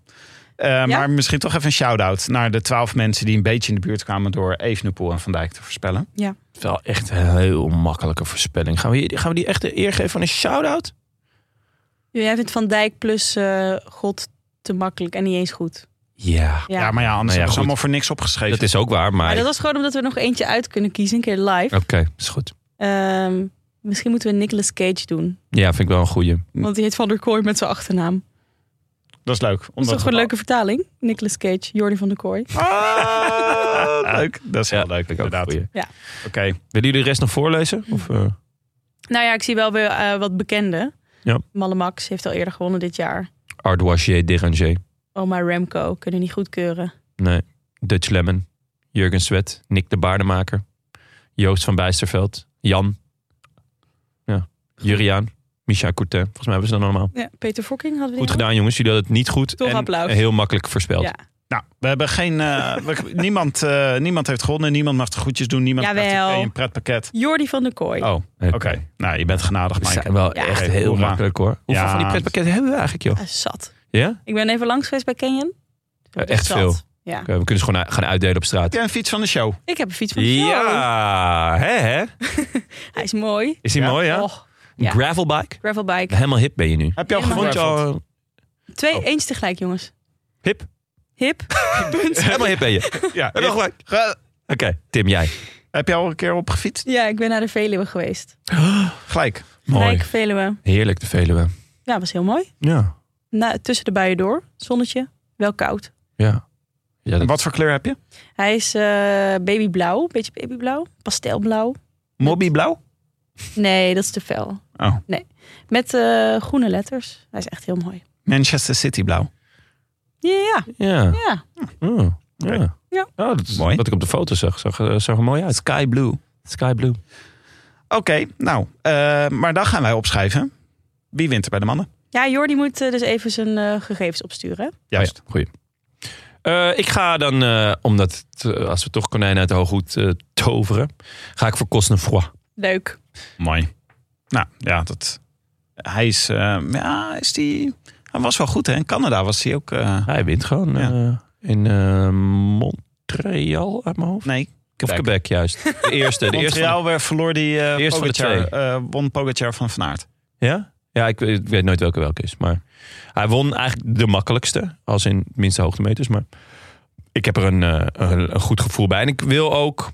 [SPEAKER 3] Eh, Maar misschien toch even een shout-out naar de twaalf mensen die een beetje in de buurt kwamen door Evenepoel en Van Dijk te voorspellen.
[SPEAKER 2] Het is wel echt een heel makkelijke voorspelling. Gaan we, hier- gaan we die echt de eer geven van een shout-out?
[SPEAKER 1] Jij vindt Van Dijk plus eh, God te makkelijk en niet eens goed.
[SPEAKER 2] Ja.
[SPEAKER 3] Ja, maar
[SPEAKER 2] Nou
[SPEAKER 3] ja, anders
[SPEAKER 2] ja,
[SPEAKER 3] hebben
[SPEAKER 2] goed.
[SPEAKER 3] ze allemaal voor niks opgeschreven.
[SPEAKER 2] Dat is ook waar, maar...
[SPEAKER 1] Maar dat was gewoon omdat we nog eentje uit kunnen kiezen, een keer live.
[SPEAKER 2] Oké, is goed.
[SPEAKER 1] Ehm, misschien moeten we Nicolas Cage doen.
[SPEAKER 2] Ja, vind ik wel een goeie.
[SPEAKER 1] Want die heet Van der Kooi met zijn achternaam.
[SPEAKER 3] Dat is leuk.
[SPEAKER 1] Dat is
[SPEAKER 3] Omdat
[SPEAKER 1] toch een leuke vertaling? Nicolas Cage, Jordi van der Kooi.
[SPEAKER 3] Ah, leuk. Dat is heel
[SPEAKER 2] Ja,
[SPEAKER 3] leuk,
[SPEAKER 2] vind ik ook een
[SPEAKER 3] inderdaad. Oké.
[SPEAKER 2] goeie. Willen jullie de rest nog voorlezen? Of, eh?
[SPEAKER 1] Nou ja, ik zie wel weer eh, wat bekende.
[SPEAKER 2] Ja.
[SPEAKER 1] Malle Max heeft al eerder gewonnen dit jaar.
[SPEAKER 2] Ardouagier, Deranger.
[SPEAKER 1] Oma Remco kunnen we niet goedkeuren.
[SPEAKER 2] Nee. Dutch Lemon. Jurgen Swet. Nick de Baardemaker. Joost van Bijsterveld. Jan. Ja. Juriaan. Micha Courtin. Volgens mij hebben ze dat allemaal.
[SPEAKER 1] Ja, Peter Fokking hadden we
[SPEAKER 2] Goed
[SPEAKER 1] die al?
[SPEAKER 2] gedaan, jongens. Jullie hadden het niet goed.
[SPEAKER 1] Toch
[SPEAKER 2] en
[SPEAKER 1] applaus.
[SPEAKER 2] heel makkelijk voorspeld.
[SPEAKER 1] Ja.
[SPEAKER 3] Nou, we hebben geen... eh, we- niemand, eh, niemand heeft gewonnen. Niemand mag de goedjes doen. Niemand krijgt
[SPEAKER 1] Jawel.
[SPEAKER 3] een thee, een pretpakket.
[SPEAKER 1] Jordi van der Kooi.
[SPEAKER 3] Oh, oké.
[SPEAKER 2] Oké. Dus, eh,
[SPEAKER 3] Nou, je bent genadig,
[SPEAKER 2] We
[SPEAKER 3] Mike.
[SPEAKER 2] zijn wel
[SPEAKER 1] Ja.
[SPEAKER 2] echt heel
[SPEAKER 3] Hoera.
[SPEAKER 2] makkelijk, hoor. Hoeveel
[SPEAKER 3] Ja.
[SPEAKER 2] van die pretpakketten hebben we eigenlijk, joh?
[SPEAKER 1] Ah, zat.
[SPEAKER 2] Ja?
[SPEAKER 1] Ik ben even langs geweest bij Canyon.
[SPEAKER 2] Eh, echt
[SPEAKER 1] Zat.
[SPEAKER 2] veel.
[SPEAKER 1] Ja.
[SPEAKER 2] Oké, we kunnen ze gewoon u- gaan uitdelen op straat.
[SPEAKER 3] Heb jij een fiets van de show?
[SPEAKER 1] Ik heb een fiets van Joe.
[SPEAKER 2] Ja, hè, hè?
[SPEAKER 1] Hij is mooi.
[SPEAKER 2] Is die
[SPEAKER 3] Ja.
[SPEAKER 2] mooi, ja?
[SPEAKER 1] Och, ja.
[SPEAKER 2] Gravelbike.
[SPEAKER 1] gravelbike.
[SPEAKER 2] Helemaal hip ben je nu.
[SPEAKER 3] Heb je al
[SPEAKER 1] Helemaal
[SPEAKER 3] gewonnen?
[SPEAKER 2] Vond je al
[SPEAKER 1] Twee
[SPEAKER 2] Oh.
[SPEAKER 1] eens tegelijk, jongens.
[SPEAKER 2] hip?
[SPEAKER 1] Hip. Punt.
[SPEAKER 2] Helemaal hip ben je.
[SPEAKER 3] Ja,
[SPEAKER 2] Heb je
[SPEAKER 3] ik- eh,
[SPEAKER 2] gelijk. Oké, Tim, jij.
[SPEAKER 3] Heb je al een keer op gefietst?
[SPEAKER 1] Ja, ik ben naar de Veluwe geweest.
[SPEAKER 3] Gelijk.
[SPEAKER 2] Mooi.
[SPEAKER 1] Rijk Veluwe.
[SPEAKER 2] Heerlijk, de Veluwe.
[SPEAKER 1] Ja, was heel mooi.
[SPEAKER 2] Ja.
[SPEAKER 1] Na, tussen de buien door. Zonnetje. Wel koud.
[SPEAKER 2] Ja. ja
[SPEAKER 3] En
[SPEAKER 2] dat-
[SPEAKER 3] Wat voor kleur heb je?
[SPEAKER 1] Hij is eh, babyblauw. Beetje babyblauw. Pastelblauw.
[SPEAKER 3] Mobbyblauw?
[SPEAKER 1] Nee, dat is te fel.
[SPEAKER 3] Oh,
[SPEAKER 1] Met eh, groene letters. Hij is echt heel mooi.
[SPEAKER 3] Manchester City blauw.
[SPEAKER 1] Ja, ja,
[SPEAKER 2] Ja.
[SPEAKER 1] ja.
[SPEAKER 2] Oh, ja.
[SPEAKER 1] Ja.
[SPEAKER 2] Oh, dat is
[SPEAKER 3] Mooi.
[SPEAKER 2] wat ik op de foto zag. Zag, eh, zag er mooi uit.
[SPEAKER 3] Sky blue.
[SPEAKER 2] Sky blue. Oh,
[SPEAKER 3] Oké, nou, eh, maar dan gaan wij opschrijven. Wie wint er bij de mannen?
[SPEAKER 1] Ja, Jordi moet eh, dus even zijn eh, gegevens opsturen. hè?
[SPEAKER 3] Juist.
[SPEAKER 2] Oh ja, goeie. Eh, ik ga dan, eh, omdat het, eh, als we toch konijnen uit de hooghoed eh, toveren, ga ik voor Cosnefroid.
[SPEAKER 1] Leuk.
[SPEAKER 3] Mooi. Nou, ja, dat. Hij is. eh, ja, is die. Hij was wel goed, hè? In Canada was hij ook. eh,
[SPEAKER 2] Hij wint gewoon
[SPEAKER 3] Ja.
[SPEAKER 2] eh, in eh, Montreal uit mijn hoofd.
[SPEAKER 3] nee,
[SPEAKER 2] Of
[SPEAKER 3] Quebec.
[SPEAKER 2] Quebec, juist. De eerste. De eerste van
[SPEAKER 3] Montreal weer verloor die. eh
[SPEAKER 2] eerste van de
[SPEAKER 3] Pogacar, eh, won Pogacar van Van Aert.
[SPEAKER 2] de- ja? Ja, ik, weet- ik weet nooit welke welke is. Maar hij won eigenlijk de makkelijkste. Als in de minste hoogtemeters. Maar ik heb er een, eh, een, een goed gevoel bij. En ik wil ook...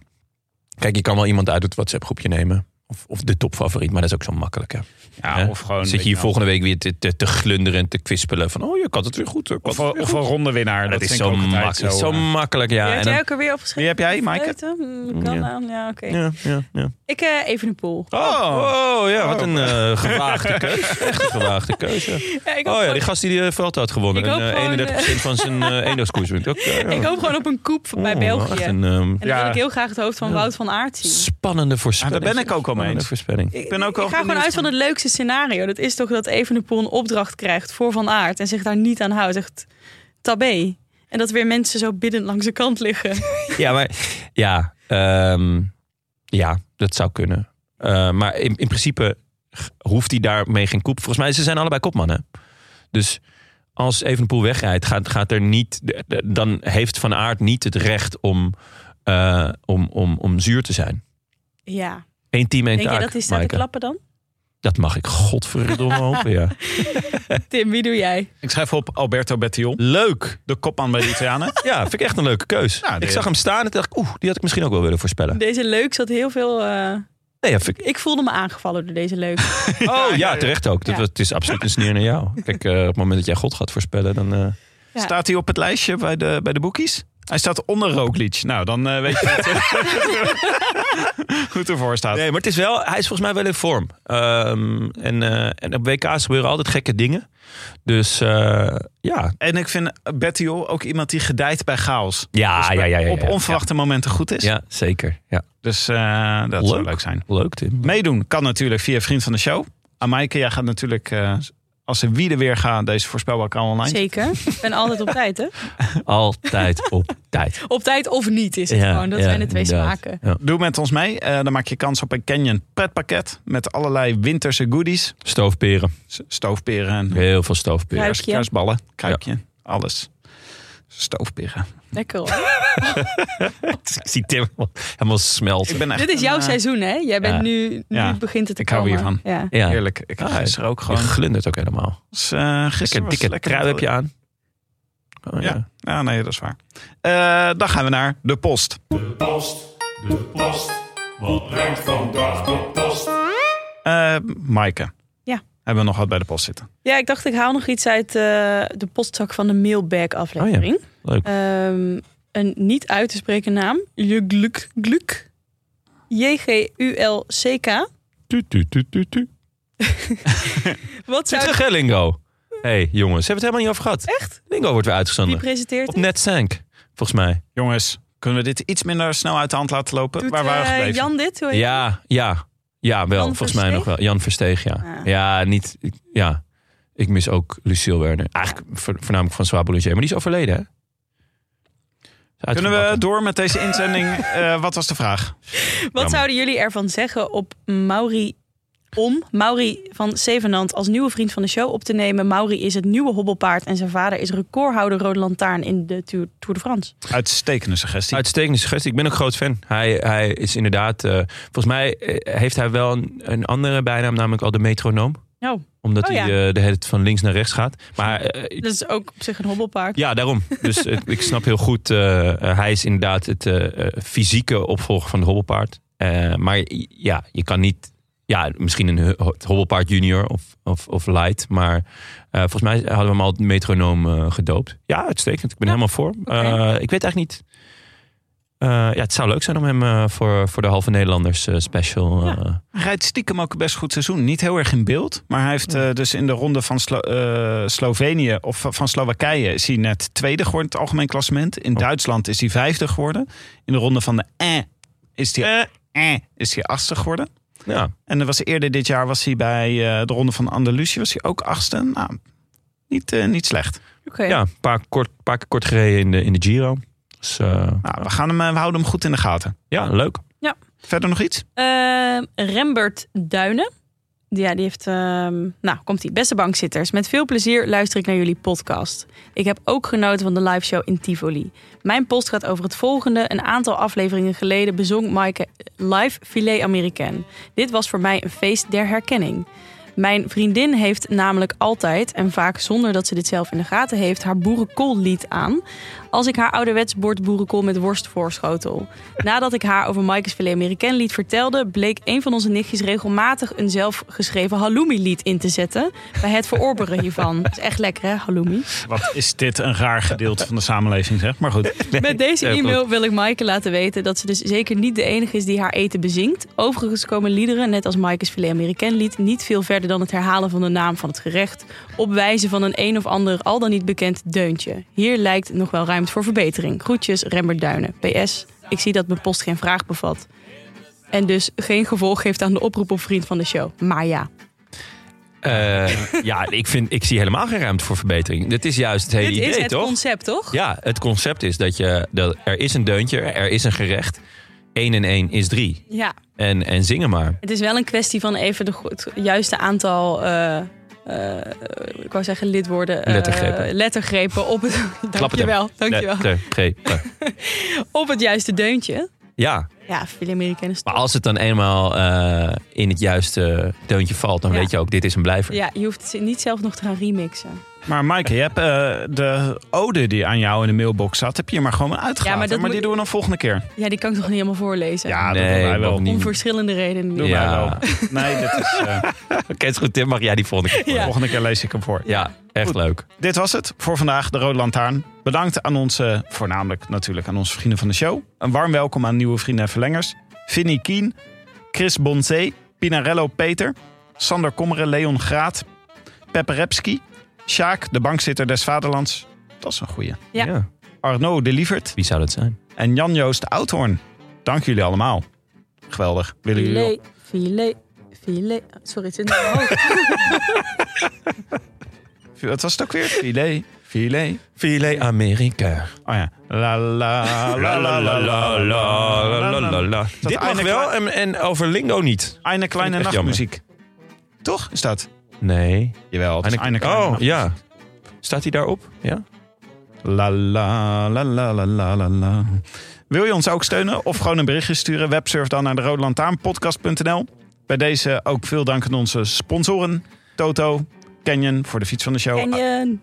[SPEAKER 2] Kijk, je kan wel iemand uit het WhatsApp groepje nemen. Of, of de topfavoriet. Maar dat is ook zo makkelijk, hè?
[SPEAKER 3] Ja,
[SPEAKER 2] Hè?
[SPEAKER 3] of gewoon.
[SPEAKER 2] Zit je
[SPEAKER 3] weet
[SPEAKER 2] hier
[SPEAKER 3] wel,
[SPEAKER 2] volgende week weer te, te, te glunderen en te kwispelen. Van, oh, je kan het weer goed. je kan
[SPEAKER 3] Of,
[SPEAKER 2] het weer
[SPEAKER 3] of
[SPEAKER 2] goed.
[SPEAKER 3] een rondewinnaar.
[SPEAKER 2] Maar
[SPEAKER 3] Dat,
[SPEAKER 2] dat is
[SPEAKER 3] vind ik
[SPEAKER 2] zo,
[SPEAKER 3] ook altijd
[SPEAKER 2] mak-
[SPEAKER 3] zo,
[SPEAKER 2] zo
[SPEAKER 3] eh.
[SPEAKER 2] makkelijk, ja.
[SPEAKER 1] Ja,
[SPEAKER 2] En
[SPEAKER 1] had
[SPEAKER 2] dan-
[SPEAKER 1] jij ook alweer opgeschreven?
[SPEAKER 3] Wie heb jij, Maaike?
[SPEAKER 1] Vleuten? Hmm, Kan
[SPEAKER 2] Ja.
[SPEAKER 1] aan. Ja, oké.
[SPEAKER 2] ja, ja, ja.
[SPEAKER 1] Ik eh, even een pool.
[SPEAKER 2] Oh, oh, ja, wat
[SPEAKER 3] Oh.
[SPEAKER 2] een eh, gewaagde keuze. Echt een gewaagde keuze.
[SPEAKER 1] Ja, ik, hoop
[SPEAKER 2] Oh ja,
[SPEAKER 1] gewoon,
[SPEAKER 2] die gast die de veld had gewonnen.
[SPEAKER 1] Ik
[SPEAKER 2] En
[SPEAKER 1] hoop
[SPEAKER 2] eh,
[SPEAKER 1] gewoon,
[SPEAKER 2] 31% van zijn eh eendagskoers wint. Ook, eh, ja.
[SPEAKER 1] ik hoop gewoon op een koep bij
[SPEAKER 2] Oh,
[SPEAKER 1] België.
[SPEAKER 2] echt
[SPEAKER 1] En
[SPEAKER 2] een ehm,
[SPEAKER 1] dan
[SPEAKER 3] Ja.
[SPEAKER 1] wil ik heel graag het hoofd van Wout van Aert zien.
[SPEAKER 2] spannende voorspelling.
[SPEAKER 3] Ja, Ah, daar ben ik ook al mee
[SPEAKER 2] Spannende
[SPEAKER 3] eens.
[SPEAKER 2] voorspelling.
[SPEAKER 3] Ik ben ook wel
[SPEAKER 1] ik ga gewoon
[SPEAKER 3] benieuwd
[SPEAKER 1] uit van het leukste scenario. Dat is toch dat Evenepoel een opdracht krijgt voor Van Aert... en zich daar niet aan houdt. Echt tabé. En dat weer mensen zo biddend langs de kant liggen.
[SPEAKER 2] Ja, maar ja, ehm, ja dat zou kunnen. Eh, maar in, in principe g- hoeft hij daarmee geen koep. Volgens mij, ze zijn allebei kopmannen. Dus als Evenpoel wegrijdt, gaat, gaat er niet, de- de- dan heeft Van Aert niet het recht om, eh, om, om, om zuur te zijn.
[SPEAKER 1] Ja.
[SPEAKER 2] Eén team, één
[SPEAKER 1] Denk je
[SPEAKER 2] taak,
[SPEAKER 1] dat die staat te
[SPEAKER 2] Maaike.
[SPEAKER 1] klappen dan?
[SPEAKER 2] Dat mag ik godverdomme hopen, ja.
[SPEAKER 1] Tim, wie doe jij?
[SPEAKER 3] Ik schrijf op Alberto Bettiol,
[SPEAKER 2] Leuk.
[SPEAKER 3] de kopman bij de Italianen.
[SPEAKER 2] Ja, vind ik echt een leuke keus.
[SPEAKER 3] Ja, die-
[SPEAKER 2] ik zag hem staan en dacht ik, oeh, die had ik misschien ook wel willen voorspellen.
[SPEAKER 1] Deze leuk zat heel veel... eh,
[SPEAKER 2] Nee, ja, vind ik-
[SPEAKER 1] Ik voelde me aangevallen door deze leuk.
[SPEAKER 2] Oh ja, terecht ook. Dat,
[SPEAKER 1] Ja.
[SPEAKER 2] Het is absoluut een sneer naar jou. Kijk, eh, op het moment dat jij God gaat voorspellen, dan... eh,
[SPEAKER 1] Ja.
[SPEAKER 3] Staat hij op het lijstje bij de, bij de boekies? Hij staat onder Roglic. Nou, dan eh, weet je dat, eh, goed ervoor staat.
[SPEAKER 2] Nee, maar het is wel, hij is volgens mij wel in vorm. Ehm, en, eh, en op WK's gebeuren altijd gekke dingen. Dus eh, ja.
[SPEAKER 3] En ik vind Bettiol ook iemand die gedijt bij chaos.
[SPEAKER 2] Ja,
[SPEAKER 3] Dus
[SPEAKER 2] Ah, ja, ja, ja, ja.
[SPEAKER 3] Op onverwachte momenten goed is.
[SPEAKER 2] Ja, zeker. Ja.
[SPEAKER 3] Dus eh, dat zou
[SPEAKER 2] Leuk.
[SPEAKER 3] leuk zijn.
[SPEAKER 2] Leuk, Tim.
[SPEAKER 3] Meedoen kan natuurlijk via Vriend van de Show. Amaike, jij gaat natuurlijk, eh, als ze wie er weer gaat, deze voorspelbaar online.
[SPEAKER 1] Zeker. Ik ben altijd op tijd, hè?
[SPEAKER 2] Altijd op tijd.
[SPEAKER 1] Op tijd of niet is het
[SPEAKER 2] Ja,
[SPEAKER 1] gewoon. Dat
[SPEAKER 2] ja,
[SPEAKER 1] zijn de twee
[SPEAKER 2] inderdaad.
[SPEAKER 1] smaken.
[SPEAKER 2] Ja.
[SPEAKER 3] Doe met ons mee. Eh, dan maak je kans op een Canyon pretpakket met allerlei winterse goodies.
[SPEAKER 2] Stoofperen.
[SPEAKER 3] S- Stoofperen en
[SPEAKER 2] Heel veel stoofperen.
[SPEAKER 3] kruis,
[SPEAKER 1] Kruikje.
[SPEAKER 3] kruisballen, kruikje, alles. Stoofperen.
[SPEAKER 1] Lekker hoor.
[SPEAKER 2] Ik zie Tim helemaal smelten.
[SPEAKER 3] Ik ben echt
[SPEAKER 1] Dit is jouw
[SPEAKER 3] een, eh,
[SPEAKER 1] seizoen, hè? Jij bent
[SPEAKER 2] Ja.
[SPEAKER 1] nu, nu
[SPEAKER 3] Ja.
[SPEAKER 1] begint het te
[SPEAKER 3] Ik hou
[SPEAKER 1] komen.
[SPEAKER 3] hiervan.
[SPEAKER 1] Ja.
[SPEAKER 2] ja.
[SPEAKER 3] Heerlijk. Ik ga
[SPEAKER 2] Ah,
[SPEAKER 3] gisteren ook
[SPEAKER 2] Je
[SPEAKER 3] gewoon.
[SPEAKER 2] glundert ook helemaal.
[SPEAKER 3] Dus, eh,
[SPEAKER 2] Lekker
[SPEAKER 3] gisteren was
[SPEAKER 2] dikke
[SPEAKER 3] lekker
[SPEAKER 2] trui heb je aan. Oh,
[SPEAKER 3] Ja. Ja, nee, dat is waar. Eh, dan gaan we naar de post.
[SPEAKER 4] De post, dus de post, wat brengt vandaag de post?
[SPEAKER 3] Eh Maaike.
[SPEAKER 1] Ja.
[SPEAKER 3] Hebben we nog wat bij de post zitten?
[SPEAKER 1] ja, ik dacht ik haal nog iets uit eh, de postzak van de mailbag
[SPEAKER 3] Oh,
[SPEAKER 1] aflevering.
[SPEAKER 2] Leuk.
[SPEAKER 1] Ehm, een niet uit te spreken naam. Je gluk gluk. J-G-U-L-C-K.
[SPEAKER 2] Tu, tu, tu, tu, tu.
[SPEAKER 1] Wat
[SPEAKER 2] Zit
[SPEAKER 1] zou
[SPEAKER 2] terug, hè, Lingo? Hé, hey, jongens. Hebben we het helemaal niet over gehad?
[SPEAKER 1] Echt?
[SPEAKER 2] Lingo wordt weer
[SPEAKER 1] Wie
[SPEAKER 2] uitgezonden.
[SPEAKER 1] presenteert
[SPEAKER 2] Op
[SPEAKER 1] het?
[SPEAKER 2] NetZank, volgens mij.
[SPEAKER 3] Jongens, kunnen we dit iets minder snel uit de hand laten lopen?
[SPEAKER 1] Doet
[SPEAKER 3] Waar waren we
[SPEAKER 1] eh,
[SPEAKER 3] gebleven?
[SPEAKER 1] Jan dit? Hoe heet
[SPEAKER 2] Ja, ja. Ja, wel.
[SPEAKER 1] Jan
[SPEAKER 2] volgens mij
[SPEAKER 1] Versteeg?
[SPEAKER 2] nog wel. Jan Versteeg, ja.
[SPEAKER 1] Ah.
[SPEAKER 2] Ja, niet... ik- Ja. Ik mis ook Lucille Werner. Eigenlijk vo- voornamelijk van Swabo Ligier. Maar die is overleden, hè? Is
[SPEAKER 3] Kunnen we
[SPEAKER 2] uitgebakken.
[SPEAKER 3] door met deze inzending? Eh, wat was de vraag?
[SPEAKER 1] Wat
[SPEAKER 2] Jammer.
[SPEAKER 1] zouden jullie ervan zeggen op Mauri om Mauri van Zevenand als nieuwe vriend van de show op te nemen? Mauri is het nieuwe hobbelpaard en zijn vader is recordhouder Rode Lantaarn in de Tour, Tour de France.
[SPEAKER 3] Uitstekende suggestie.
[SPEAKER 2] Uitstekende suggestie. Ik ben ook groot fan. Hij, hij is inderdaad... eh, volgens mij eh, heeft hij wel een, een andere bijnaam, namelijk al de metronoom.
[SPEAKER 1] Oh,
[SPEAKER 2] Omdat
[SPEAKER 1] Oh,
[SPEAKER 2] hij eh, de hele tijd van links naar rechts gaat. Maar eh,
[SPEAKER 1] dat is ook op zich een hobbelpaard.
[SPEAKER 2] Ja, daarom. Dus eh, ik snap heel goed. eh, eh, hij is inderdaad het eh, eh, fysieke opvolger van de hobbelpaard. Eh, maar i- ja, je kan niet. Ja, misschien een hu- het hobbelpaard junior of, of, of light. Maar eh, volgens mij hadden we hem al het metronoom eh, gedoopt. Ja, uitstekend. Ik ben helemaal voor. Eh, ik weet eigenlijk niet. Eh, ja, het zou leuk zijn om hem eh, voor, voor de halve Nederlanders eh, special. eh,
[SPEAKER 3] Hij rijdt stiekem ook best goed seizoen. Niet heel erg in beeld. Maar hij heeft eh, dus in de ronde van Slo- eh, Slovenië of van- van Slowakije is hij net tweede geworden in het algemeen klassement. In Duitsland is hij vijfde geworden. In de ronde van de eh is hij, eh, is hij achtste geworden.
[SPEAKER 2] ja.
[SPEAKER 3] En er was eerder dit jaar was hij bij eh, de ronde van Andalusië was hij ook achtste. Nou, niet, eh, niet slecht.
[SPEAKER 1] Oké.
[SPEAKER 2] ja, een paar, kort, paar keer kort gereden in de, in de Giro. Dus eh,
[SPEAKER 3] Nou, we, gaan hem, eh, we houden hem goed in de gaten.
[SPEAKER 2] ja, leuk.
[SPEAKER 3] Verder nog iets?
[SPEAKER 1] Ehm, Rembert Duinen. Ja, die heeft. ehm, nou, komt die. Beste bankzitters, met veel plezier luister ik naar jullie podcast. Ik heb ook genoten van de live show in Tivoli. Mijn post gaat over het volgende. Een aantal afleveringen geleden bezong Maaike eh, live Filet Americain. Dit was voor mij een feest der herkenning. Mijn vriendin heeft namelijk altijd, en vaak zonder dat ze dit zelf in de gaten heeft, haar boerenkoollied aan. Als ik haar ouderwets bord boerenkool met worst voorschotel. Nadat ik haar over Mike's Filet Americain lied vertelde, bleek een van onze nichtjes regelmatig een zelfgeschreven halloumi lied in te zetten. Bij het verorberen hiervan. Dat is echt lekker hè, halloumi.
[SPEAKER 3] Wat is dit een raar gedeelte van de samenleving, zeg. Maar goed.
[SPEAKER 1] Met deze
[SPEAKER 2] heel
[SPEAKER 1] e-mail wil ik Maaike laten weten dat ze dus zeker niet de enige is die haar eten bezinkt. Overigens komen liederen, net als Maaike's Filet Americain lied, niet veel verder dan het herhalen van de naam van het gerecht. Op wijze van een een of ander al dan niet bekend deuntje. Hier lijkt nog wel ruimte voor verbetering. Groetjes, Rembert Duinen. PS, ik zie dat mijn post geen vraag bevat. En dus geen gevolg geeft aan de oproep op vriend van de show. Maar ja,
[SPEAKER 2] Eh, ja, ik, vind, ik zie helemaal geen ruimte voor verbetering. Dit is juist het hele
[SPEAKER 1] dit
[SPEAKER 2] idee,
[SPEAKER 1] is het
[SPEAKER 2] toch?
[SPEAKER 1] concept toch?
[SPEAKER 2] Ja, het concept is dat, je, dat er is een deuntje, er is een gerecht. 1 en 1 is 3.
[SPEAKER 1] ja.
[SPEAKER 2] En, en zingen maar.
[SPEAKER 1] Het is wel een kwestie van even de, go- het juiste aantal. eh, eh, ik wou zeggen lidwoorden. eh,
[SPEAKER 2] Lettergrepen.
[SPEAKER 1] lettergrepen op het. dankjewel. dankjewel.
[SPEAKER 2] Le- te- ge- te.
[SPEAKER 1] Op het juiste deuntje.
[SPEAKER 2] eh, Ja,
[SPEAKER 1] Ja, veel Amerikanen
[SPEAKER 2] maar
[SPEAKER 1] stoppen.
[SPEAKER 2] als het dan eenmaal eh, in het juiste deuntje valt, dan
[SPEAKER 1] Ja.
[SPEAKER 2] weet je ook, dit is een blijver.
[SPEAKER 1] Ja, je hoeft ze niet zelf nog te gaan remixen.
[SPEAKER 3] Maar Maaike, je hebt eh, de ode die aan jou in de mailbox zat, heb je maar gewoon uitgelaten.
[SPEAKER 1] Ja,
[SPEAKER 3] Ja,
[SPEAKER 1] maar
[SPEAKER 3] maar,
[SPEAKER 1] dat moet-
[SPEAKER 3] die doen we dan volgende keer.
[SPEAKER 1] Ja, die kan ik nog niet helemaal voorlezen.
[SPEAKER 3] Ja, dat
[SPEAKER 2] nee,
[SPEAKER 3] doen wij wel.
[SPEAKER 2] mag
[SPEAKER 1] Om
[SPEAKER 2] niet.
[SPEAKER 1] verschillende redenen.
[SPEAKER 3] Doen
[SPEAKER 1] niet.
[SPEAKER 3] wij
[SPEAKER 2] Ja.
[SPEAKER 3] wel. Nee, dit is, eh,
[SPEAKER 2] Oké, het is goed, Tim, mag jij die volgende keer
[SPEAKER 1] Ja.
[SPEAKER 2] ja.
[SPEAKER 3] volgende keer lees ik hem voor.
[SPEAKER 2] ja, echt
[SPEAKER 3] Goed.
[SPEAKER 2] leuk.
[SPEAKER 3] Dit was het voor vandaag, de Rode Lantaarn. Bedankt aan onze, voornamelijk natuurlijk aan onze vrienden van de show. Een warm welkom aan nieuwe vrienden en verlengers. Vinnie Kien, Chris Bonzee, Pinarello Peter, Sander Kommeren, Leon Graat, Peppe Repski, Sjaak, de bankzitter des vaderlands. Dat is een goeie.
[SPEAKER 1] Ja.
[SPEAKER 3] Arnaud de Lievert.
[SPEAKER 2] Wie zou dat zijn?
[SPEAKER 3] en Jan-Joost Oudhoorn. Dank jullie allemaal. Geweldig. Willen jullie
[SPEAKER 1] Filet, filet, filet. Sorry, het zit in mijn hoofd.
[SPEAKER 3] Wat was het ook weer? Filet, filet.
[SPEAKER 2] Filet Amerika.
[SPEAKER 3] Oh ja. La la la
[SPEAKER 2] La la la la la la la la. Dit mag
[SPEAKER 3] einde
[SPEAKER 2] wel
[SPEAKER 3] klaar?
[SPEAKER 2] en, en over Lingo niet.
[SPEAKER 3] Eine kleine
[SPEAKER 2] Echt
[SPEAKER 3] nachtmuziek. Toch is dat?
[SPEAKER 2] Nee.
[SPEAKER 3] Jawel, het is eine kleine
[SPEAKER 2] Oh,
[SPEAKER 3] nachtmuziek.
[SPEAKER 2] ja. Staat hij daarop? Ja.
[SPEAKER 3] La la la la la la la la. Wil je ons ook steunen of gewoon een berichtje sturen? Websurf dan naar de roodlantaarnpodcast.nl. Bij deze ook veel dank aan onze sponsoren. Toto, Canyon voor de fiets van de show.
[SPEAKER 1] Canyon.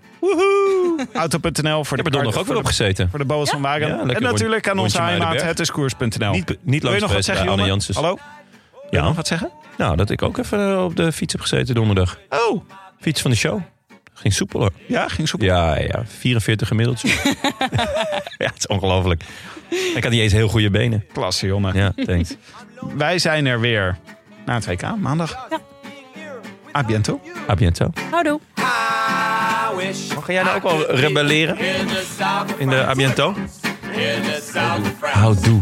[SPEAKER 3] Auto.nl voor
[SPEAKER 2] Ik heb
[SPEAKER 3] de
[SPEAKER 2] er
[SPEAKER 3] kar-
[SPEAKER 2] donderdag ook
[SPEAKER 3] voor
[SPEAKER 2] weer
[SPEAKER 3] de-
[SPEAKER 2] op gezeten.
[SPEAKER 3] voor de boas van
[SPEAKER 2] Ja,
[SPEAKER 3] Wagen.
[SPEAKER 2] lekker
[SPEAKER 3] en
[SPEAKER 2] rond-
[SPEAKER 3] natuurlijk aan
[SPEAKER 2] rondje
[SPEAKER 3] onze heimaat,
[SPEAKER 2] Muidenberg.
[SPEAKER 3] het is koers.nl.
[SPEAKER 2] Niet, niet
[SPEAKER 3] Wil je
[SPEAKER 2] langs
[SPEAKER 3] nog wat
[SPEAKER 2] geweest
[SPEAKER 3] zeggen,
[SPEAKER 2] bij Anne
[SPEAKER 3] Jonne?
[SPEAKER 2] Janssens.
[SPEAKER 3] Hallo? Wil je
[SPEAKER 2] Ja.
[SPEAKER 3] nog wat zeggen?
[SPEAKER 2] Nou, dat ik ook even op de fiets heb gezeten donderdag.
[SPEAKER 3] Oh,
[SPEAKER 2] Fiets van de show. Ging soepeler.
[SPEAKER 3] ja, ging soepel.
[SPEAKER 2] Ja, ja. 44 gemiddeld soepel. ja, het is ongelooflijk. Ik had niet eens heel goede benen.
[SPEAKER 3] Klasse, Jonne.
[SPEAKER 2] Ja, thanks.
[SPEAKER 3] Wij zijn er weer na het WK, maandag. Ja. A biento.
[SPEAKER 2] A biento.
[SPEAKER 1] Houdoe.
[SPEAKER 2] Mag jij nou ook al rebelleren? In de A biento? Houdoe.